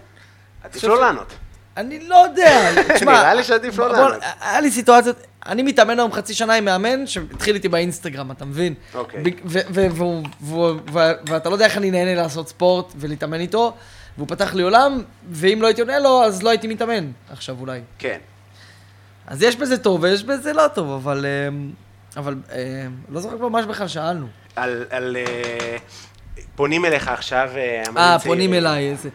S2: עדיף
S3: חושב
S2: לא
S3: ש-
S2: לענות.
S3: אני לא יודע, תשמע,
S2: <laughs> נראה לי שעדיף לא
S3: בוא-
S2: לענות.
S3: היה לי סיטואציות, אני מתאמן היום חצי שנה עם מאמן שהתחיל איתי באינסטגרם, אתה מבין?
S2: אוקיי.
S3: ב- ו- ו- והוא- והוא- ו- ואתה לא יודע איך אני נהנה לעשות ספורט ולהתאמן איתו, והוא פתח לי עולם, ואם לא הייתי עונה לו, אז לא הייתי מתאמן עכשיו אולי.
S2: כן.
S3: אז יש בזה טוב ויש בזה לא טוב, אבל... אמ, אבל אמ, לא זוכר כבר מה שבכלל שאלנו.
S2: על- על... אה, פונים אליך עכשיו אה, אמנים
S3: אה,
S2: צעירים.
S3: פונים אליי, איזה...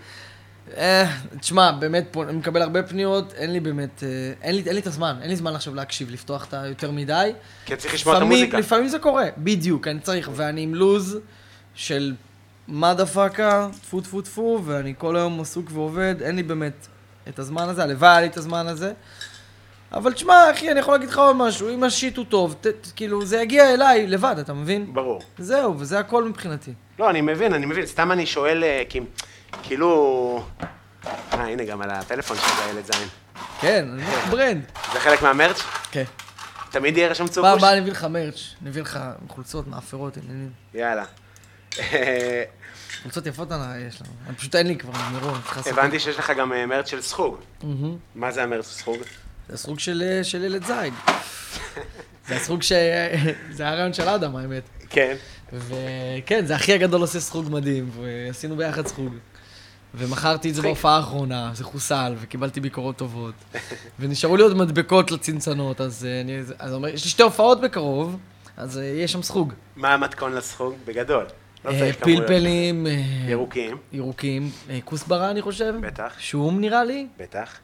S3: אה, תשמע, באמת, פה- אני מקבל הרבה פניות, אין לי באמת, אה, אין לי, אין לי את הזמן, אין לי זמן עכשיו להקשיב, לפתוח את ה... יותר מדי.
S2: כי צריך לשמוע את
S3: לפעמים-
S2: המוזיקה.
S3: לפעמים זה קורה, בדיוק, אני צריך, ואני עם לוז של מה דפקה, טפו טפו טפו, ואני כל היום עסוק ועובד, אין לי באמת את הזמן הזה, הלוואי היה לי את הזמן הזה. אבל תשמע, אחי, אני יכול להגיד לך עוד משהו, אם השיט הוא טוב, ת, ת, כאילו, זה יגיע אליי לבד, אתה מבין?
S2: ברור.
S3: זהו, וזה הכל מבחינתי.
S2: לא, אני מבין, אני מבין. סתם אני שואל, אה, כי כאילו... אה, הנה, גם על הטלפון של הילד זין.
S3: כן, אני אומר, ברנד.
S2: זה חלק מהמרץ'?
S3: כן.
S2: תמיד יהיה רשום
S3: פעם
S2: צוקוש?
S3: הבאה אני אביא לך מרץ', אני אביא לך חולצות מאפרות, עניינים.
S2: יאללה. אה,
S3: חולצות יפות אה, יש לנו. אני פשוט אין לי כבר, נגמרו, אני צריכה לעשות...
S2: הבנתי שיש לך גם אה, מרץ' של סחוג.
S3: מהמם.
S2: מה זה המרץ' של סחוג?
S3: זה הסרוג של אה, של ילד זין. זה הסרוג ש... <laughs> זה הרעיון של אדם, האמת.
S2: כן.
S3: וכן, זה אחי הגדול עושה סרוג מדהים, ועשינו ביחד סרוג. ומכרתי את זה
S2: מצחיק.
S3: בהופעה האחרונה, זה חוסל, וקיבלתי ביקורות טובות. ונשארו לי עוד מדבקות לצנצנות, אז אה, אני אז אומר, יש לי שתי הופעות בקרוב, אז אה, יהיה שם סרוג.
S2: מה המתכון לסחוג? בגדול. לא
S3: אה,
S2: צריך כמויות.
S3: פלפלים, אה,
S2: ירוקים,
S3: ירוקים, אה, כוסברה אני חושב.
S2: בטח. נכון.
S3: שום נראה לי.
S2: בטח.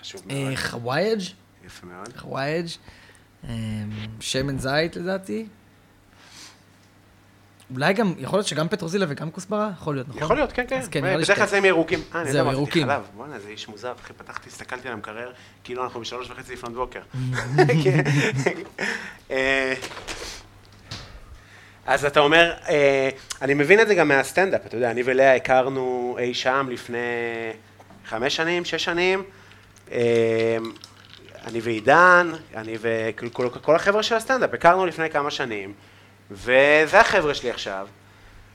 S2: חשוב מאוד.
S3: אה, חווייג',
S2: יפה מאוד.
S3: חווייג', אה, שמן זית לדעתי. אולי גם, יכול להיות שגם פטרוזילה וגם כוסברה? יכול להיות, נכון?
S2: יכול להיות, כן, כן.
S3: אז כן, נראה לי
S2: בדרך כלל
S3: שכן.
S2: זה עם ירוקים. אה, אני
S3: זהו,
S2: לא אמרתי
S3: ירוקים.
S2: חלב. בואנה, זה איש מוזר. אחי, פתחתי, הסתכלתי על המקרר, כאילו אנחנו בשלוש וחצי לפנות
S3: <laughs>
S2: בוקר. כן. <laughs> אה, אז אתה אומר, אה, אני מבין את זה גם מהסטנדאפ, אתה יודע, אני ולאה הכרנו אי שם לפני חמש שנים, שש שנים. אה, אני ועידן, אני וכל כל- כל החבר'ה של הסטנדאפ, הכרנו לפני כמה שנים. וזה החבר'ה שלי עכשיו,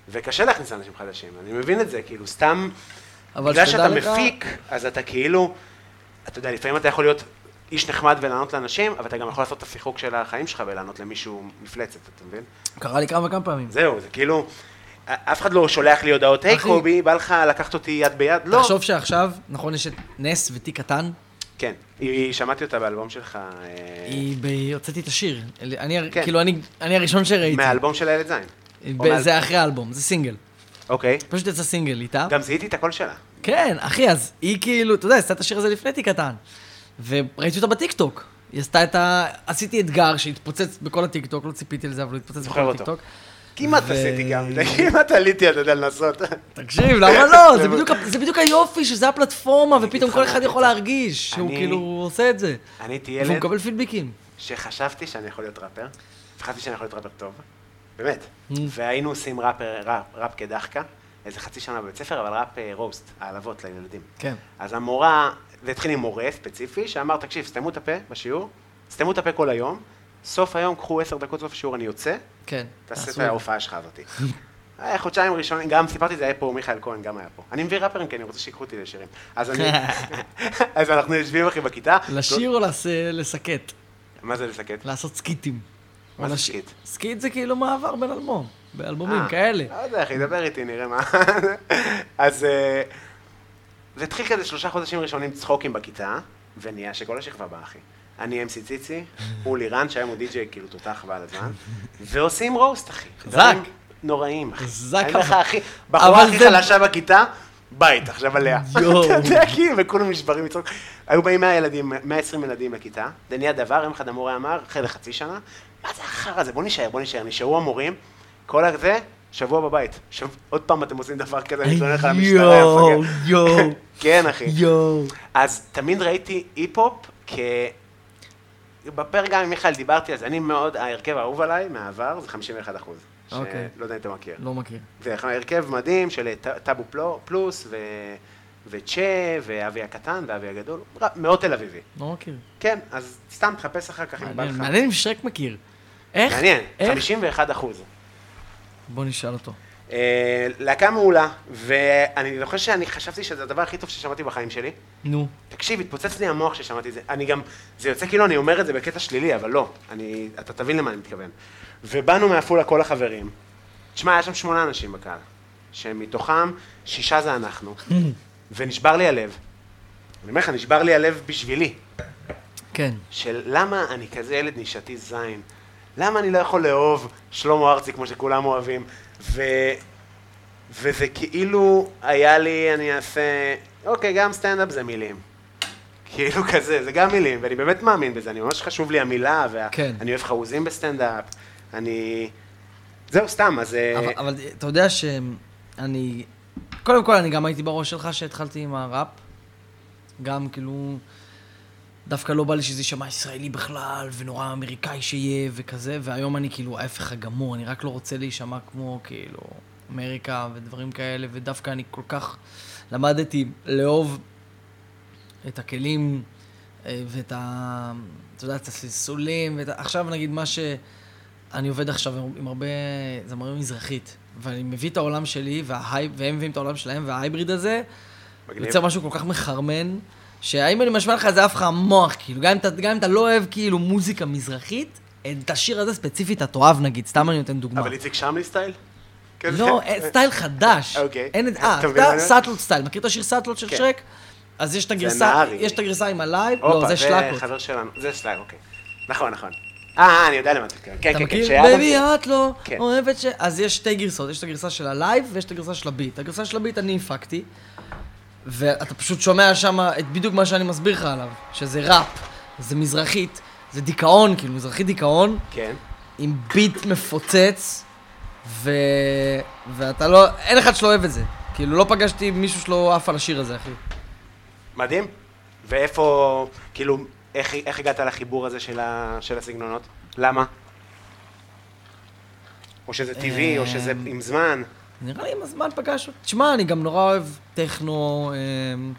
S2: וקשה להכניס אנשים חדשים, אני מבין את זה, כאילו, סתם,
S3: אבל
S2: בגלל
S3: שתדע
S2: שאתה
S3: לך-
S2: מפיק, אז אתה כאילו, אתה יודע, לפעמים אתה יכול להיות איש נחמד ולענות לאנשים, אבל אתה גם יכול לעשות את השיחוק של החיים שלך ולענות למישהו מפלצת, אתה מבין?
S3: קרה לי כמה וכמה פעמים.
S2: זהו, זה כאילו, א- אף אחד לא שולח לי הודעות, היי
S3: אחי-
S2: קובי, בא לך לקחת אותי יד ביד? לא.
S3: תחשוב שעכשיו, נכון, יש את נס ותיק קטן,
S2: כן, היא- היא- שמעתי אותה באלבום שלך, אה,
S3: היא ב- הוצאתי את השיר. אל- אני, הר-
S2: כן.
S3: כאילו, אני אני הראשון שראיתי.
S2: מהאלבום של הילד זין.
S3: ב-
S2: או מהאל-
S3: זה אחרי האלבום, זה סינגל.
S2: אוקיי.
S3: פשוט יצא סינגל איתה.
S2: גם זיהיתי את הקול שלה.
S3: כן, אחי, אז היא כאילו, אתה יודע, עשתה את השיר הזה לפני תיק קטן. וראיתי אותה בטיקטוק. היא עשתה את ה... עשיתי אתגר שהתפוצץ בכל הטיקטוק, לא ציפיתי לזה, אבל הוא התפוצץ
S2: זוכר
S3: בכל
S2: אותו.
S3: הטיקטוק.
S2: כמעט
S3: ו-
S2: עשיתי גם, <laughs> כמעט עליתי, אתה יודע, לנסות. <laughs>
S3: תקשיב, למה לא? זה בדיוק ה- זה בדיוק היופי, שזה הפלטפורמה, ופתאום כל אחד יכול להרגיש שהוא
S2: אני-
S3: כאילו עושה את זה.
S2: אני הייתי
S3: והוא
S2: ילד
S3: מקבל פידבקים.
S2: שחשבתי שאני יכול להיות ראפר, חשבתי שאני יכול להיות ראפר טוב, באמת.
S3: Mm.
S2: והיינו עושים ראפר- ראפ- ראפ כדחקה, איזה חצי שנה בבית ספר, אבל ראפ אה, רוסט, העלבות לילדים.
S3: כן.
S2: אז המורה, זה התחיל עם מורה ספציפי, שאמר, תקשיב, סתמו את הפה בשיעור, סתמו את הפה כל היום, סוף היום קחו עשר דקות סוף השיעור, אני יוצא,
S3: כן.
S2: תעשה את
S3: תעשו את זה.
S2: ההופעה שלך הזאתי. היה חודשיים ראשונים, גם סיפרתי את זה, היה פה מיכאל כהן, גם היה פה. אני מביא ראפרים כי אני רוצה שיקחו אותי לשירים. אז
S3: <laughs>
S2: אני... אז אנחנו יושבים אחי בכיתה.
S3: לשיר או לס- לסקט?
S2: מה זה לסקט?
S3: לעשות סקיטים.
S2: מה
S3: או
S2: זה
S3: לש-
S2: סקיט?
S3: סקיט זה כאילו מעבר בין אלבום, באלבומים
S2: אה,
S3: כאלה.
S2: לא יודע, אחי, דבר איתי, נראה מה. אז אה, זה התחיל כזה שלושה חודשים ראשונים צחוקים בכיתה, ונהיה שכל השכבה באה, אחי. אני אמסי ציצי, הוא לירן, שהיום הוא די-ג'יי, כאילו תותח בעל הזמן, ועושים רוסט, אחי.
S3: חזק.
S2: דברים נוראים, אחי.
S3: חזק,
S2: אני אומר לך,
S3: אבל-
S2: אחי, בחורה
S3: אבל
S2: הכי
S3: זה-
S2: חלשה בכיתה, בית, עכשיו עליה. <laughs>
S3: יואו.
S2: אתה יודע, כאילו, וכולם נשברים לצחוק. היו באים 100 ילדים, 120 ילדים לכיתה, זה נהיה דבר, יום אחד המורה אמר, אחרי זה חצי שנה, מה זה החרא הזה, בוא נישאר, בוא נישאר, נשארו המורים, כל הזה, שבוע בבית. שב- עוד פעם אתם עושים דבר כזה, אני מתלונן לך על המשטרה,
S3: יואו,
S2: יפה,
S3: יואו,
S2: <laughs> כן, אחי.
S3: יואו.
S2: אז תמיד ראיתי היפ-הופ כ... בפרק גם עם מיכאל דיברתי על זה, אני מאוד, ההרכב האהוב עליי מהעבר זה 51 אחוז.
S3: אוקיי.
S2: שלא יודע אם אתה מכיר.
S3: לא מכיר.
S2: זה הרכב מדהים של אה, ט- טאבו פלו- פלוס ו... וצ'ה ואבי הקטן ואבי הגדול, ר- מאוד תל אביבי.
S3: לא מכיר.
S2: כן, אז סתם תחפש אחר כך אם כן, בא
S3: מעניין
S2: לך.
S3: מעניין אם שרק מכיר. איך?
S2: מעניין,
S3: איך?
S2: 51 אחוז.
S3: בוא נשאל אותו.
S2: אה, להקה מעולה, ואני זוכר שאני חשבתי שזה הדבר הכי טוב ששמעתי בחיים שלי.
S3: נו.
S2: תקשיב, התפוצץ לי המוח כששמעתי את זה. אני גם, זה יוצא כאילו אני אומר את זה בקטע שלילי, אבל לא. אני, אתה תבין למה אני מתכוון. ובאנו מעפולה כל החברים. תשמע, היה שם שמונה אנשים בקהל, שמתוכם שישה זה אנחנו, ונשבר לי הלב. אני אומר לך, נשבר לי הלב בשבילי.
S3: כן.
S2: של למה אני כזה ילד נישתי זין? למה אני לא יכול לאהוב שלמה ארצי כמו שכולם אוהבים? ו... וזה כאילו היה לי, אני אעשה, אוקיי, גם סטנדאפ זה מילים. כאילו כזה, זה גם מילים, ואני באמת מאמין בזה, אני ממש חשוב לי המילה, ואני
S3: כן.
S2: אוהב חרוזים בסטנדאפ, אני... זהו, סתם, אז... אה,
S3: אבל- אבל אתה יודע שאני... קודם כל, אני גם הייתי בראש שלך שהתחלתי עם הראפ. גם כאילו... דווקא לא בא לי שזה יישמע ישראלי בכלל, ונורא אמריקאי שיהיה, וכזה, והיום אני כאילו ההפך הגמור, אני רק לא רוצה להישמע כמו כאילו אמריקה ודברים כאלה, ודווקא אני כל כך למדתי לאהוב את הכלים אה, ואת ה... אתה יודע, את הסלסולים, ואת ה... עכשיו נגיד מה ש... אני עובד עכשיו עם- עם הרבה זמרים מזרחית, ואני מביא את העולם שלי, וההי... והם מביאים את העולם שלהם, וההייבריד הזה,
S2: מגניב.
S3: יוצר משהו כל כך מחרמן, שאם אני משמע לך, זה עף לך המוח, כאילו, גם אם, אתה, גם אם אתה לא אוהב כאילו מוזיקה מזרחית, את השיר הזה ספציפית אתה תאהב נגיד, סתם אני נותן דוגמה.
S2: אבל איציק שמלי סטייל? כן, כזה?
S3: לא, אה, סטייל חדש.
S2: אוקיי.
S3: אין את... אה,
S2: אתה מבין מה
S3: אתה
S2: אני
S3: סאטלות סטייל. מכיר את השיר סאטלות של
S2: כן.
S3: שרק? אז יש את הגרסה,
S2: נהרי.
S3: יש את הגרסה עם הלייב,
S2: הופה,
S3: לא, זה שלקות.
S2: חבר שלנו, זה שלק, אוקיי. נכון, נכון. אה, אני יודע למה אתה מתכוון. כן, כן,
S3: אתה
S2: כן,
S3: מכיר?
S2: שהיה גם-
S3: בייבי, את לא
S2: כן.
S3: אוהבת ש... אז יש שתי גרסות, יש את הגרסה של הלייב ויש את הגרסה של הביט. הגרסה של הביט אני הפקתי, ואתה פשוט שומע שם את בדיוק מה שאני מסביר לך עליו, שזה ראפ, זה מזרחית, זה דיכאון, כאילו, מזרחית דיכאון,
S2: כן.
S3: עם ביט מפוצץ, ו... ואתה לא... אין אחד שלא אוהב את זה. כאילו, לא פגשתי מישהו שלא עף על השיר הזה, אחי.
S2: מדהים. ואיפה, כאילו, איך, איך הגעת לחיבור הזה של, ה, של הסגנונות? למה? או שזה טבעי, או שזה עם זמן.
S3: נראה לי עם הזמן פגש אותי. תשמע, אני גם נורא אוהב טכנו אמ,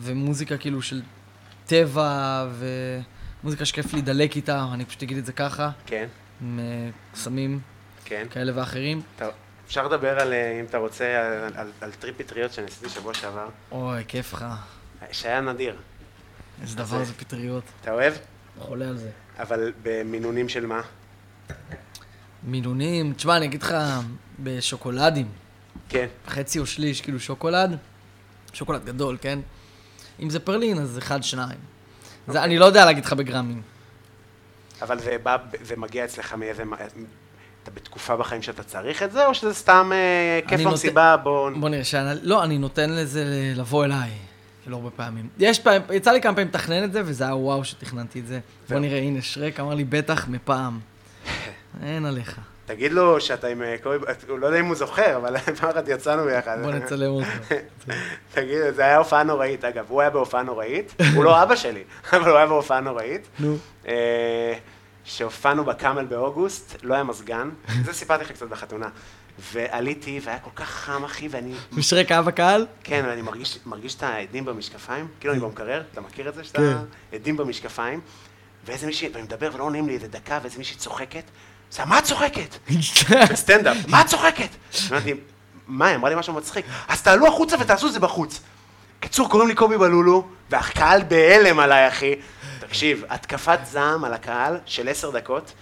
S3: ומוזיקה כאילו של טבע ומוזיקה שכיף להידלק איתה, אני פשוט אגיד את זה ככה.
S2: כן.
S3: עם אה, סמים
S2: כן.
S3: כאלה ואחרים.
S2: אתה- אפשר לדבר על, אה, אם אתה רוצה, על- על- על טריפ פטריות שעשיתי שבוע שעבר,
S3: אוי, כיף לך.
S2: שהיה נדיר.
S3: איזה דבר זה פטריות.
S2: אתה אוהב?
S3: חולה על זה.
S2: אבל במינונים של מה?
S3: מינונים, תשמע, אני אגיד לך, בשוקולדים,
S2: כן.
S3: חצי או שליש, כאילו שוקולד, שוקולד גדול, כן? אם זה פרלין, אז אחד, שניים. זה,
S2: אוקיי.
S3: אני לא יודע להגיד לך בגרמים.
S2: אבל זה בא, זה מגיע אצלך מאיזה... מה- אתה בתקופה בחיים שאתה צריך את זה, או שזה סתם אה,
S3: אני
S2: כיף
S3: נותן-
S2: במסיבה, בוא...
S3: בוא נראה, שאני, לא, אני נותן לזה ל- לבוא אליי, כאילו הרבה פעמים. יש פעמים, יצא לי כמה פעמים לתכנן את זה, וזה היה וואו שתכננתי את זה. בוא
S2: זהו.
S3: נראה, הנה, שרק אמר לי,
S2: <laughs>
S3: בטח, מפעם. אין עליך.
S2: תגיד לו שאתה עם אה, קובי, את- הוא לא יודע אם הוא זוכר, אבל <laughs> פעם אחת יצאנו ביחד.
S3: בוא נצלם אותו.
S2: <laughs> תגיד, זה היה הופעה נוראית, אגב, הוא היה בהופעה נוראית, הוא לא אבא שלי, <laughs> אבל הוא היה בהופעה נוראית.
S3: נו.
S2: אה, שהופענו בקאמל באוגוסט, לא היה
S3: <laughs>
S2: מזגן, זה סיפרתי לך קצת בחתונה. ועליתי, והיה כל כך חם, אחי, ואני...
S3: ושרק היה
S2: <laughs>
S3: בקהל?
S2: כן, ואני מרגיש, מרגיש את העדים במשקפיים, כאילו אני במקרר, אתה מכיר את זה? שאתה
S3: כן.
S2: עדים במשקפיים, ואיזה מישהי, ואני מדבר ולא עונים לי איזה דקה, ואיזה מישהי צוחקת, עושה, מה את צוחקת? בסטנדאפ, מה את צוחקת? אמרתי, מה, היא אמרה לי משהו מצחיק, אז תעלו החוצה ותעשו את זה בחוץ. קיצור, קוראים לי קובי בלולו, והקהל בהלם עליי, אחי. תקשיב, התקפת זעם על הקהל של עשר דקות,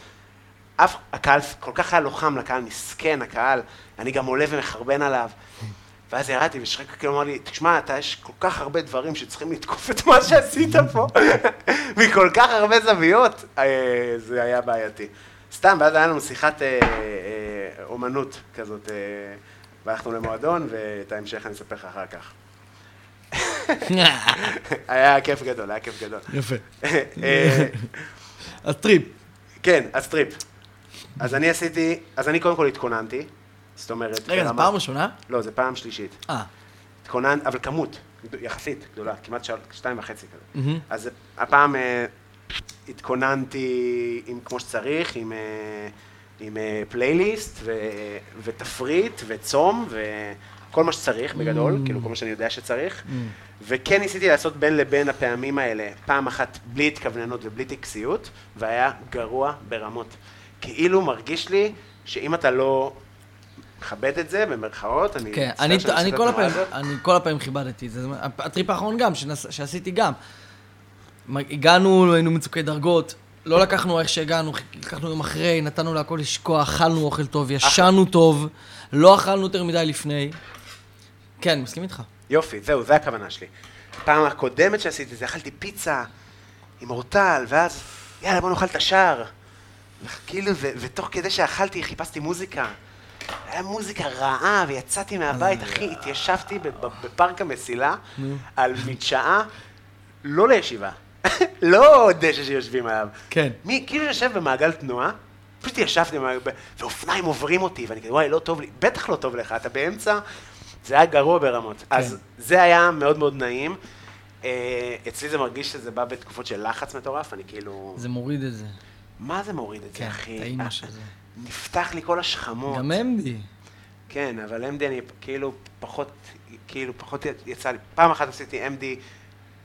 S2: אף, הקהל כל כך היה לוחם לקהל, מסכן הקהל, אני גם עולה ומחרבן עליו. ואז ירדתי, ושחק כאילו אמר לי, תשמע, אתה, יש כל כך הרבה דברים שצריכים לתקוף את מה שעשית פה, <laughs> מכל כך הרבה זוויות, אה, זה היה בעייתי. סתם, ואז היה לנו שיחת אה, אה, אומנות כזאת, אה, והלכנו למועדון, ואת ההמשך אני אספר לך אחר כך. <laughs> היה כיף גדול, היה כיף גדול.
S3: <laughs>
S2: <laughs>
S3: יפה.
S2: אה,
S3: אז טריפ.
S2: כן, אז טריפ. אז אני עשיתי, אז אני קודם כל התכוננתי, זאת אומרת...
S3: רגע, זו
S2: ברמה-
S3: פעם ראשונה?
S2: לא, זו פעם שלישית.
S3: אה,
S2: התכונן, אבל כמות, גד- יחסית גדולה, כמעט של- שתיים וחצי כזה.
S3: מהמם.
S2: אז הפעם אה, התכוננתי עם, כמו שצריך, עם, אה, עם אה, פלייליסט ו, ותפריט וצום וכל מה שצריך בגדול,
S3: Mm.
S2: כאילו כל מה שאני יודע שצריך. וכן ניסיתי לעשות בין לבין הפעמים האלה, פעם אחת בלי התכווננות ובלי טקסיות, והיה גרוע ברמות. כאילו מרגיש לי שאם אתה לא מכבד את זה, במרכאות, אני...
S3: כן,
S2: מצטער
S3: אני,
S2: שאני
S3: אני,
S2: עושה את
S3: כל
S2: התנועה
S3: הפעמים,
S2: הזאת.
S3: אני כל הפעמים כיבדתי את זה, זאת אומרת, הפ- הטריפ האחרון גם, שנס, שעשיתי גם. מ- הגענו, היינו מצוקי דרגות, לא לקחנו איך שהגענו, חיכ- לקחנו יום אחרי, נתנו להכל לשקוע, אכלנו אוכל טוב, ישנו טוב, לא אכלנו יותר מדי לפני. כן, אני מסכים איתך.
S2: יופי, זהו, זה הכוונה שלי. פעם הקודמת שעשיתי את זה, אכלתי פיצה עם אורטל, ואז יאללה בוא נאכל את השער. כאילו, ו- ותוך כדי שאכלתי חיפשתי מוזיקה. היה מוזיקה רעה, ויצאתי מהבית, אחי, התיישבתי בב- בפארק המסילה על מדשאה לא לישיבה. <laughs> לא דשא שיושבים עליו.
S3: כן.
S2: מי, כאילו יושב במעגל תנועה, פשוט ישבתי, במעגל- ואופניים עוברים אותי, ואני כזה, וואי, לא טוב לי, בטח לא טוב לך, אתה באמצע, זה היה גרוע ברמות. כן. אז זה היה מאוד מאוד נעים. אה, אצלי זה מרגיש שזה בא בתקופות של לחץ מטורף, אני כאילו...
S3: זה מוריד את זה.
S2: מה זה מוריד את זה,
S3: כן,
S2: אחי?
S3: טעים מה
S2: אה,
S3: שזה.
S2: נפתח לי כל השכמות.
S3: גם אמדי.
S2: כן, אבל MD אני כאילו פחות, כאילו פחות יצא לי. פעם אחת עשיתי MD,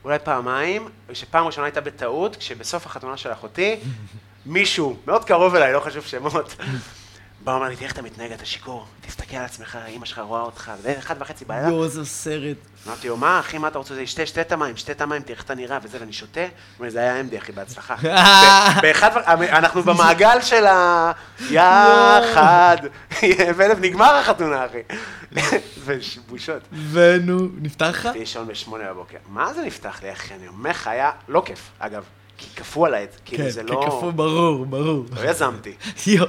S2: אולי פעמיים, שפעם ראשונה הייתה בטעות, כשבסוף החתונה של אחותי, מישהו, מאוד קרוב אליי, לא חשוב שמות, בא ואומר לי, תראה איך אתה מתנהג, אתה שיכור, תסתכל על עצמך, אמא שלך רואה אותך, זה אחת וחצי בעיה.
S3: יואו, איזה סרט.
S2: אמרתי לו, מה אחי, מה אתה רוצה? שתה, שתה את המים, שתה את המים, תראה איך אתה נראה, וזה, ואני שותה. הוא אומר, זה היה MD, אחי,
S3: <laughs>
S2: בהצלחה. ב- באחד, ו- אנחנו במעגל של ה... יחד. <laughs> ולב, נגמר החתונה, אחי. <laughs> ובושות.
S3: ונו, נפתח לך?
S2: הלכתי לישון בשמונה בבוקר. מה זה נפתח לי, אחי? אני אומר לך, היה לא כיף, אגב. כי כפו עליי את זה, כאילו זה
S3: כן, כי
S2: לא...
S3: כפו, ברור, ברור.
S2: לא יזמתי. <laughs>
S3: יואו.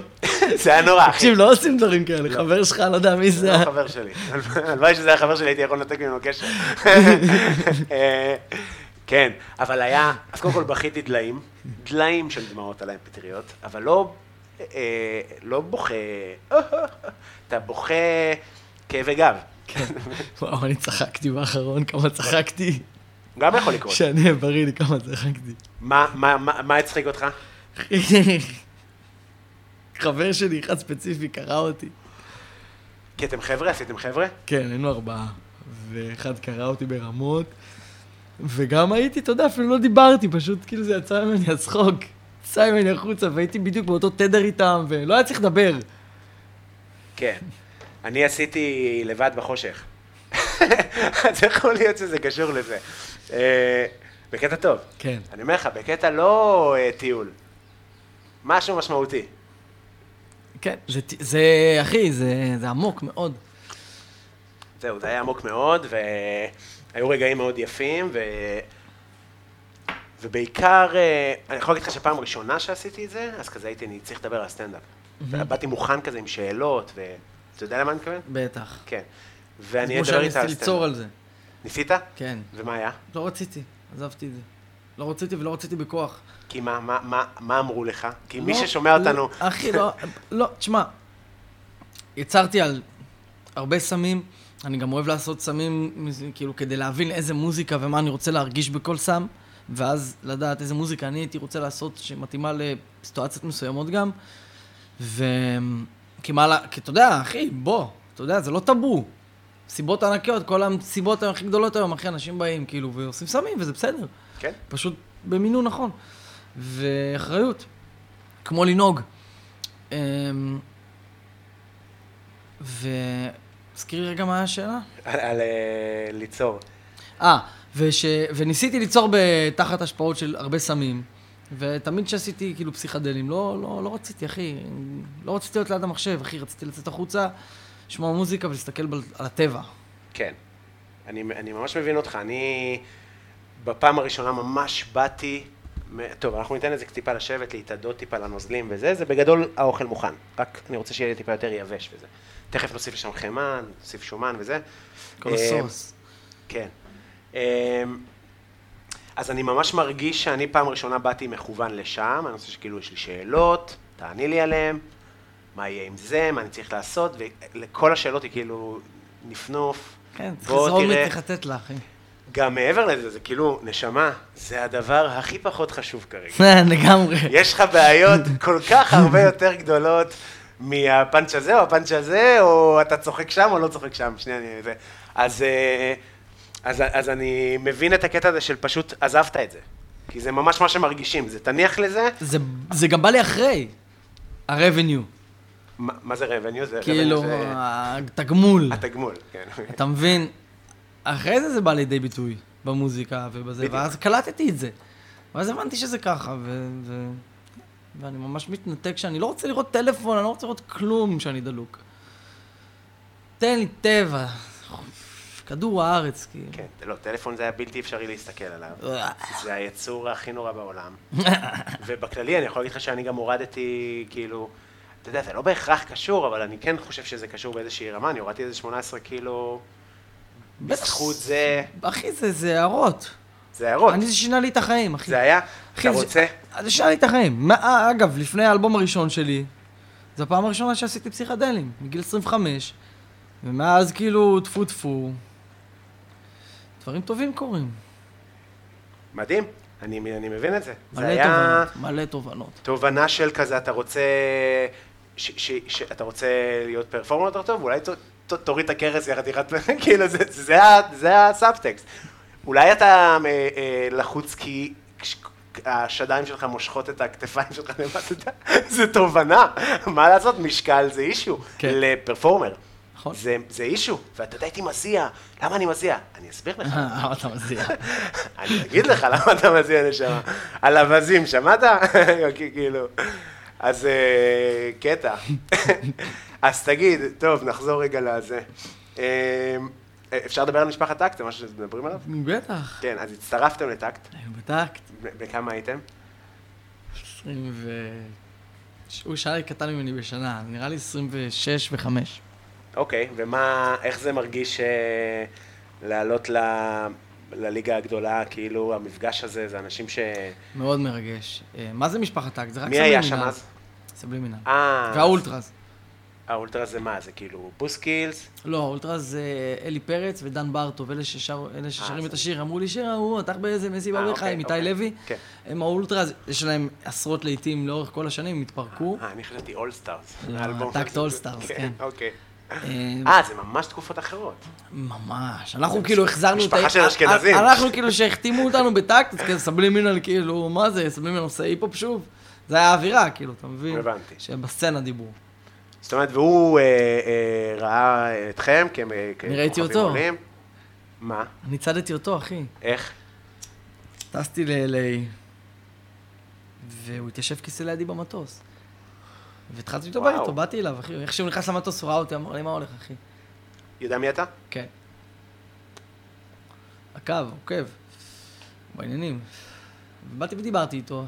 S2: זה היה נורא, אחי.
S3: תקשיב, לא עושים דברים כאלה, חבר שלך, לא יודע מי
S2: זה
S3: זה.
S2: לא חבר שלי. הלוואי שזה היה חבר שלי, הייתי יכול לנתק ממנו קשר. אה, כן, אבל היה, אז קודם כל בכיתי דליים, דליים של דמעות עליהם פטריות, אבל לא, אה, לא בוכה, <laughs> אתה בוכה כאבי גב.
S3: וואו, אני צחקתי באחרון, כמה צחקתי.
S2: גם יכול לקרות.
S3: שאני בריא לי, כמה צחקתי.
S2: מה- מה מה- מה הצחיק אותך?
S3: חבר שלי, אחד ספציפי, קרא אותי.
S2: כי אתם חבר'ה? עשיתם חבר'ה?
S3: כן, היינו ארבעה. ואחד קרא אותי ברמות. וגם הייתי, אתה יודע, אפילו לא דיברתי, פשוט כאילו זה יצא ממני הצחוק. יצא ממני החוצה, והייתי בדיוק באותו תדר איתם, ולא היה צריך לדבר.
S2: כן. אני עשיתי לבד בחושך. <laughs> אז יכול להיות שזה קשור לזה. אה, בקטע טוב.
S3: כן.
S2: אני אומר לך, בקטע לא אה, טיול. משהו משמעותי.
S3: כן, זה, זה אחי, זה, זה עמוק מאוד.
S2: זהו, זה היה עמוק מאוד, והיו רגעים מאוד יפים, ו... ובעיקר, אה, אני יכול להגיד לך שפעם ראשונה שעשיתי את זה, אז כזה הייתי, אני צריך לדבר על הסטנדאפ. באתי מוכן כזה עם שאלות, ו... אתה יודע למה אני מתכוון?
S3: בטח.
S2: כן. ואני
S3: כמו
S2: אדבר
S3: שאני
S2: איתה
S3: ניסיתי
S2: על הסטנדאפ.
S3: ליצור על זה.
S2: ניסית?
S3: כן.
S2: ומה היה?
S3: לא רציתי, עזבתי את זה. לא רציתי ולא רציתי בכוח.
S2: כי מה, מה, מה, מה אמרו לך? כי מי
S3: לא,
S2: ששומע אותנו...
S3: לא, אחי, לא, לא, תשמע, יצרתי על הרבה סמים, אני גם אוהב לעשות סמים, כאילו, כדי להבין איזה מוזיקה ומה אני רוצה להרגיש בכל סם, ואז לדעת איזה מוזיקה אני הייתי רוצה לעשות, שמתאימה לסיטואציות מסוימות גם. ו... כי מה, לה- כי אתה יודע, אחי, בוא, אתה יודע, זה לא טאבו. סיבות ענקיות, כל המסיבות הכי גדולות היום, אחי, אנשים באים, כאילו, ועושים סמים, וזה בסדר.
S2: כן?
S3: פשוט במינון נכון. ואחריות. כמו לנהוג. אמ, ו... תזכירי רגע מה השאלה.
S2: על, על אה, ליצור.
S3: אה, וש... וניסיתי ליצור ב- תחת השפעות של הרבה סמים, ותמיד כשעשיתי כאילו פסיכדלים, לא, לא, לא רציתי, אחי, לא רציתי להיות ליד המחשב, אחי, רציתי לצאת החוצה, לשמוע מוזיקה ולהסתכל ב... על הטבע.
S2: כן. אני, אני ממש מבין אותך. אני בפעם הראשונה ממש באתי... מ- טוב, אנחנו ניתן לזה טיפה לשבת, להתאדות טיפה לנוזלים וזה, זה בגדול האוכל מוכן. רק אני רוצה שיהיה לי טיפה יותר יבש וזה. תכף נוסיף לשם חמאה, נוסיף שומן וזה.
S3: כל
S2: אה,
S3: הסוס.
S2: כן. אמ, אז אני ממש מרגיש שאני פעם ראשונה באתי מכוון לשם, אני חושב שכאילו יש לי שאלות, תעני לי עליהן, מה יהיה עם זה, מה אני צריך לעשות, ולכל השאלות היא כאילו נפנוף.
S3: כן, צריך
S2: בוא
S3: לזרום
S2: תראה.
S3: לי, תחטט לה, אחי. <laughs>
S2: גם מעבר לזה, זה כאילו, נשמה, זה הדבר הכי פחות חשוב כרגע.
S3: כן, לגמרי.
S2: יש לך בעיות כל כך הרבה יותר גדולות מהפאנץ' הזה או הפאנץ' הזה, או אתה צוחק שם או לא צוחק שם, שנייה, אני... זה. אז, אה, אז, אז אני מבין את הקטע הזה של פשוט עזבת את זה. כי זה ממש מה שמרגישים, זה תניח לזה,
S3: זה, זה גם בא לי אחרי ה-revenue,
S2: מה, מה זה רבניו? זה
S3: כאילו,
S2: revenue, זה
S3: התגמול,
S2: התגמול, כן. <laughs>
S3: אתה מבין? אחרי זה זה בא לידי ביטוי במוזיקה ובזה,
S2: בדיוק.
S3: ואז קלטתי את זה. ואז הבנתי שזה ככה, ו... ו... ואני ממש מתנתק שאני לא רוצה לראות טלפון, אני לא רוצה לראות כלום כשאני דלוק. תן לי טבע, כדור הארץ, כאילו.
S2: כן, לא, טלפון זה היה בלתי אפשרי להסתכל עליו. זה היצור הכי נורא
S3: <laughs>
S2: בעולם. ובכללי, אני יכול להגיד לך שאני גם הורדתי, כאילו, אתה יודע, זה לא בהכרח קשור, אבל אני כן חושב שזה קשור באיזושהי רמה, אני הורדתי איזה 18 קילו,
S3: בטח.
S2: בזכות זה,
S3: אחי, זה, זה הערות.
S2: זה הערות.
S3: אני, זה שינה לי את החיים, אחי.
S2: זה היה,
S3: אחי,
S2: אתה
S3: זה- אה,
S2: רוצה?
S3: זה שינה לי את החיים. מה- אה, אגב, לפני האלבום הראשון שלי, זו הפעם הראשונה שעשיתי פסיכדלים, מגיל 25, ומאז כאילו טפו טפו, דברים טובים קורים.
S2: מדהים, אני אני מבין את זה. זה
S3: מלא
S2: היה
S3: תובנות, מלא תובנות.
S2: תובנה של כזה, אתה רוצה... ש- ש- ש- אתה רוצה להיות פרפורמר יותר טוב, אולי ת- ת- תוריד את הכרס יחד יחד, <laughs> כאילו זה- זה ה- זה הסאבטקסט. אולי אתה אה, אה, לחוץ כי כש- השדיים שלך מושכות את הכתפיים שלך למטה, <laughs> זה תובנה, מה לעשות, משקל זה אישו,
S3: כן.
S2: לפרפורמר.
S3: נכון.
S2: זה- זה אישו, ואתה יודע, הייתי מזיע, למה אני מזיע? אני אסביר לך.
S3: אה, אתה מזיע. <laughs>
S2: אני אגיד לך למה אתה מזיע לשם. על אווזים, שמעת? <laughs> כי- כאילו. אז אה, קטע. <laughs> אז תגיד, טוב, נחזור רגע לזה. אה, אפשר לדבר על משפחת טקט, זה משהו שמדברים עליו?
S3: בטח.
S2: כן, אז הצטרפתם לטקט,
S3: היינו בטקט,
S2: ב- בכמה הייתם?
S3: 20 ו... הוא שעה קטן ממני בשנה, נראה לי 26 ו-5.
S2: אוקיי, ומה, איך זה מרגיש אה, לעלות ל- לליגה הגדולה, כאילו, המפגש הזה, זה אנשים ש...
S3: מאוד מרגש. אה, מה זה משפחת טאק? זה רק
S2: מי
S3: סבלי
S2: היה שם אז?
S3: סבלימינל.
S2: אה,
S3: והאולטרס.
S2: האולטרה זה מה? זה כאילו בוסקילס?
S3: לא, האולטרס זה אלי פרץ ודן ברטוב, אלה, ששר, אלה ששרים
S2: אה,
S3: את השיר, אמרו לי שיר ההוא, אתה באיזה מסיבה
S2: אה,
S3: בך
S2: אוקיי,
S3: עם איתי
S2: אוקיי.
S3: לוי.
S2: כן.
S3: הם האולטרס, יש להם עשרות להיטים לאורך כל השנים, הם התפרקו.
S2: אה, אני חשבתי אול סטארס.
S3: לא, טקט All Stars, כן.
S2: אוקיי.
S3: אה,
S2: אה, זה ממש תקופות אחרות.
S3: ממש, אנחנו כאילו החזרנו את
S2: משפחה
S3: ה-
S2: של אשכנזים.
S3: כן, אנחנו כאילו שהחתימו אותנו בטקט, אז כזה סבלימינל כאילו, מה זה, סבלימינל עושה היפ-הופ שוב? זה היה האווירה, כאילו, אתה מבין?
S2: הבנתי.
S3: שבסצנה דיברו.
S2: זאת אומרת, והוא אה, אה, ראה אתכם כמ- ככוכבים
S3: ראיתי אותו.
S2: עולים. מה?
S3: אני צדתי אותו, אחי.
S2: איך?
S3: טסתי ל-LA, והוא התיישב כיסא לידי במטוס. והתחלתי איתו
S2: וואו.
S3: באוטו, באתי אליו, אחי. איך שהוא נכנס למטוס, הוא ראה אותי, אמר לי, מה הולך, אחי?
S2: יודע מי אתה?
S3: כן. עקב, עוקב, בעניינים. באתי ודיברתי איתו,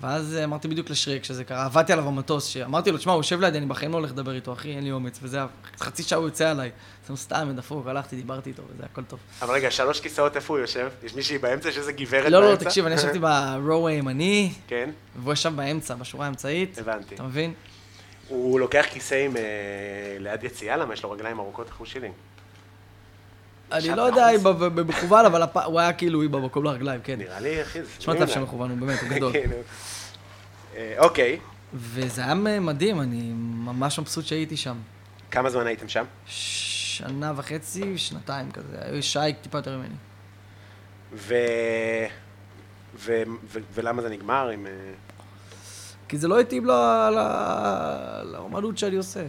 S3: ואז אה, אמרתי בדיוק לשריק שזה קרה, עבדתי עליו במטוס, שאמרתי לו, תשמע, הוא יושב לידי, אני בחיים לא הולך לדבר איתו, אחי, אין לי אומץ, וזה, היה- חצי שעה הוא יוצא עליי. אז הוא סתם, דפוק, הלכתי, דיברתי איתו, וזה הכל טוב.
S2: אבל רגע, שלוש כיסאות, איפה הוא יושב? יש מישהי באמצע? יש איזה גברת באמצע?
S3: לא, לא, תקשיב, אני ישבתי ברו הימני,
S2: <laughs> כן,
S3: והוא ישב באמצע, בשורה האמצעית.
S2: הבנתי.
S3: אתה מבין?
S2: הוא לוקח כיסא עם... אה, ליד יציאה, למה יש לו רגליים ארוכות, אחוז שלי.
S3: אני לא יודע אם ב- ב- במכוון, אבל הפ- הוא היה כאילו איבא במקום לרגליים, כן.
S2: נראה לי, אחי, זה...
S3: נשמע מצב שמכוון, הוא באמת, הוא
S2: <laughs>
S3: גדול.
S2: כאילו. אה, אוקיי,
S3: וזה היה מדהים, אני ממש מבסוט שהייתי שם.
S2: כמה זמן הייתם שם?
S3: שנה וחצי, שנתיים כזה, היו שי טיפה יותר ממני.
S2: ו... ו... ו... ולמה זה נגמר? עם... אה,
S3: כי זה לא התאים ל- ל- לאומנות שאני עושה.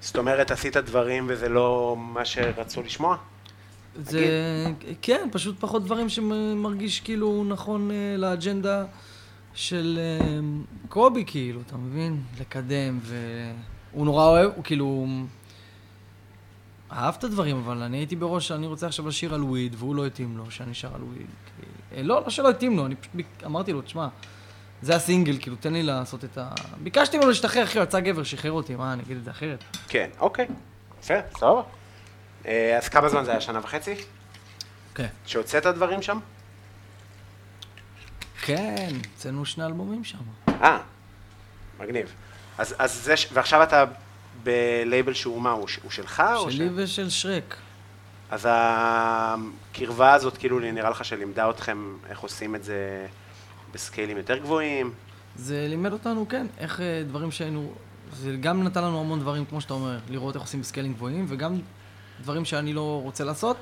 S2: זאת אומרת, עשית דברים וזה לא מה שרצו לשמוע?
S3: זה, כן, פשוט פחות דברים שמרגיש כאילו נכון אה, לאג'נדה של אה, קובי, כאילו, אתה מבין? לקדם, והוא נורא אוהב, הוא כאילו... אהב את הדברים, אבל אני הייתי בראש, אני רוצה עכשיו לשיר על וויד, והוא לא התאים לו שאני שר על וויד. כי- אה, לא, לא שלא התאים לו, אני פשוט ביק- אמרתי לו, תשמע, זה הסינגל, כאילו, תן לי לעשות את ה... ביקשתי ממנו להשתחרר, אחי, הוא יצא גבר, שחרר אותי, מה, אני אגיד את זה אחרת?
S2: כן, אוקיי. בסדר, סבבה. אה, אז כמה זמן זה היה? שנה וחצי?
S3: כן.
S2: שהוצאת דברים שם?
S3: כן, הוצאנו שני אלבומים שם.
S2: אה, מגניב. אז, אז זה... ש- ועכשיו אתה בלייבל שהוא מה? הוא, ש- הוא שלך? או
S3: שלי ושל שרק.
S2: אז הקרבה הזאת, כאילו, נראה לך שלימדה אתכם איך עושים את זה בסקיילים יותר גבוהים?
S3: זה לימד אותנו, כן, איך אה, דברים שהיינו... זה גם נתן לנו המון דברים, כמו שאתה אומר, לראות איך עושים סקיילים גבוהים, וגם דברים שאני לא רוצה לעשות,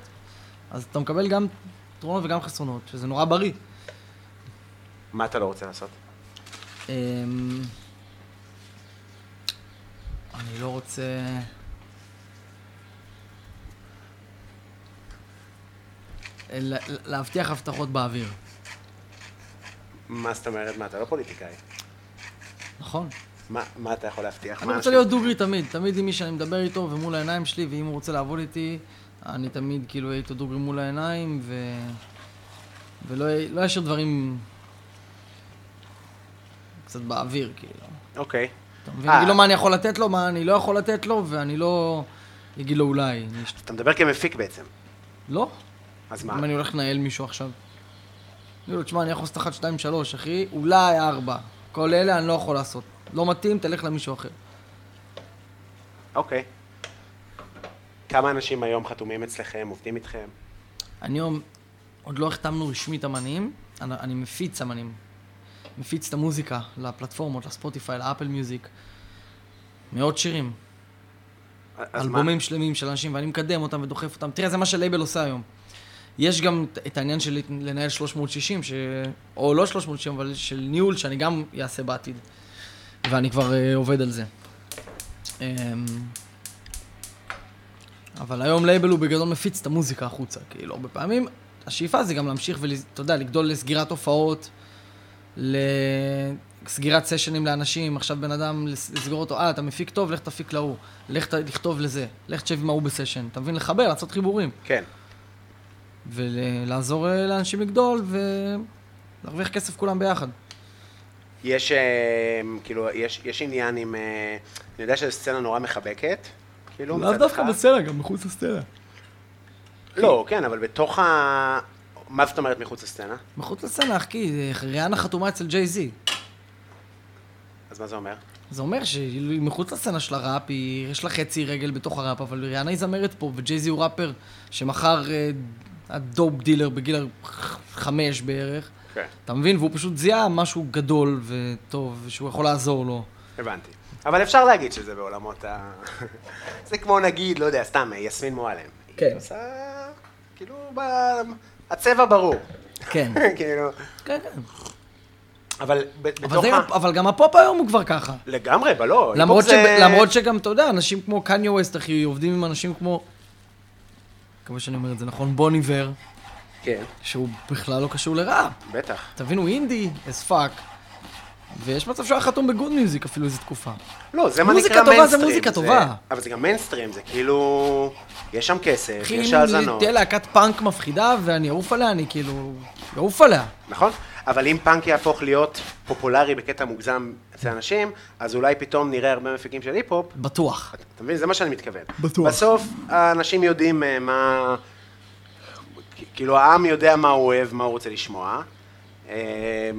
S3: אז אתה מקבל גם יתרונות וגם חסרונות, שזה נורא בריא.
S2: מה אתה לא רוצה לעשות?
S3: אמ, אני לא רוצה... ל- להבטיח הבטחות באוויר,
S2: מה זאת אומרת? מה, אתה לא פוליטיקאי.
S3: נכון?
S2: מה, מה אתה יכול להבטיח?
S3: אני
S2: מה
S3: רוצה
S2: אנשים-
S3: להיות דוגרי תמיד, תמיד עם מי שאני מדבר איתו ומול העיניים שלי, ואם הוא רוצה לעבוד איתי, אני תמיד כאילו אהיה איתו דוגרי מול העיניים, ו... ולא לא אשאיר דברים קצת באוויר, כאילו.
S2: אוקיי.
S3: אתה מבין?
S2: אה.
S3: אני אגיד לו מה אני יכול לתת לו, מה אני לא יכול לתת לו, ואני לא אגיד לו אולי. אני אשת-
S2: אתה מדבר כמפיק בעצם.
S3: לא?
S2: אז מה?
S3: אם אני הולך לנהל מישהו עכשיו. אני אגיד לו, תשמע, אני יכול לעשות אחת, שתיים, שלוש, אחי, אולי ארבע. כל אלה אני לא יכול לעשות. לא מתאים, תלך למישהו אחר.
S2: אוקיי. כמה אנשים היום חתומים אצלכם, עובדים איתכם?
S3: אני עוד- עוד לא החתמנו רשמית אמנים, אני, אני מפיץ אמנים. מפיץ את המוזיקה לפלטפורמות, לספוטיפיי, לאפל מיוזיק. מאות שירים,
S2: אז מה?
S3: אלבומים שלמים של אנשים, ואני מקדם אותם ודוחף אותם. תראה, זה מה שלייבל עושה היום. יש גם את- את העניין של לנהל 360, ש... או לא 360, אבל של ניהול, שאני גם אעשה בעתיד. ואני כבר אה, עובד על זה. אמ, אבל היום לייבל הוא בגדול מפיץ את המוזיקה החוצה, כאילו, הרבה פעמים. השאיפה זה גם להמשיך ואתה יודע, לגדול לסגירת הופעות, לסגירת סשנים לאנשים, עכשיו בן אדם, לס- לסגור אותו, אה, אתה מפיק טוב, לך תפיק להוא, לך ת- תכתוב לזה, לך תשב עם ההוא בסשן, אתה מבין? לחבר, לעשות חיבורים.
S2: כן.
S3: ולעזור אה, לאנשים לגדול ולהרוויח כסף כולם ביחד.
S2: יש, אה, כאילו, יש, יש עניין עם... אה, אני יודע שזו סצנה נורא מחבקת. כאילו, מצד אחד.
S3: בסצנה, גם מחוץ לסצנה.
S2: לא, כן, אבל בתוך ה... מה זאת אומרת מחוץ לסצנה?
S3: מחוץ לסצנה, אחי, כי ריאנה חתומה אצל ג'יי זי.
S2: אז מה זה אומר?
S3: זה אומר שהיא מחוץ לסצנה של הראפ, היא, יש לה חצי רגל בתוך הראפ, אבל ריאנה היא זמרת פה, וג'ייזי הוא ראפר שמכר אה, הדופ דילר בגיל חמש בערך.
S2: כן.
S3: אתה מבין? והוא פשוט זיהה משהו גדול וטוב, שהוא יכול לעזור לו.
S2: הבנתי. אבל אפשר להגיד שזה בעולמות ה... <laughs> זה כמו נגיד, לא יודע, סתם, אה, יסמין מועלם.
S3: כן.
S2: היא עושה... כאילו, ב... הצבע ברור. <laughs>
S3: כן.
S2: כאילו...
S3: כן, כן.
S2: אבל ב-
S3: אבל,
S2: בתוך
S3: זה,
S2: ה...
S3: אבל גם הפופ היום הוא כבר ככה.
S2: לגמרי, בלא.
S3: למרות,
S2: היפ-הופ זה-
S3: ש... למרות שגם, אתה יודע, אנשים כמו קניה ווסט, אחי, עובדים עם אנשים כמו... מקווה שאני אומר את זה נכון, בון איבר,
S2: כן,
S3: שהוא בכלל לא קשור לרע.
S2: בטח.
S3: תבינו, אינדי, as fuck. ויש מצב שהוא היה חתום בגוד מיוזיק אפילו איזו תקופה.
S2: לא, זה מה
S3: מוזיקה
S2: נקרא
S3: טובה זה
S2: מיינסטרים.
S3: מוזיקה טובה.
S2: אבל זה גם מיינסטרים, זה כאילו... יש שם כסף,
S3: אחי,
S2: יש
S3: אם
S2: האזנות.
S3: תהיה להקת פאנק מפחידה, ואני אעוף עליה, אני כאילו... אעוף עליה.
S2: נכון? אבל אם פאנק יהפוך להיות פופולרי בקטע מוגזם אצל אנשים, אז אולי פתאום נראה הרבה מפיקים של היפ-הופ.
S3: בטוח.
S2: אתה מבין? זה מה שאני מתכוון.
S3: בטוח.
S2: בסוף האנשים יודעים אה, מה... כאילו העם יודע מה הוא אוהב, מה הוא רוצה לשמוע. אה,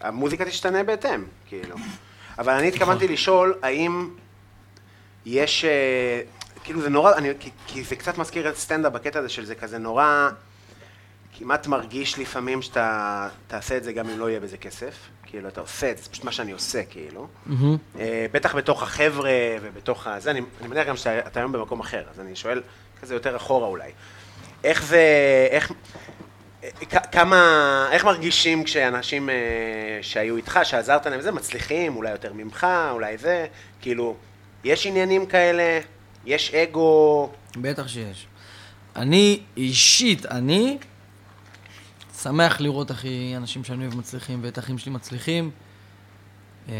S2: המוזיקה תשתנה בהתאם, כאילו. אבל אני התכוונתי לשאול האם יש... אה, כאילו זה נורא, אני, כי, כי זה קצת מזכיר את סטנדאפ בקטע הזה של זה כזה נורא... כמעט מרגיש לפעמים שאתה תעשה את זה גם אם לא יהיה בזה כסף. כאילו, אתה עושה את זה, זה פשוט מה שאני עושה, כאילו. אה, בטח בתוך החבר'ה ובתוך הזה, אני אני מניח גם שאתה היום במקום אחר, אז אני שואל כזה יותר אחורה אולי. איך זה, איך, אה, כ- כמה, איך מרגישים כשאנשים אה, שהיו איתך, שעזרת להם זה, מצליחים, אולי יותר ממך, אולי זה, כאילו, יש עניינים כאלה, יש אגו,
S3: בטח שיש. אני, אישית, אני שמח לראות, אחי, אנשים שאני אוהב מצליחים ואת האחים שלי מצליחים. אמ,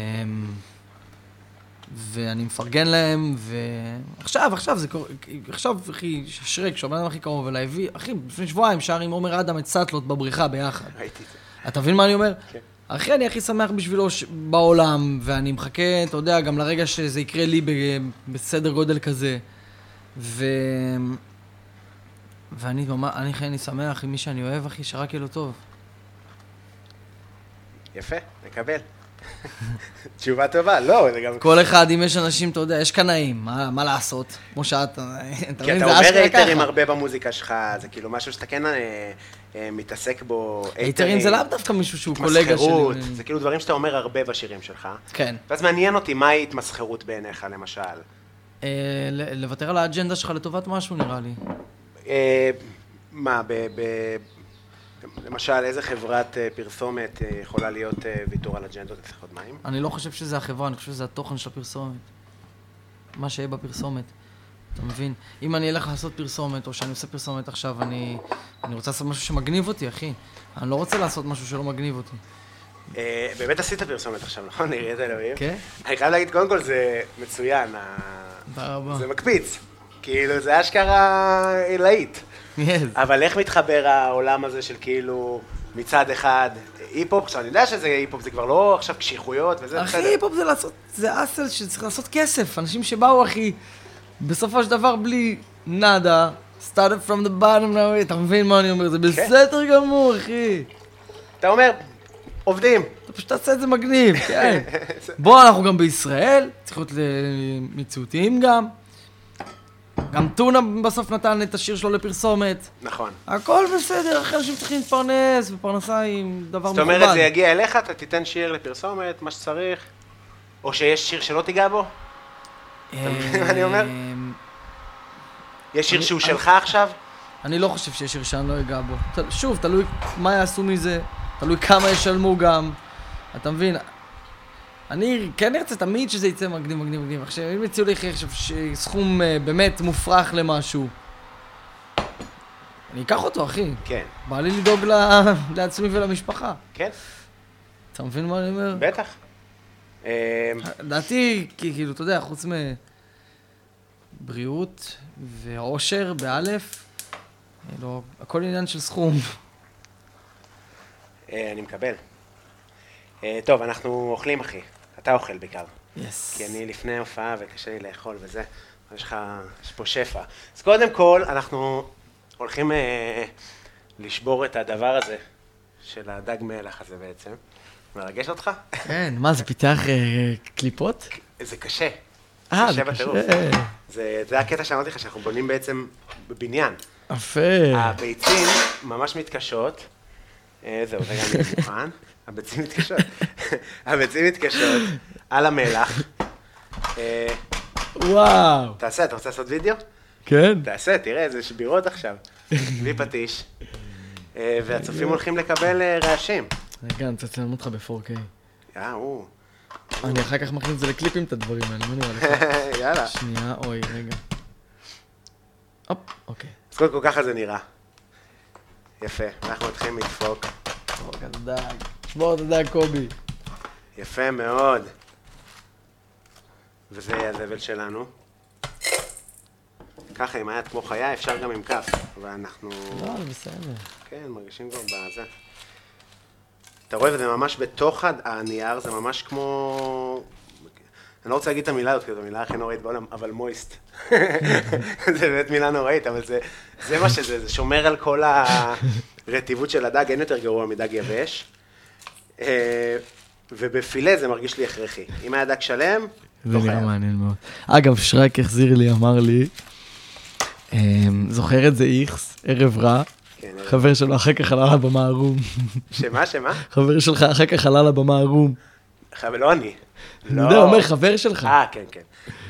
S3: ואני מפרגן להם, ועכשיו, עכשיו זה קורה, עכשיו, אחי, שרק, שהבן אדם הכי קרוב אליי, הביא, אחי, לפני שבועיים שר עם עומר אדם את סאטלות בבריכה ביחד.
S2: ראיתי את זה.
S3: אתה מבין מה אני אומר?
S2: כן.
S3: אחי, אני הכי שמח בשבילו ש... בעולם, ואני מחכה, אתה יודע, גם לרגע שזה יקרה לי ב... בסדר גודל כזה. ו... ואני ממש, אני אחי, אני שמח עם מי שאני אוהב, אחי, שרק יהיה לו טוב.
S2: יפה, נקבל. <laughs> תשובה טובה, לא, זה גם...
S3: כל אחד, אם יש אנשים, אתה יודע, יש קנאים, מה, מה לעשות? כמו שאת, אתה מבין?
S2: כי אתה
S3: זה
S2: אומר
S3: אשכרה
S2: אייטרים
S3: ככה.
S2: הרבה במוזיקה שלך, זה כאילו משהו שאתה כן אה, אה, מתעסק בו.
S3: אייטרים זה לאו דווקא מישהו שהוא קולגה
S2: התמסחרות,
S3: שלי.
S2: זה כאילו דברים שאתה אומר הרבה בשירים שלך.
S3: כן.
S2: ואז מעניין אותי, מהי התמסחרות בעיניך, למשל?
S3: אה, ל- לוותר על האג'נדה שלך לטובת משהו, נראה לי.
S2: אה, מה, ב... ב- למשל, איזה חברת אה, פרסומת אה, יכולה להיות אה, ויתור על אג'נדות אצלך עוד מים?
S3: אני לא חושב שזה החברה, אני חושב שזה התוכן של הפרסומת. מה שיהיה בפרסומת. אתה מבין? אם אני אלך לעשות פרסומת, או שאני עושה פרסומת עכשיו, אני, אני רוצה לעשות משהו שמגניב אותי, אחי. אני לא רוצה לעשות משהו שלא מגניב אותי.
S2: אה, באמת עשית פרסומת עכשיו, נכון? נראית אלוהים?
S3: כן.
S2: אני חייב להגיד, קודם כל זה מצוין, ה-
S3: תודה רבה.
S2: זה מקפיץ. כאילו, זה אשכרה להיט.
S3: יז.
S2: אבל איך מתחבר העולם הזה של כאילו מצד אחד היפ-הופ? עכשיו, אני יודע שזה היפ-הופ, זה כבר לא עכשיו קשיחויות וזה
S3: אחי, היפ-הופ זה לעשות, זה אסל שצריך לעשות כסף. אנשים שבאו, אחי, בסופו של דבר בלי נאדה, started from the bottom now, אתה מבין מה אני אומר? זה בסדר גמור, אחי.
S2: אתה אומר, עובדים.
S3: אתה פשוט תעשה את זה מגניב, <laughs> כן. בוא, אנחנו גם בישראל, צריך להיות ל- מציאותיים גם. גם טונה בסוף נתן את השיר שלו לפרסומת.
S2: נכון.
S3: הכל בסדר, אחרי אנשים צריכים להתפרנס, ופרנסה היא דבר
S2: זאת
S3: מכובד.
S2: אומרת, זה יגיע אליך, אתה תיתן שיר לפרסומת, מה שצריך, או שיש שיר שלא תיגע בו? אתה מבין מה אני אומר?
S3: אמ,
S2: יש שיר
S3: אני-
S2: שהוא
S3: אני-
S2: שלך עכשיו?
S3: אני לא חושב שיש שיר שאני לא אגע בו. ת- שוב, תלוי מה יעשו מזה, תלוי כמה ישלמו גם. אתה מבין? אני כן ארצה תמיד שזה יצא מגניב, מגניב, מגניב. עכשיו, אם יציעו לי עכשיו ש- סכום אה, באמת מופרך למשהו, אני אקח אותו, אחי.
S2: כן.
S3: בא לי לדאוג ל- <laughs> לעצמי ולמשפחה.
S2: כן,
S3: אתה מבין מה אני אומר?
S2: בטח. אה,
S3: לדעתי, כי- כאילו, אתה יודע, חוץ מבריאות ואושר, באלף, אה, לא, הכל עניין של סכום.
S2: אה, אני מקבל. אה, טוב, אנחנו אוכלים, אחי. אתה אוכל בעיקר.
S3: יס.
S2: כי אני לפני הופעה וקשה לי לאכול וזה, אבל יש לך, יש פה שפע. אז קודם כל, אנחנו הולכים אה, לשבור את הדבר הזה, של הדג מלח הזה בעצם. מרגש אותך?
S3: כן, מה, זה פיתח אה, קליפות?
S2: זה קשה.
S3: אה, זה
S2: בטירוף.
S3: קשה.
S2: זה, זה הקטע שאמרתי לך, שאנחנו בונים בעצם בבניין.
S3: יפה.
S2: אה. הביצים ממש מתקשות. אה, זהו, רגע, אני מוכן. הביצים מתקשות. <laughs> הביצים מתקשות על המלח. אה,
S3: וואו.
S2: תעשה, אתה רוצה לעשות וידאו?
S3: כן?
S2: תעשה, תראה איזה שבירות עכשיו, בלי פטיש. אה, והצופים הולכים לקבל אה, רעשים. אה,
S3: רגע, אני תצלם אותך ב-4K.
S2: יאו,
S3: אני אחר כך מכניס את זה לקליפים, את הדברים האלה, מה נראה לך?
S2: <laughs> יאללה.
S3: שנייה, אוי, רגע. הופ, אוקיי.
S2: אז קודם כל ככה זה נראה. יפה, אנחנו מתחילים לדפוק.
S3: שמור את הדג. שמור את הדג, קובי.
S2: יפה מאוד. וזה הזבל שלנו. ככה, אם היד כמו חיה, אפשר גם עם כף. אבל אנחנו,
S3: לא, זה בסדר.
S2: כן, מרגישים כבר בזה. אתה רואה, וזה ממש בתוך הד- הנייר, זה ממש כמו... אני לא רוצה להגיד את המילה הזאת, כי זו המילה הכי נוראית בעולם, אבל מויסט. <laughs> זה באמת מילה נוראית, אבל זה, זה מה שזה, זה שומר על כל הרטיבות של הדג, אין יותר גרוע מדג יבש. אה, ובפילה זה מרגיש לי הכרחי. אם היה דג שלם,
S3: זה
S2: לא
S3: נראה
S2: חייב.
S3: מעניין מאוד. אגב, שרק החזיר לי, אמר לי, אמ, זוכר את זה איכס, ערב רע?
S2: כן, ערב.
S3: חבר שלו אחר כך עלה לבמה ערום.
S2: שמה, שמה?
S3: חבר שלך אחר כך עלה לבמה ערום.
S2: חייב, לא אני. לא.
S3: אני יודע, אומר חבר שלך.
S2: אה, כן, כן.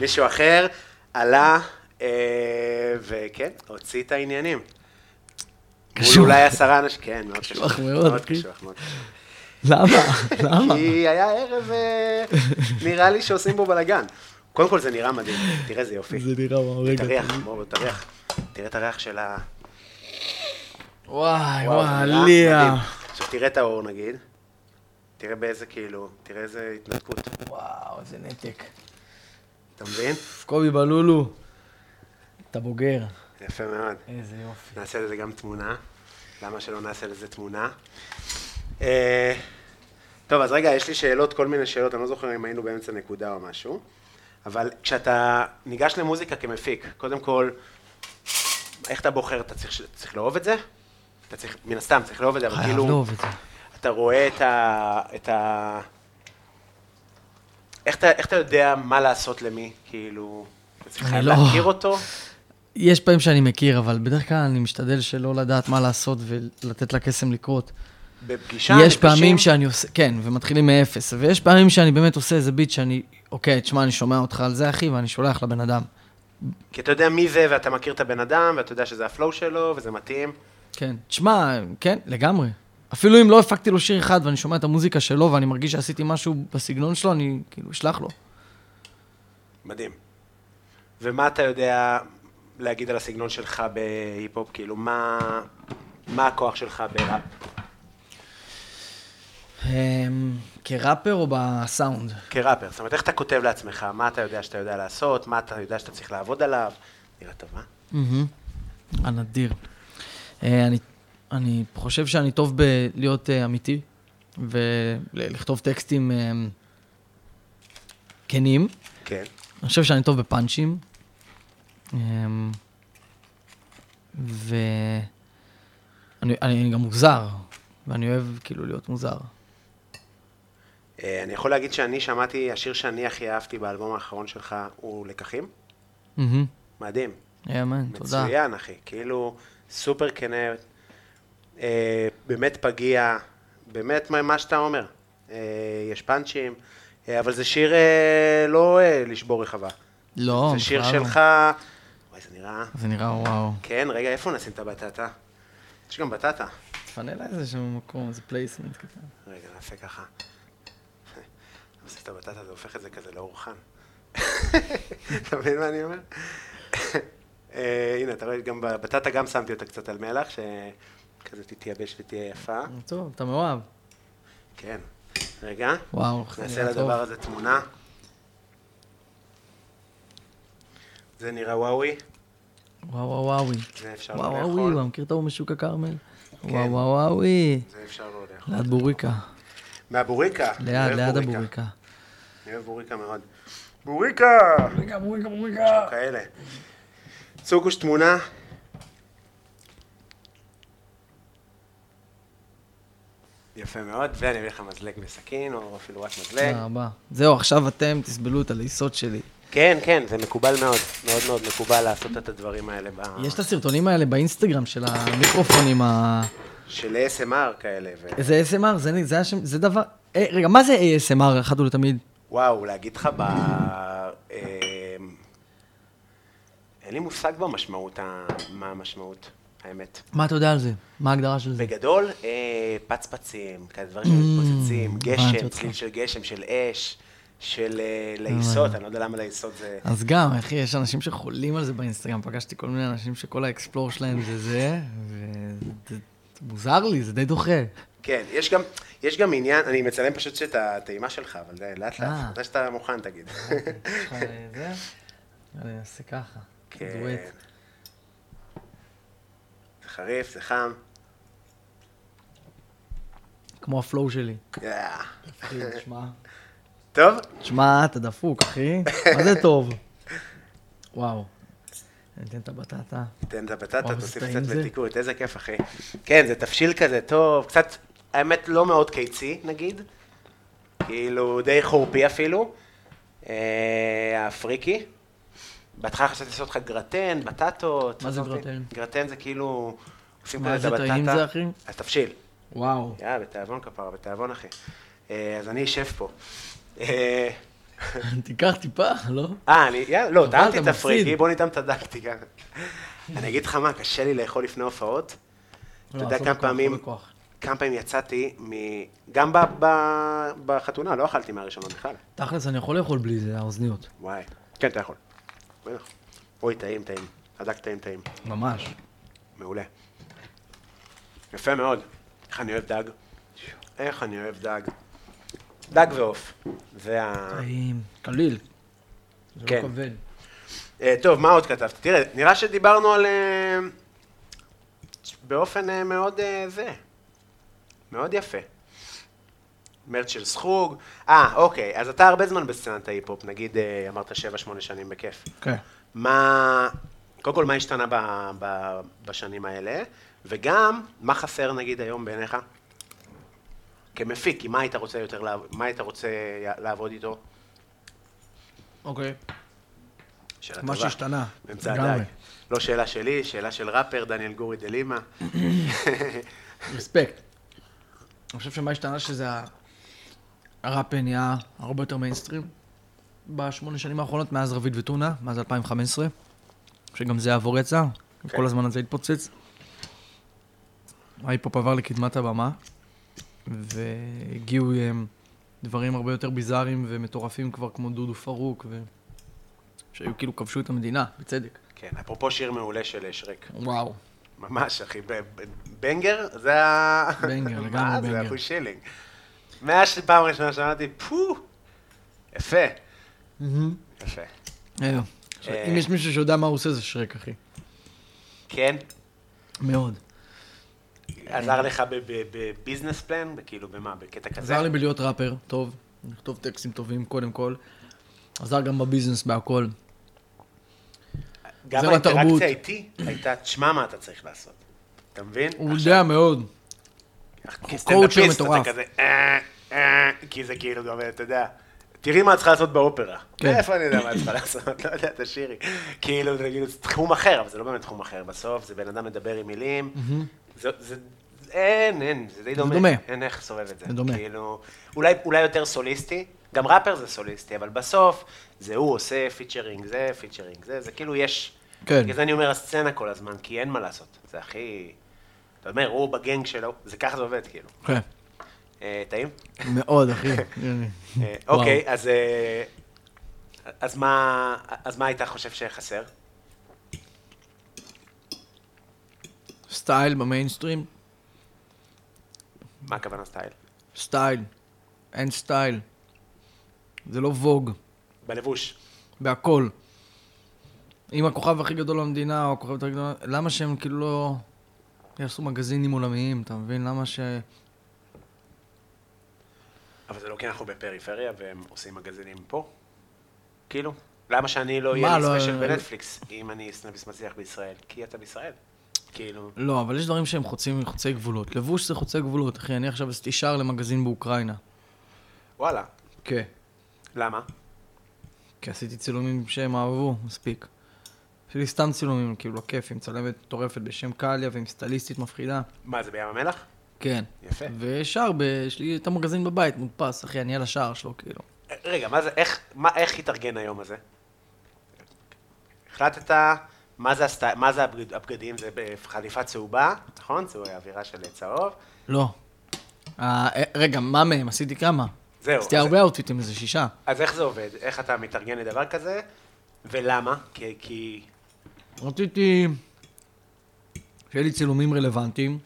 S2: מישהו אחר עלה, אה, וכן, הוציא את העניינים.
S3: קשוח.
S2: קשוח. מול אולי עשרה אנשים, כן, מאוד
S3: קשוח
S2: קשוח.
S3: מאוד,
S2: מאוד
S3: כן.
S2: קשוח, מאוד קשוח.
S3: <laughs> למה? למה?
S2: כי היה ערב, אה, נראה לי שעושים בו בלאגן. קודם כל זה נראה מדהים, תראה איזה יופי.
S3: זה נראה וואו, רגע.
S2: תריח, בואו, תריח. תראה את הריח של ה...
S3: וואי,
S2: וואו,
S3: וואי,
S2: זה נראה
S3: ליה.
S2: מדהים. עכשיו תראה את האור נגיד. תראה באיזה כאילו, תראה איזה התנתקות,
S3: וואו, איזה נתק.
S2: אתה מבין?
S3: קובי בלולו, אתה בוגר.
S2: יפה מאוד.
S3: איזה יופי.
S2: נעשה לזה גם תמונה. למה שלא נעשה לזה תמונה? אה, טוב, אז רגע, יש לי שאלות, כל מיני שאלות, אני לא זוכר אם היינו באמצע נקודה או משהו, אבל כשאתה ניגש למוזיקה כמפיק, קודם כל, איך אתה בוחר? אתה צריך, צריך לאהוב את זה? אתה צריך, מן הסתם, צריך לאהוב את זה, אבל
S3: חייב
S2: כאילו...
S3: לאהוב אה, את זה.
S2: אתה רואה את ה... את ה... איך אתה, איך אתה יודע מה לעשות למי? כאילו, אתה צריך
S3: אני
S2: חייב
S3: לא-
S2: להכיר אותו?
S3: יש פעמים שאני מכיר, אבל בדרך כלל אני משתדל שלא לדעת מה לעשות ולתת לקסם לקרות.
S2: בפגישה?
S3: יש
S2: בפגישים?
S3: פעמים שאני עושה, כן, ומתחילים מאפס, ויש פעמים שאני באמת עושה איזה ביט שאני, אוקיי, תשמע, אני שומע אותך על זה, אחי, ואני שולח לבן אדם.
S2: כי אתה יודע מי זה, ואתה מכיר את הבן אדם, ואתה יודע שזה הפלואו שלו, וזה מתאים.
S3: כן. תשמע, כן, לגמרי. אפילו אם לא הפקתי לו שיר אחד ואני שומע את המוזיקה שלו ואני מרגיש שעשיתי משהו בסגנון שלו, אני כאילו אשלח לו.
S2: מדהים. ומה אתה יודע להגיד על הסגנון שלך בהיפ-הופ? כאילו, מה, מה הכוח שלך בראפ?
S3: אמ, כראפר או בסאונד?
S2: כראפר, זאת אומרת, איך אתה כותב לעצמך? מה אתה יודע שאתה יודע לעשות? מה אתה יודע שאתה צריך לעבוד עליו? נראה טוב, אה? מה?
S3: מהמם. הנדיר. אה, אני, אני חושב שאני טוב בלהיות אה, אמיתי ולכתוב טקסטים אה, כנים.
S2: כן.
S3: אני חושב שאני טוב בפאנצ'ים. אה, ו... אני, אני גם מוזר, ואני אוהב כאילו להיות מוזר.
S2: אה, אני יכול להגיד שאני שמעתי, השיר שאני הכי אהבתי באלבום האחרון שלך הוא לקחים?
S3: מהמם.
S2: מדהים.
S3: אמן, תודה.
S2: מצוין, אחי. כאילו, סופר כנה, אה, באמת פגיע, באמת מה, מה שאתה אומר. אה, יש פאנצ'ים, אה, אבל זה שיר אה, לא אה, לשבור רחבה.
S3: לא,
S2: זה שיר
S3: בכלל לא.
S2: שלך... וואי, זה נראה...
S3: זה נראה וואו.
S2: כן, רגע, איפה נשים את הבטטה? יש גם בטטה.
S3: תפנה לה איזה שם מקום, איזה פלייסמנט קטן.
S2: רגע, נעשה ככה. עושה את הבטטה, זה הופך את זה כזה לאורחן. אתה מבין מה אני אומר? אה, הנה, אתה רואה, גם בבטטה גם שמתי אותה קצת על מלח, שכזה תתייבש ותהיה יפה.
S3: אה, טוב, אתה מאוהב.
S2: כן. רגע,
S3: וואו, זה
S2: נעשה
S3: נראה טוב.
S2: לדבר הזה תמונה. זה נראה וואוי,
S3: וואו וואו וואוי.
S2: זה אפשר
S3: וואו
S2: לא
S3: וואוי,
S2: לאכול. כן.
S3: וואו, מכיר את ההוא משוק הכרמל? וואו וואו וואוי.
S2: זה אפשר לא לאכול.
S3: ליד בוריקה.
S2: מהבוריקה. אני
S3: ליד,
S2: אוהב
S3: ליד הבוריקה.
S2: אני אוהב בוריקה מאוד. בוריקה!
S3: בוריקה, בוריקה, בוריקה.
S2: כאלה. סוגוש תמונה. יפה מאוד, ואני אביא לך מזלג בסכין, או אפילו רק מזלג.
S3: תודה רבה. זהו, עכשיו אתם תסבלו את הלעיסות שלי.
S2: כן, כן, זה מקובל מאוד. מאוד מאוד מקובל לעשות את הדברים האלה. ב...
S3: יש את הסרטונים האלה באינסטגרם של המיקרופונים ה...
S2: של ASMR כאלה, ו...
S3: זה ASMR, זה, זה, השם- זה דבר... אה, רגע, מה זה ASMR אחת ולתמיד?
S2: וואו, להגיד לך ב... אה, אמ, אין לי מושג במשמעות, ה... מה המשמעות. האמת.
S3: מה אתה יודע על זה? מה ההגדרה של זה?
S2: בגדול, אה, פצפצים, כאלה דברים
S3: Mm,
S2: שמתפוצצים,
S3: הבנתי
S2: גשם,
S3: אותך.
S2: צליל של גשם, של אש, של אה, לעיסות, אני לא יודע למה לעיסות זה...
S3: אז גם, אחי, יש אנשים שחולים על זה באינסטגרם. פגשתי כל מיני אנשים שכל האקספלור שלהם זה זה, וזה מוזר לי, זה די דוחה.
S2: כן, יש גם, יש גם עניין, אני מצלם פשוט שאת הטעימה שלך, אבל זה לאט לאט,
S3: אה.
S2: מתי שאתה מוכן תגיד.
S3: יש לך זה? <laughs> אני אעשה ככה. דואט.
S2: <laughs> כן. זה חריף, זה חם.
S3: כמו הפלואו שלי.
S2: יאה.
S3: אחי, תשמע.
S2: טוב?
S3: תשמע, אתה דפוק, אחי. מה זה <laughs> טוב? וואו. אני אתן את הבטטה.
S2: תן את הבטטה,
S3: וואו,
S2: תוסיף
S3: זה טעים
S2: קצת
S3: זה.
S2: מתיקות, איזה כיף, אחי. כן, זה תבשיל כזה טוב, קצת, האמת, לא מאוד קיצי, נגיד. כאילו, די חורפי אפילו. אה, האפריקי. בהתחלה חשבתי לעשות לך גרטן, בטטות.
S3: מה זה
S2: אוקיי.
S3: גרטן?
S2: גרטן זה כאילו, עושים כזה
S3: מה
S2: את
S3: זה
S2: הבטטה.
S3: טעים זה, אחי?
S2: התבשיל.
S3: וואו.
S2: יא, בתיאבון כפרה, בתיאבון, אחי. אה, אז אני אשב פה. אה,
S3: תיקח טיפה, לא?
S2: אה, אני, יאללה, לא,
S3: אבל
S2: טעמתי
S3: אתה
S2: את הפריקי,
S3: מפסיד.
S2: בוא נטעם את הדלתי גם. אני אגיד לך מה, קשה לי לאכול לפני הופעות. אתה
S3: לא,
S2: יודע
S3: עזוב
S2: כמה
S3: כוח, לא
S2: פעמים-
S3: בכוח.
S2: כמה פעמים יצאתי, מ... גם ב... ב... בחתונה, לא אכלתי מהראשונה בכלל.
S3: תכלס, אני יכול לאכול בלי זה, האוזניות.
S2: וואי. כן, אתה יכול. בטח. אוי, טעים, טעים. הדק טעים, טעים.
S3: ממש.
S2: מעולה. יפה מאוד. איך אני אוהב דג. איך אני אוהב דג. דג ועוף. זה ה...
S3: טעים. קליל. זה
S2: כן.
S3: לא כבד.
S2: אה, טוב, מה עוד כתבת? תראה, נראה שדיברנו על... אה, באופן אה, מאוד אה, זה. מאוד יפה. מרץ של סחוג. אה, אוקיי, אז אתה הרבה זמן בסצנת ההיפ-הופ, נגיד אה, אמרת 7-8 שנים בכיף.
S3: כן.
S2: מה... קודם כל, מה השתנה ב, ב, בשנים האלה? וגם, מה חסר נגיד היום בעיניך? כמפיק, כי מה היית רוצה יותר, לעב- מה היית רוצה לעבוד איתו?
S3: אוקיי.
S2: שאלה
S3: מה
S2: טובה.
S3: שהשתנה.
S2: באמצע
S3: לגמרי.
S2: הדג. לא שאלה שלי, שאלה של ראפר, דניאל גורי דה לימה.
S3: רספקט. אני חושב שמה השתנה שזה ה- הראפ נהיה הרבה יותר מיינסטרים בשמונה שנים האחרונות, מאז רביד וטונה, מאז 2015, שגם זה עבור יצא, כל הזמן הזה התפוצץ. ההיפ-הופ עבר לקדמת הבמה, והגיעו הם, דברים הרבה יותר ביזאריים ומטורפים כבר, כמו דודו פרוק, ו... שהיו כאילו כבשו את המדינה, בצדק.
S2: כן, אפרופו שיר מעולה של שרק.
S3: וואו.
S2: ממש, אחי. ב- ב- בנגר? זה ה... <laughs>
S3: בנגר, לגמרי
S2: מה זה,
S3: בנגר.
S2: אחוז שילינג. מאז שפעם ראשונה שאמרתי, פו! יפה.
S3: Mm-hmm.
S2: יפה.
S3: אה,
S2: אה.
S3: אם יש מישהו שיודע מה הוא עושה, זה שרק, אחי.
S2: כן,
S3: מאוד.
S2: עזר לך בביזנס פלן? כאילו, במה? בקטע כזה?
S3: עזר לי בלהיות ראפר, טוב, לכתוב טקסטים טובים קודם כל. עזר גם בביזנס בהכל.
S2: גם
S3: עזר לתרבות.
S2: האינטראקציה איתי הייתה, תשמע מה אתה צריך לעשות. אתה מבין?
S3: הוא יודע מאוד.
S2: כסטנדאפיסט,
S3: קואוצ'ר
S2: אתה
S3: מטורף.
S2: כזה, "אה, אה", כי זה כאילו גם, אתה יודע, תראי מה את צריכה לעשות באופרה.
S3: כן.
S2: איפה אני יודע מה את צריכה לעשות? <laughs> לא יודע, תשאירי. כאילו, זה כאילו תחום אחר, אבל זה לא באמת תחום אחר. בסוף זה בן אדם מדבר עם מילים. זה- זה- אין, אין, זה די דומה.
S3: דומה.
S2: אין איך לסובב את זה.
S3: זה דומה.
S2: כאילו, אולי אולי יותר סוליסטי, גם ראפר זה סוליסטי, אבל בסוף זה הוא עושה פיצ'רינג זה, פיצ'רינג זה, זה כאילו יש...
S3: כן.
S2: בגלל זה אני אומר הסצנה כל הזמן, כי אין מה לעשות. זה הכי... אתה אומר, הוא בגנג שלו, זה ככה זה עובד, כאילו.
S3: כן.
S2: אה, טעים?
S3: מאוד, אחי.
S2: אה, אוקיי, אז, אה, אז, מה, אז מה היית חושב שחסר?
S3: סטייל במיינסטרים,
S2: מה הכוונה סטייל?
S3: סטייל. אין סטייל. זה לא ווג,
S2: בלבוש.
S3: בהכל. אם הכוכב הכי גדול במדינה, או הכוכב הכי גדול... למה שהם כאילו לא... יעשו מגזינים עולמיים, אתה מבין? למה ש...
S2: אבל זה לא כי אנחנו בפריפריה והם עושים מגזינים פה? כאילו, למה שאני לא
S3: מה,
S2: אהיה לי
S3: לא-
S2: ספיישל בנטפליקס, אם אני סנאפיסט מצליח בישראל? כי אתה בישראל. כאילו,
S3: לא, אבל יש דברים שהם חוצים חוצי גבולות. לבוש זה חוצי גבולות, אחי. אני עכשיו עשיתי שער למגזין באוקראינה.
S2: וואלה,
S3: כן.
S2: למה?
S3: כי עשיתי צילומים שהם אהבו, מספיק. עשיתי סתם צילומים, כאילו, לכיף, עם צלמת מטורפת בשם קליה ועם סטליסטית מפחידה.
S2: מה, זה בים המלח?
S3: כן.
S2: יפה.
S3: ושער, ב- יש לי את המגזין בבית, מודפס, אחי, אני על השער שלו, כאילו.
S2: אה, רגע, מה זה, איך, מה, איך התארגן היום הזה? החלטת, מה זה, הסט... מה זה הבגד... הבגדים? זה חליפה צהובה, נכון? זו אווירה של צהוב.
S3: לא. אה, רגע, מה מהם? עשיתי כמה.
S2: זהו,
S3: עשיתי
S2: אז-
S3: הרבה אאוטפיטים, איזה שישה.
S2: אז איך זה עובד? איך אתה מתארגן לדבר כזה? ולמה? כי... כי...
S3: רציתי שיהיה לי צילומים רלוונטיים.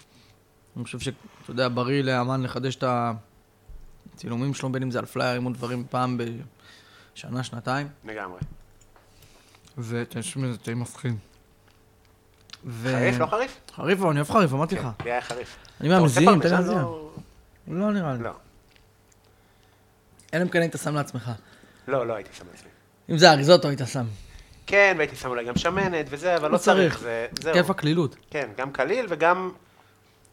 S3: אני חושב שאתה יודע, בריא לאמן לחדש את הצילומים שלו, בין אם זה על פליירים או דברים פעם בשנה, שנתיים.
S2: לגמרי.
S3: ותשמע, זה תה מפחיד. ו...
S2: חריף? כן. לא חריף?
S3: חריף, אבל אני אוהב חריף, אמרתי לך.
S2: לי היה חריף.
S3: אני
S2: אתה רוצה
S3: מהמזינים, תן לי
S2: פרמיזן?
S3: להמזין.
S2: לא-
S3: לא נראה לי.
S2: לא.
S3: אלא אם כן היית שם לעצמך.
S2: לא, לא הייתי שם לעצמי.
S3: אם זה אריזוטו היית שם.
S2: כן, והייתי שם אולי גם שמנת וזה, אבל לא צריך. זה- זהו.
S3: כיף הקלילות.
S2: כן, גם קליל וגם...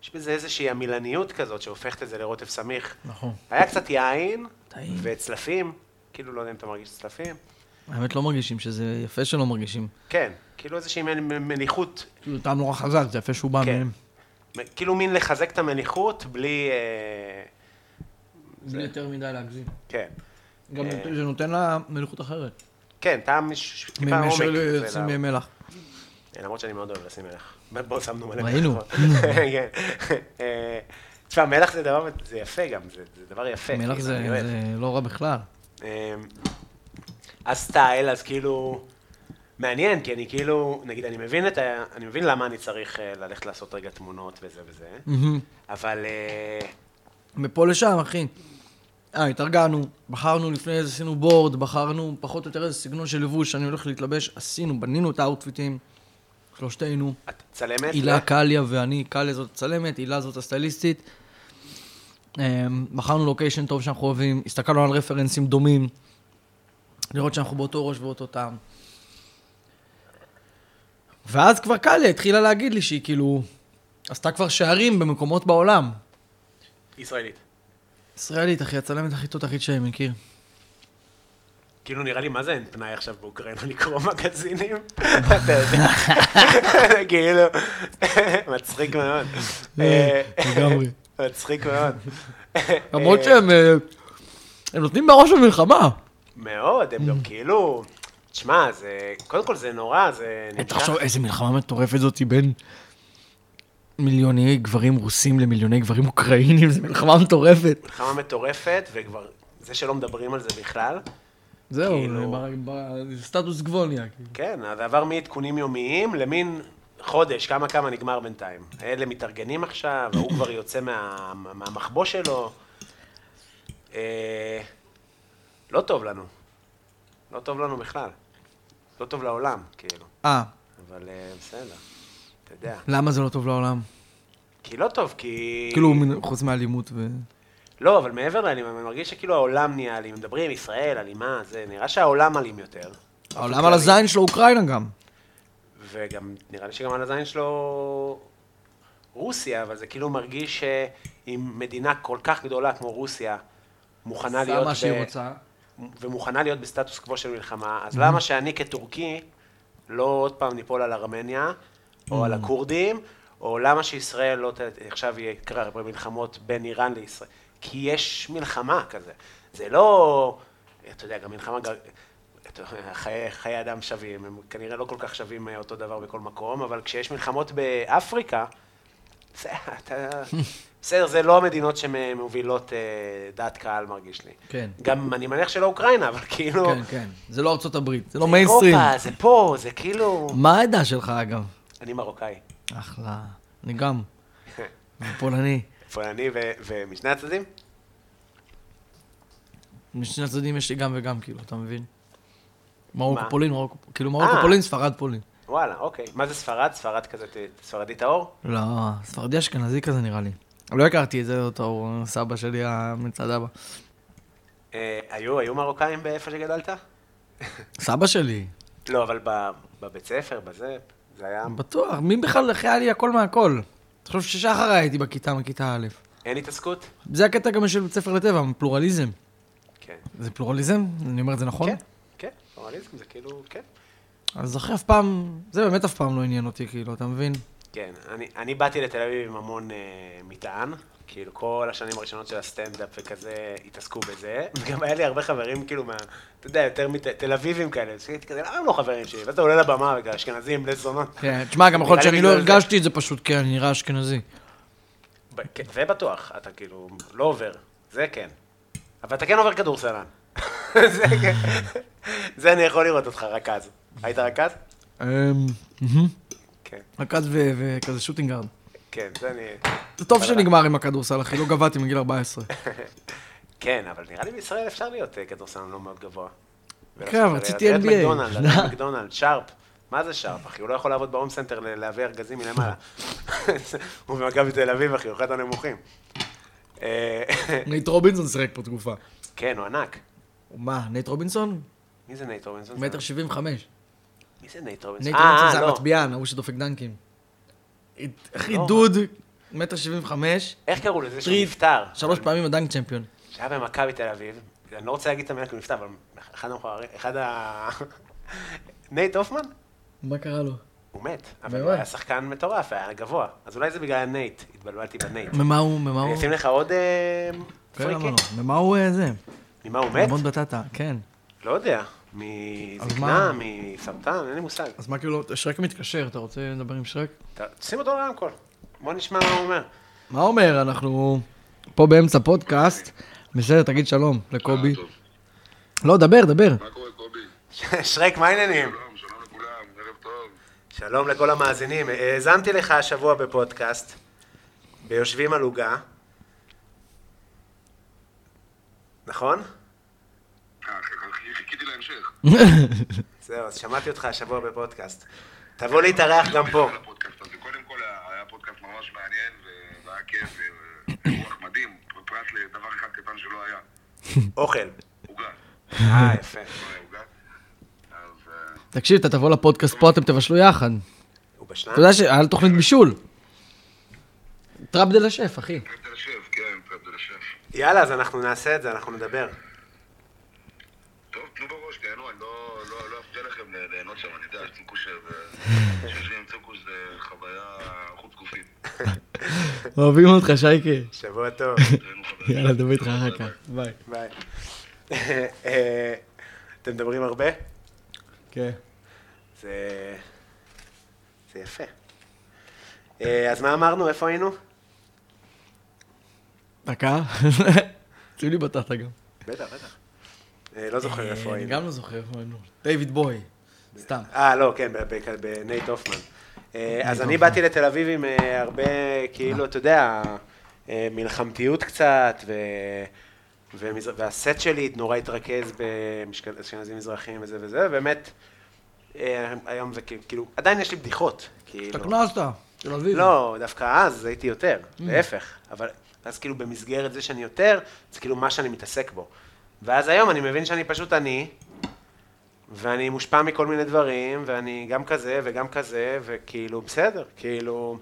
S2: יש בזה איזושהי עמילניות כזאת שהופכת את זה לרוטב סמיך.
S3: נכון.
S2: היה קצת יין
S3: טעים.
S2: וצלפים, כאילו לא יודע אם אתה מרגיש צלפים.
S3: האמת לא מרגישים שזה יפה שלא מרגישים.
S2: כן, כאילו איזושהי מ- מ- מניחות,
S3: כאילו, טעם נורא חזק, זה יפה שהוא בא
S2: כן.
S3: מהם.
S2: מ- כאילו מין לחזק את המניחות בלי... אה,
S3: בלי יותר מדי להגזים.
S2: כן,
S3: גם
S2: אה.
S3: זה נותן לה מלכות אחרת.
S2: כן, טעם ש- ש- טיפה עומק.
S3: מאשר
S2: זה לא-
S3: לשים
S2: ל-
S3: מלח.
S2: כן, למרות שאני מאוד אוהב לשים מלח. בואו שמנו מלא מלח.
S3: ראינו.
S2: <laughs> כן. אה, תשמע, מלח זה דבר, זה יפה גם, זה זה דבר יפה.
S3: מלח
S2: כאילו,
S3: זה
S2: אני אוהב.
S3: זה לא רע בכלל.
S2: אמ, הסטייל, אז כאילו, מעניין, כי אני כאילו, נגיד, אני מבין את ה... אני מבין למה אני צריך אה, ללכת לעשות רגע תמונות וזה וזה,
S3: מהמם.
S2: אבל אה,
S3: מפה לשם, אחי. אה, התארגנו, בחרנו לפני איזה, עשינו בורד, בחרנו פחות או יותר איזה סגנון של לבוש שאני הולך להתלבש, עשינו, בנינו את האוטפיטים, שלושתנו.
S2: את צלמת?
S3: הילה קליה ואני, קליה זאת הצלמת, הילה זאת הסטייליסטית. אמ, בחרנו לוקיישן טוב שאנחנו אוהבים, הסתכלנו על רפרנסים דומים, לראות שאנחנו באותו ראש ואותו טעם. ואז כבר קליה התחילה להגיד לי שהיא כאילו עשתה כבר שערים במקומות בעולם.
S2: ישראלית.
S3: ישראלית, אחי, הצלמת הכי תותחית שאני מכיר.
S2: כאילו, נראה לי, מה זה אין פנאי עכשיו באוקראינה לקרוא מגזינים? <laughs> אתה יודע. <laughs> כאילו, <laughs> מצחיק מאוד. אה,
S3: לגמרי.
S2: <laughs> מצחיק מאוד.
S3: <laughs> למרות
S2: אה,
S3: שהם אה, הם נותנים בראש במלחמה.
S2: מאוד, הם גם
S3: Mm.
S2: כאילו... תשמע, זה... קודם כל זה נורא, זה נמשך...
S3: תחשוב איזה מלחמה מטורפת זאתי בין מיליוני גברים רוסים למיליוני גברים אוקראינים, זו מלחמה מטורפת.
S2: מלחמה מטורפת, וכבר, זה שלא מדברים על זה בכלל,
S3: זהו,
S2: כאילו-
S3: זה ב- ב- זה סטטוס כאילו. גבולניה.
S2: כן, אז זה עבר מעדכונים יומיים למין חודש, כמה כמה נגמר בינתיים. אלה מתארגנים עכשיו, ההוא כבר יוצא מה, מהמחבוש שלו. אה, לא טוב לנו. לא טוב לנו בכלל. לא טוב לעולם, כאילו.
S3: אה,
S2: אבל אה, בסדר, אתה יודע.
S3: למה זה לא טוב לעולם?
S2: כי לא טוב, כי...
S3: כאילו, מן- חוץ מאלימות ו...
S2: לא, אבל מעבר לאלים, אני מרגיש שכאילו העולם נהיה אלים. מדברים, ישראל, אלימה, זה, נראה שהעולם אלים יותר.
S3: העולם על הזין שלו אוקראינה גם.
S2: וגם, נראה לי שגם על הזין שלו רוסיה, אבל זה כאילו מרגיש שאם מדינה כל כך גדולה כמו רוסיה, מוכנה להיות...
S3: מה
S2: ב-
S3: שהיא רוצה.
S2: ומוכנה להיות בסטטוס קוו של מלחמה, אז למה שאני כטורקי לא עוד פעם ניפול על ארמניה, או על הכורדים, או למה שישראל לא ת... עכשיו יהיה קרב במלחמות בין איראן לישראל? כי יש מלחמה כזה. זה לא... אתה יודע, גם מלחמה... גם- אתה יודע, חיי, חיי אדם שווים, הם כנראה לא כל כך שווים אה, אותו דבר בכל מקום, אבל כשיש מלחמות באפריקה, זה, אתה... בסדר, זה לא המדינות שמובילות אה, דעת קהל, מרגיש לי.
S3: כן.
S2: גם אני מניח שלא אוקראינה, אבל כאילו...
S3: כן, כן. זה לא ארצות הברית, זה לא מיינסטרים.
S2: אירופה, זה פה, זה כאילו...
S3: מה העדה שלך, אגב?
S2: אני מרוקאי.
S3: אחלה. אני
S2: <laughs>
S3: גם. פולני.
S2: פולני ו- ומשני הצדדים?
S3: משני הצדדים יש לי גם וגם, כאילו, אתה מבין? מרוקו
S2: מה?
S3: פולין, מרוקו, כאילו מרוקו
S2: אה.
S3: פולין, ספרד פולין.
S2: וואלה, אוקיי. מה זה ספרד? ספרד כזה, ת- ספרדי טהור?
S3: לא, ספרדי אשכנזי כזה נראה לי. לא הכרתי את זה אותו, הוא סבא שלי ה- מצד אבא.
S2: אה, היו, היו מרוקאים באיפה שגדלת?
S3: סבא שלי,
S2: לא, אבל ב- בבית ספר, בזה, זה היה...
S3: בטוח, מי בכלל אחי היה לי הכל מהכל. תחשוב ששחר הייתי בכיתה מכיתה א'.
S2: אין התעסקות?
S3: זה הקטע גם של בית ספר לטבע, פלורליזם.
S2: כן.
S3: זה פלורליזם? אני אומר את זה נכון?
S2: כן, כן, פורמליזם זה כאילו, כן. <laughs>
S3: אז אחרי אף פעם, זה באמת אף פעם לא עניין אותי, כאילו, אתה מבין?
S2: כן, אני, אני באתי לתל אביב עם המון אה, מטען, כאילו כל השנים הראשונות של הסטנדאפ וכזה התעסקו בזה, <laughs> וגם היה לי הרבה חברים כאילו מה, אתה יודע, יותר מתל אביבים כאלה, אז הייתי כזה, למה הם לא חברים שלי? ואז אתה עולה לבמה וכאלה, אשכנזים, בני זונות.
S3: כן, תשמע, גם יכול להיות
S2: נראה לי
S3: שאני לא
S2: בגלל זה.
S3: הרגשתי את זה פשוט, כן, אני נראה אשכנזי.
S2: ב- כן, זה בטוח, אתה כאילו לא עובר, זה כן. אבל אתה כן עובר כדורסלן. <laughs> זה כן. זה אני יכול לראות אותך, רכז. היית רכז?
S3: אמ, מהמם.
S2: כן,
S3: רכז ו- וכזה שוטינגארד.
S2: כן, זה אני...
S3: זה טוב שנגמר עם הכדורסל, אחי, לא גבהתי מגיל 14.
S2: כן, אבל נראה לי בישראל אפשר להיות אה, כדורסלן לא מאוד גבוה.
S3: כן,
S2: ולעשות
S3: אבל
S2: קריירה.
S3: רציתי
S2: תראה את
S3: NBA.
S2: מקדונלד,
S3: <laughs>
S2: תראה את מקדונלד, שרפ. מה זה שרפ, אחי? הוא לא יכול לעבוד בהום סנטר ל- להביא ארגזים מלמעלה. <laughs> הוא במכבי תל אביב, אחי, הוא אחד הנמוכים. אה, <laughs>
S3: נייט רובינסון שיחק פה תקופה.
S2: כן, הוא ענק.
S3: מה, נייט רובינסון?
S2: מי זה נייט רובינסון?
S3: מטר שבעים וחמש.
S2: מי זה נייט רובינסון?
S3: נייט
S2: אה,
S3: רובינסון זה
S2: לא.
S3: המטביען, ההוא שדופק דנקים. אחי,
S2: לא.
S3: דוד, מטר שבעים וחמש,
S2: איך קראו לזה שהוא
S3: טריד.
S2: נפטר?
S3: שלוש פעמים הדנק צ'מפיון.
S2: שהיה במכבי תל אביב, אני לא רוצה להגיד את המילה כי הוא נפטר, אבל אחד המכוערים, אחד ה... <laughs> נייט הופמן?
S3: מה קרה לו?
S2: הוא מת, אבל הוא
S3: באמת?
S2: היה שחקן מטורף, היה גבוה. אז אולי זה בגלל הנייט, התבלבלתי בנייט.
S3: ממה הוא, ממה
S2: אני
S3: הוא?
S2: אשים לך עוד אה,
S3: כן, למה
S2: פריקי?
S3: לא? ממה הוא אה, זה?
S2: ממה הוא מת?
S3: המון בטטה, כן.
S2: לא יודע.
S3: אז
S2: מזקנה,
S3: מה?
S2: מסרטן, אין לי מושג.
S3: אז מה כאילו, שרק מתקשר, אתה רוצה לדבר עם שרק?
S2: ת- שים אותו לרמקול, בוא נשמע מה הוא אומר. <laughs>
S3: מה אומר? אנחנו פה באמצע פודקאסט. בסדר, תגיד שלום
S2: אה,
S3: לקובי.
S4: טוב.
S3: לא, דבר, דבר. <laughs>
S4: מה קורה קובי?
S2: שרק, מה העניינים?
S4: שלום, שלום לכולם, ערב טוב.
S2: שלום לכל המאזינים. האזנתי לך השבוע בפודקאסט, ביושבים על עוגה. נכון?
S4: אה, חיכ- חיכיתי להמשך.
S2: זהו, אז שמעתי אותך השבוע בפודקאסט. תבוא להתארח גם פה.
S4: על הפודקאסט הזה. קודם כל היה היה פודקאסט ממש מעניין ו- והיה כיף ורוח מדהים, פרט לדבר אחד קטן שלא היה,
S2: אוכל.
S4: עוגה.
S2: אה, יפה.
S4: לא היה עוגה. אז אה,
S3: תקשיב, אתה תבוא לפודקאסט פה, אתם תבשלו יחד.
S2: אה? הוא בשלן?
S3: אתה יודע שהיה לו תוכנית בישול. טראבדל השף, אחי.
S4: פרט אל השף, כן, פרט אל השף.
S2: יאללה, אז אנחנו נעשה את זה, אנחנו נדבר.
S4: טוב, תנו בראש, תהנו, אני לא לא- לא אפריע לכם ל- ליהנות שם, אני יודע, צוקוש, זה- שיושבים עם צוקוש זה חוויה חוץ גופית.
S3: אוהבים אותך, שייקה.
S2: שבוע טוב.
S4: תהנו חוויה.
S3: יאללה, דבר איתך אחר כך. ביי.
S2: ביי. אה, אתם מדברים הרבה?
S3: כן.
S2: זה... זה יפה. אה, אז מה אמרנו? איפה היינו?
S3: דקה. <laughs> שים לי בטטה גם.
S2: בטח, בטח. אה, לא זוכר איפה
S3: אני
S2: היינו.
S3: גם לא זוכר איפה היינו. דיוויד בוי. סתם.
S2: אה, לא, כן, ב- ב- בנייט הופמן. אה, אז אני
S3: הופמן.
S2: באתי לתל אביב עם אה, הרבה, כאילו, אתה יודע, אה, מלחמתיות קצת, ו... ומזר- והסט שלי נורא התרכז באשכנזים מזרחים וזה וזה, באמת, אה, היום זה כאילו- כאילו, עדיין יש לי בדיחות, כאילו.
S3: השתכנזת, תל אביב. Mm.
S2: לא, דווקא אז הייתי יותר, להפך. אבל אז כאילו במסגרת זה שאני יותר, זה כאילו מה שאני מתעסק בו. ואז היום אני מבין שאני פשוט אני, ואני מושפע מכל מיני דברים, ואני גם כזה וגם כזה, וכאילו בסדר, כאילו...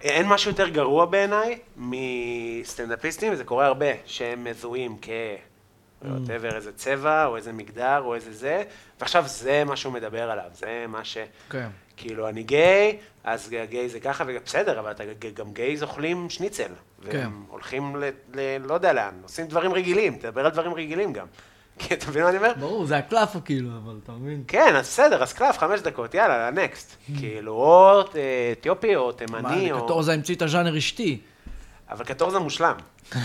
S2: אין משהו יותר גרוע בעיניי מסטנדאפיסטים, וזה קורה הרבה, שהם מזוהים כ...
S3: Mm.
S2: whatever, איזה צבע, או איזה מגדר, או איזה זה, ועכשיו זה מה שהוא מדבר עליו, זה מה ש...
S3: כן.
S2: כאילו, אני גיי, אז גיי זה ככה, ובסדר, אבל אתה, גם גייז אוכלים שניצל. והם
S3: כן.
S2: הולכים ל, ל... לא יודע לאן, עושים דברים רגילים, תדבר על דברים רגילים גם. <laughs> כי אתה מבין מה אני אומר?
S3: ברור, זה הקלאפה כאילו, אבל אתה מבין?
S2: כן, אז בסדר, אז קלף, חמש דקות, יאללה, נקסט.
S3: <laughs>
S2: כאילו, או אה, אתיופי, או תימני,
S3: מה,
S2: או...
S3: קטורזה המציא את הז'אנר אשתי.
S2: אבל קטורזה
S3: <laughs>
S2: מושלם,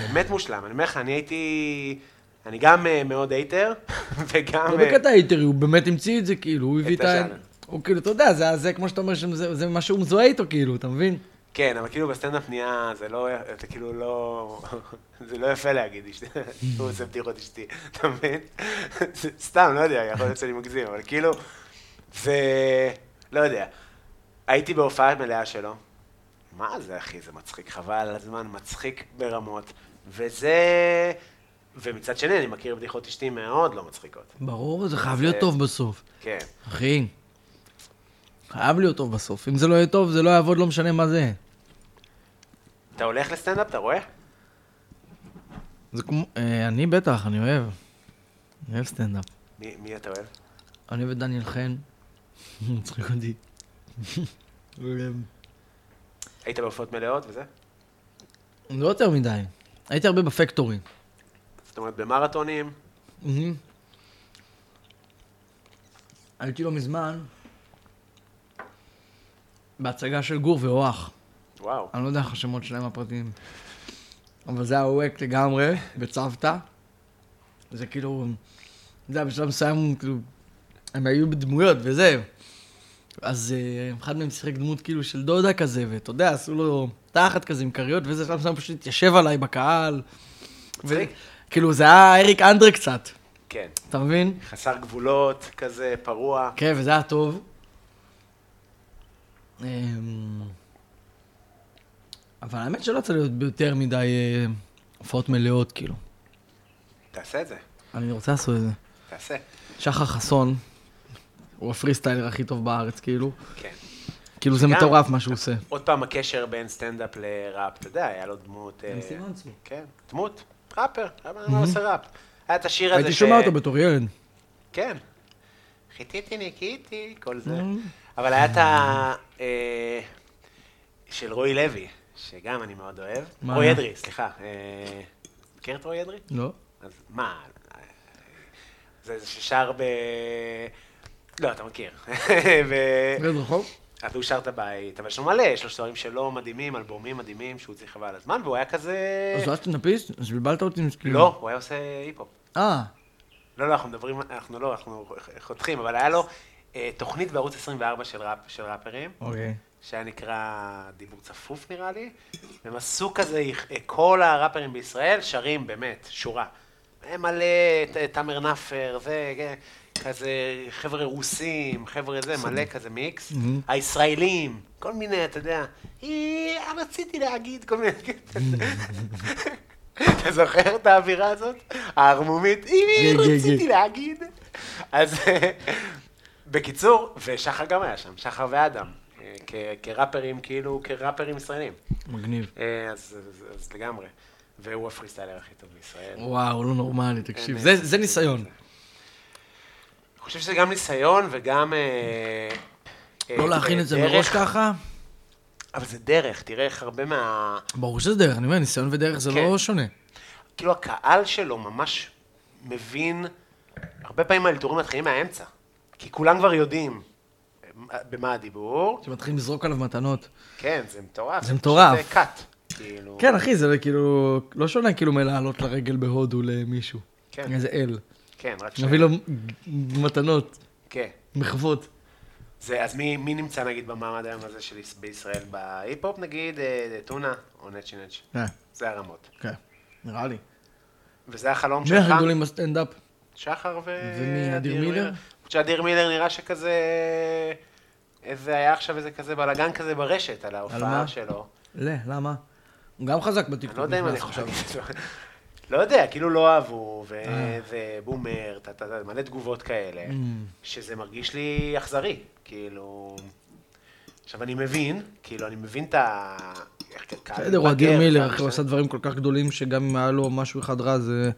S2: באמת מושלם. אני אומר לך, אני הייתי... אני גם אה, מאוד הייטר, <laughs> וגם...
S3: לא
S2: אה,
S3: בקטע היטרי, הוא באמת המציא את זה, כאילו, הוא הביא
S2: את
S3: את
S2: הז'אנר.
S3: ה... הוא כאילו, אתה יודע, זה, זה כמו שאתה אומר, שזה, זה מה שהוא מזוהה איתו, כאילו, אתה מבין?
S2: כן, אבל כאילו בסטנדאפ נהיה, זה לא, זה כאילו לא, <laughs> זה לא יפה להגיד, אשתי, הוא עושה בדיחות אשתי, אתה מבין? זה סתם, לא יודע, יכול להיות שאני מגזים, אבל כאילו, זה, לא יודע. הייתי בהופעה מלאה שלו, מה זה אחי, זה מצחיק, חבל על הזמן, מצחיק ברמות, וזה, ומצד שני, אני מכיר בדיחות אשתי מאוד לא מצחיקות,
S3: ברור, זה חייב להיות טוב בסוף.
S2: כן.
S3: אחי, חייב להיות טוב בסוף. אם זה לא יהיה טוב, זה לא יעבוד, לא משנה מה זה.
S2: אתה הולך לסטנדאפ, אתה רואה?
S3: זה כמו... אה, אני בטח, אני אוהב. אני אוהב סטנדאפ.
S2: מי, מי אתה אוהב?
S3: <laughs>
S2: <laughs>
S3: אני ודניאל חן, מצחיק אותי.
S2: היית בהופעות מלאות וזה?
S3: לא יותר מדי. הייתי הרבה בפקטורי.
S2: זאת אומרת, במרתונים,
S3: מהמם. הייתי לא מזמן בהצגה של גור ואוח.
S2: וואו.
S3: אני לא יודע איך השמות שלהם הפרטיים. אבל זה היה וואק לגמרי, בצוותא. זה כאילו, זה היה בשלב מסוים, כאילו, הם היו בדמויות וזה. אז אה, אחד מהם שיחק דמות כאילו של דודה כזה, ואתה יודע, עשו לו תחת כזה עם כריות, וזה שלב מסוים פשוט התיישב עליי בקהל. ו-
S2: מצחיק.
S3: כאילו, זה היה אריק אנדרה קצת,
S2: כן.
S3: אתה מבין?
S2: חסר גבולות, כזה, פרוע.
S3: כן, וזה היה טוב. אמ, אבל האמת שלא צריך להיות ביותר מדי אה, הופעות מלאות, כאילו.
S2: תעשה את זה,
S3: אני רוצה לעשות את זה.
S2: תעשה.
S3: שחר חסון, הוא הפריסטיילר הכי טוב בארץ, כאילו.
S2: כן.
S3: כאילו זה
S2: גם-
S3: מטורף מה שהוא עושה.
S2: עוד פעם, הקשר בין סטנדאפ לראפ, אתה יודע, היה לו דמות... אה, כן, דמות, ראפר, למה הוא עושה ראפ? היה את השיר הזה
S3: הייתי שומע אותו בתור ילד.
S2: כן. חיטיתי ניקיתי, כל זה. אבל היה את ה... אה, של רועי לוי, שגם אני מאוד אוהב.
S3: מה?
S2: רועי אדרי, סליחה. אה, מכיר את רועי אדרי?
S3: לא?
S2: אז מה? זה זה ששר ב... לא, אתה מכיר. <laughs> ב-
S3: ילד רחוב?
S2: אז הוא שר את הבית, אבל יש לו מלא, יש לו שרים שלו מדהימים, אלבומים מדהימים, שהוא צריך חבל על הזמן, והוא היה כזה...
S3: אז הוא היה סטנדאפיסט? אז בלבלת אותי עם כאילו...
S2: לא, הוא היה עושה היפ-הופ.
S3: אה,
S2: לא, לא, אנחנו מדברים, אנחנו לא, אנחנו חותכים, אבל היה לו אה, תוכנית בערוץ 24 של, ראפ, של ראפרים,
S3: אוקיי.
S2: שהיה נקרא דיבור צפוף נראה לי, והם עשו כזה, אה, כל הראפרים בישראל שרים באמת, שורה. הם מלא, ת- תאמר נאפר, זה, כן, כזה, חבר'ה רוסים, חבר'ה זה, מלא כזה מיקס.
S3: Mm-hmm.
S2: הישראלים, כל מיני, אתה יודע, "אה, רציתי להגיד, כל מיני, כן,
S3: <laughs>
S2: אתה זוכר את האווירה הזאת? הערמומית, "אה,
S3: כן, כן,
S2: רציתי
S3: כן.
S2: להגיד. אז <laughs> אה, בקיצור, ושחר גם היה שם, שחר ואדם, אה, כ- כראפרים, כאילו, כראפרים ישראלים.
S3: מגניב.
S2: אה, אז אז- אז לגמרי. והוא הפריסטיילר הכי טוב בישראל.
S3: וואו, לא נורמלי, תקשיב.
S2: אין,
S3: זה-
S2: כן. אה,
S3: זה ניסיון.
S2: אני חושב שזה גם ניסיון וגם... אה, אה,
S3: לא להכין את זה
S2: דרך,
S3: מראש ככה?
S2: אבל זה דרך, תראה איך הרבה מה...
S3: ברור שזה דרך, אני אומר, ניסיון ודרך זה
S2: כן.
S3: לא שונה.
S2: כאילו הקהל שלו ממש מבין, הרבה פעמים האלתורים מתחילים מהאמצע, כי כולם כבר יודעים אה, במה הדיבור,
S3: שמתחילים לזרוק עליו מתנות.
S2: כן, זה מטורף.
S3: זה מטורף.
S2: פשוט, אה, cut, כאילו.
S3: כן, אחי, זה כאילו, לא שונה כאילו מלעלות לרגל בהודו למישהו.
S2: כן.
S3: איזה אל.
S2: כן, רק ש...
S3: נביא לו מתנות,
S2: כן.
S3: מחוות.
S2: זה, אז מי, מי נמצא נגיד במעמד היום הזה של יש- בישראל בהיפ-הופ נגיד, אה, טונה או נצ'י נצ'י.
S3: אה,
S2: זה הרמות.
S3: כן, נראה לי.
S2: וזה החלום
S3: מי
S2: שלך,
S3: הכי גדולים בסטנדאפ?
S2: שחר ו...
S3: ומי, אדיר מילר?
S2: למרות שאדיר מילר נראה שכזה... אה, איזה היה עכשיו איזה כזה בלאגן כזה ברשת על ההופעה
S3: מה?
S2: שלו.
S3: לא, למה? הוא גם חזק בטיקטוק.
S2: אני לא יודע אם אני
S3: נכנס
S2: חושב...
S3: עכשיו.
S2: לא יודע, כאילו לא אהבו,
S3: אה.
S2: וזה בומר, טה, טה, טה, מלא תגובות כאלה,
S3: Mm.
S2: שזה מרגיש לי אכזרי, כאילו... עכשיו, אני מבין, כאילו, אני מבין את ה... איך קהל
S3: בסדר, הוא אדיר
S2: מתבגר,
S3: מילר,
S2: קהל
S3: אחי, הוא
S2: משתנה.
S3: עשה דברים כל כך גדולים, שגם אם היה לו משהו אחד רע, זה...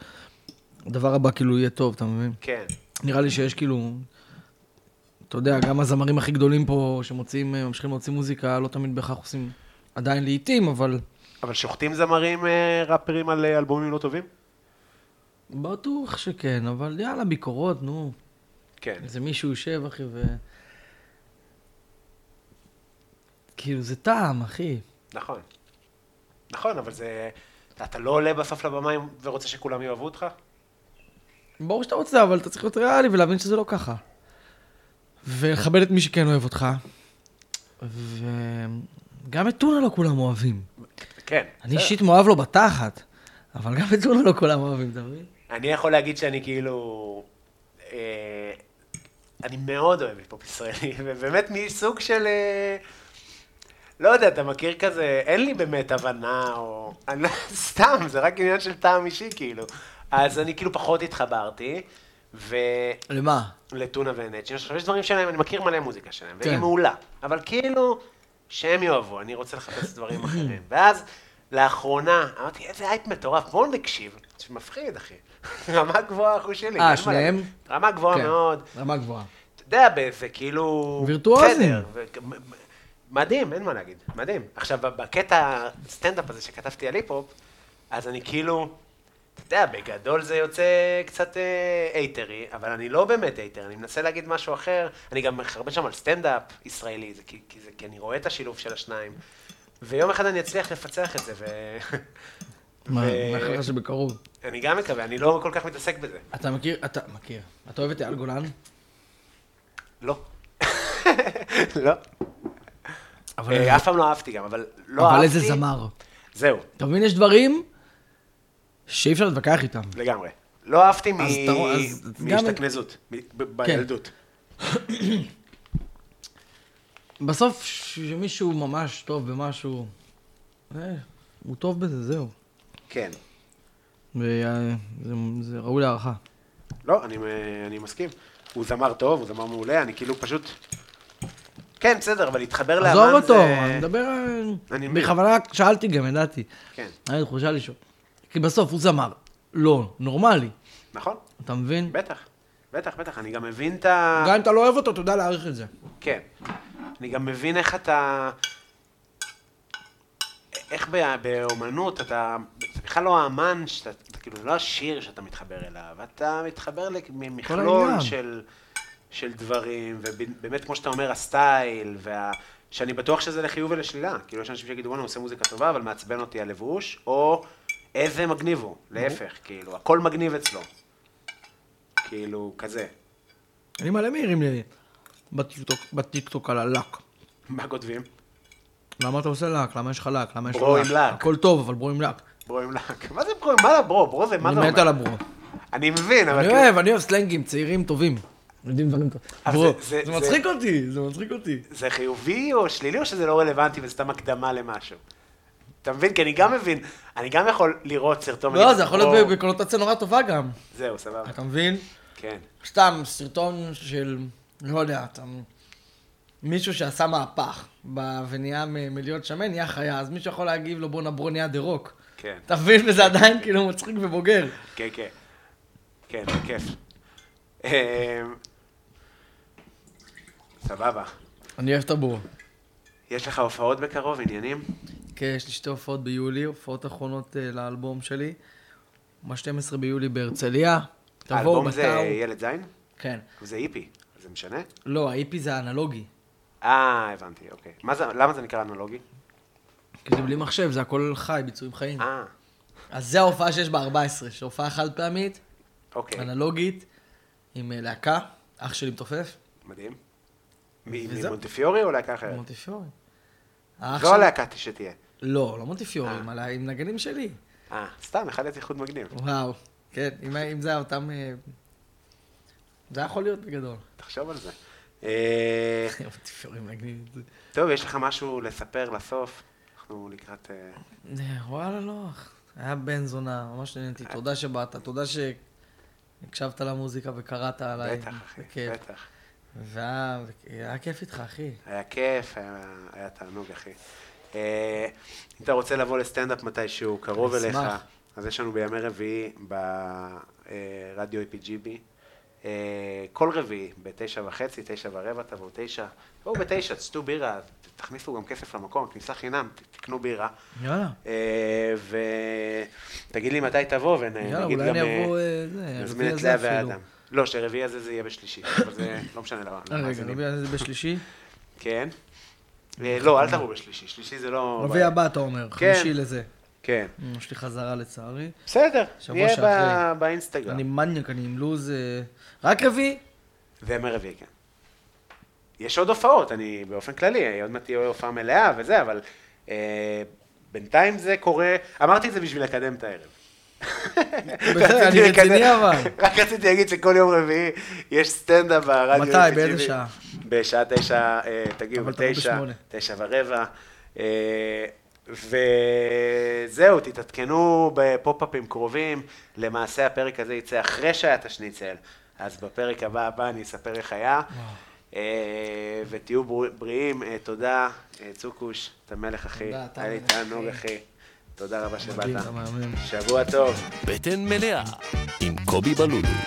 S3: הדבר הבא כאילו יהיה טוב, אתה מבין?
S2: כן,
S3: נראה לי שיש כאילו, אתה יודע, גם הזמרים הכי גדולים פה שמוציאים, אה, ממשיכים להוציא מוזיקה, לא תמיד בהכרח עושים עדיין לעיתים, אבל
S2: אבל שוחטים זמרים אה, ראפרים על אה, אלבומים לא טובים?
S3: בטוח שכן, אבל יאללה, ביקורות, נו.
S2: כן.
S3: איזה מישהו יושב, אחי, ו... כאילו, זה טעם, אחי.
S2: נכון. נכון, אבל זה... אתה לא עולה בסוף לבמה עם- ורוצה שכולם יאהבו אותך?
S3: ברור שאתה רוצה, אבל אתה צריך להיות ריאלי ולהבין שזה לא ככה. ולכבד את מי שכן אוהב אותך. וגם את טונה לא כולם אוהבים.
S2: כן.
S3: אני
S2: בסדר.
S3: אישית מאוהב לו בתחת, אבל גם את טונה לא כולם אוהבים, אתה מבין?
S2: אני יכול להגיד שאני כאילו... אה, אני מאוד אוהב היפ-הופ ישראלי, <laughs> ובאמת מסוג של... אה, לא יודע, אתה מכיר כזה, אין לי באמת הבנה, או... <laughs> אני לא, סתם, זה רק עניין של טעם אישי, כאילו. אז אני כאילו פחות התחברתי, ולטונה
S3: למה?
S2: ונצ'י, עכשיו יש דברים שלהם, אני מכיר מלא מוזיקה שלהם, והיא
S3: כן.
S2: מעולה, אבל כאילו, שהם יאהבו, אני רוצה לחפש דברים
S3: <laughs>
S2: אחרים. ואז, לאחרונה, אמרתי, איזה אייפ מטורף, בואו נקשיב. זה מפחיד, אחי. <laughs> רמה גבוהה, אחוז שלי.
S3: אה,
S2: אין מה
S3: שניהם?
S2: להגיד. רמה גבוהה
S3: כן,
S2: מאוד.
S3: רמה גבוהה.
S2: אתה יודע, זה כאילו...
S3: וירטואוזים.
S2: בסדר, ו- מדהים, אין מה להגיד, מדהים. עכשיו, בקטע הסטנדאפ הזה שכתבתי על היפ-הופ, אז אני כאילו, אתה יודע, בגדול זה יוצא קצת אה, אייטרי, אבל אני לא באמת אייטר, אני מנסה להגיד משהו אחר. אני גם מחרבן שם על סטנדאפ ישראלי, זה, כי, כי, זה, כי אני רואה את השילוב של השניים. ויום אחד אני אצליח לפצח את זה, ו...
S3: מה,
S2: ו-
S3: מה לך שבקרוב?
S2: אני גם מקווה, אני לא כל כך מתעסק בזה.
S3: אתה מכיר, אתה מכיר. אתה אוהב את אייל גולן?
S2: לא. <laughs> לא. אה, אף פעם לא אהבתי גם, אבל לא אהבתי.
S3: אבל איזה זמר.
S2: זהו,
S3: אתה מבין, יש דברים שאי אפשר להתווכח איתם.
S2: לגמרי. לא אהבתי מ-
S3: אז אתה רואה, אז גם- כן.
S2: מהשתכנזות, מ- ב- בילדות.
S3: בסוף, כשמישהו ממש טוב במשהו, אה, הוא טוב בזה, זהו.
S2: כן.
S3: וזה זה ראוי להערכה.
S2: לא, אני, מ- אני מסכים. הוא זמר טוב, הוא זמר מעולה, אני כאילו פשוט... כן, בסדר, אבל להתחבר לאמן זה...
S3: עזוב אותו, אני מדבר... על-
S2: אני מבין.
S3: בכוונה שאלתי גם, ידעתי.
S2: כן,
S3: היה לי תחושה לשאול. כי בסוף הוא זמר. לא, נורמלי.
S2: נכון,
S3: אתה מבין?
S2: בטח. בטח, בטח, אני גם מבין את ה...
S3: גם אם אתה לא אוהב אותו, אתה יודע להעריך את זה.
S2: כן. אני גם מבין איך אתה... איך בא- באומנות אתה... זה בכלל לא האמן, שאתה... אתה כאילו, זה לא השיר שאתה מתחבר אליו, אתה מתחבר למכלול
S3: העניין.
S2: של, של דברים, ובאמת, כמו שאתה אומר, הסטייל, וה... שאני בטוח שזה לחיוב ולשלילה. כאילו, יש אנשים שיגידו, וואנה, הוא עושה מוזיקה טובה, אבל מעצבן אותי הלבוש, או איזה מגניב הוא, להפך, כאילו, הכל מגניב אצלו. כאילו, כזה.
S3: אני מלא מעירים לי בטיקטוק- בטיקטוק על הלק.
S2: מה כותבים?
S3: למה אתה עושה לק? למה יש לך לק? למה יש לך
S2: ברו עם לק.
S3: הכל טוב, אבל ברו עם לק.
S2: ברו עם לק. מה זה ברו? מה זה ברו? ברו זה מה זה
S3: אני מת על
S2: אומר?
S3: הברו.
S2: אני מבין, אבל...
S3: אני
S2: כאילו,
S3: אוהב, אני אוהב סלנגים, צעירים טובים. יודעים דברים טובים.
S2: אבל
S3: ברו,
S2: אה, זה- זה-
S3: זה
S2: זה-
S3: מצחיק אותי, זה מצחיק אותי.
S2: זה חיובי או שלילי או שזה לא רלוונטי וזה סתם הקדמה למשהו? אתה מבין? כי אני גם מבין, אני גם יכול לראות סרטון...
S3: לא,
S2: ולהגיד,
S3: זה יכול
S2: "וואו".
S3: להיות בקונוטציה נורא טובה גם.
S2: זהו, סבבה.
S3: אתה מבין?
S2: כן.
S3: סתם סרטון של, לא יודע, אתה... מישהו שעשה מהפך ב- ונהיה מ- מלהיות שמן, נהיה חיה, אז מישהו יכול להגיב לו בואנה ברו נהיה דה רוק.
S2: כן.
S3: אתה מבין? וזה עדיין כאילו מצחיק ובוגר.
S2: כן, כן. כן, זה כיף. אמ, סבבה.
S3: אני אוהב את הברו.
S2: יש לך הופעות בקרוב, עניינים?
S3: כן, יש לי שתי הופעות ביולי, הופעות אחרונות אה, לאלבום שלי. ב-12 ביולי בהרצליה. תבואו
S2: האלבום זה
S3: בטאו.
S2: ילד זין?
S3: כן.
S2: זה איפי. זה משנה?
S3: לא, האיפי זה האנלוגי.
S2: אה, הבנתי, אוקיי. מה זה- למה זה נקרא אנלוגי?
S3: כי זה בלי מחשב, זה הכל חי, ביצועים חיים.
S2: אה,
S3: אז זה ההופעה שיש ב-14, שהופעה חד פעמית,
S2: אוקיי.
S3: אנלוגית, עם אה, להקה, אח שלי מתופף,
S2: מדהים. מ-
S3: וזהו.
S2: ממונטיפיורי או להקה אחרת?
S3: מונטיפיורי.
S2: זו
S3: האח שלי-
S2: כן. הלהקה אה. שתהיה.
S3: לא, לא מונטיפיורי, עם הלה- עם נגנים שלי.
S2: אה, סתם, אחד יציחות מגניב.
S3: וואו, כן, אם היה- אם זה היה אותם... אה, זה היה יכול להיות בגדול. <laughs>
S2: תחשוב על זה. אה,
S3: מונטיפיורי מנגנים את זה.
S2: טוב, יש לך משהו לספר לסוף? אנחנו לקראת... אה,
S3: אה, וואלה, לא. היה בן זונה, ממש נהניתי.
S2: אה.
S3: תודה שבאת, תודה שהקשבת למוזיקה וקראת עליי.
S2: בטח, אחי,
S3: בכיף.
S2: בטח.
S3: והיה היה כיף איתך, אחי.
S2: היה כיף, היה היה תענוג, אחי. אה, אם אתה רוצה לבוא לסטנדאפ מתישהו, קרוב
S3: אני
S2: אליך,
S3: אשמח.
S2: אז יש לנו בימי רביעי ברדיו APGB. אה, כל רביעי, בתשע וחצי, תשע ורבע, תבואו תשע. תבואו בתשע, תשתו בירה, ת- תכניסו גם כסף למקום, כניסה חינם, ת- תקנו בירה.
S3: יאללה.
S2: אה, ותגיד לי מתי תבוא, ונגיד
S3: יאללה,
S2: גם...
S3: אולי אני
S2: אה,
S3: אבוא... אה, זה,
S2: נזמין את
S3: הרביעי
S2: לאה
S3: הזה אפילו.
S2: והאדם. לא, שהרביעי הזה זה יהיה בשלישי, אבל זה לא משנה למה.
S3: אה, רגע,
S2: למאזינים.
S3: רביעי הזה
S2: <laughs>
S3: בשלישי?
S2: כן. אה, לא, אל תבואו בשלישי, שלישי זה לא...
S3: רביעי הבא, אתה אומר.
S2: כן.
S3: חמישי לזה.
S2: כן.
S3: יש לי חזרה לצערי.
S2: בסדר,
S3: שבוע
S2: נהיה
S3: שאחרי.
S2: ב- באינסטגרם.
S3: אני מניאק, אני עם לוז... אה, רק
S2: <laughs>
S3: רביעי?
S2: וימי רביעי, כן. יש עוד הופעות, אני באופן כללי, עוד מעט תהיה הופעה מלאה וזה, אבל אה, בינתיים זה קורה, אמרתי את זה בשביל לקדם את הערב.
S3: בסדר, אני
S2: רציתי לקדם-
S3: רציני אבל.
S2: <laughs> רק רציתי להגיד שכל יום רביעי יש סטנדאפ ברדיו.
S3: מתי?
S2: APGV.
S3: באיזה שעה?
S2: בשעה תשע, אה, תגיעו
S3: אבל תבוא
S2: בתשע,
S3: בשמונה.
S2: תשע ורבע. אה, וזהו, תתעדכנו בפופ-אפים קרובים. למעשה הפרק הזה יצא אחרי שהיה את השניצל. אז בפרק הבא הבא אני אספר איך היה. אה, ותהיו בר- בריאים. אה, תודה, אה, צוקוש, אתה מלך אחי.
S3: תודה, אתה
S2: היה לי
S3: המלך,
S2: תענוג
S3: אחי.
S2: אחי. תודה רבה שבאת.
S3: מדהים, אתה מהמם.
S2: שבוע טוב.
S1: בטן מלאה עם קובי בלולו.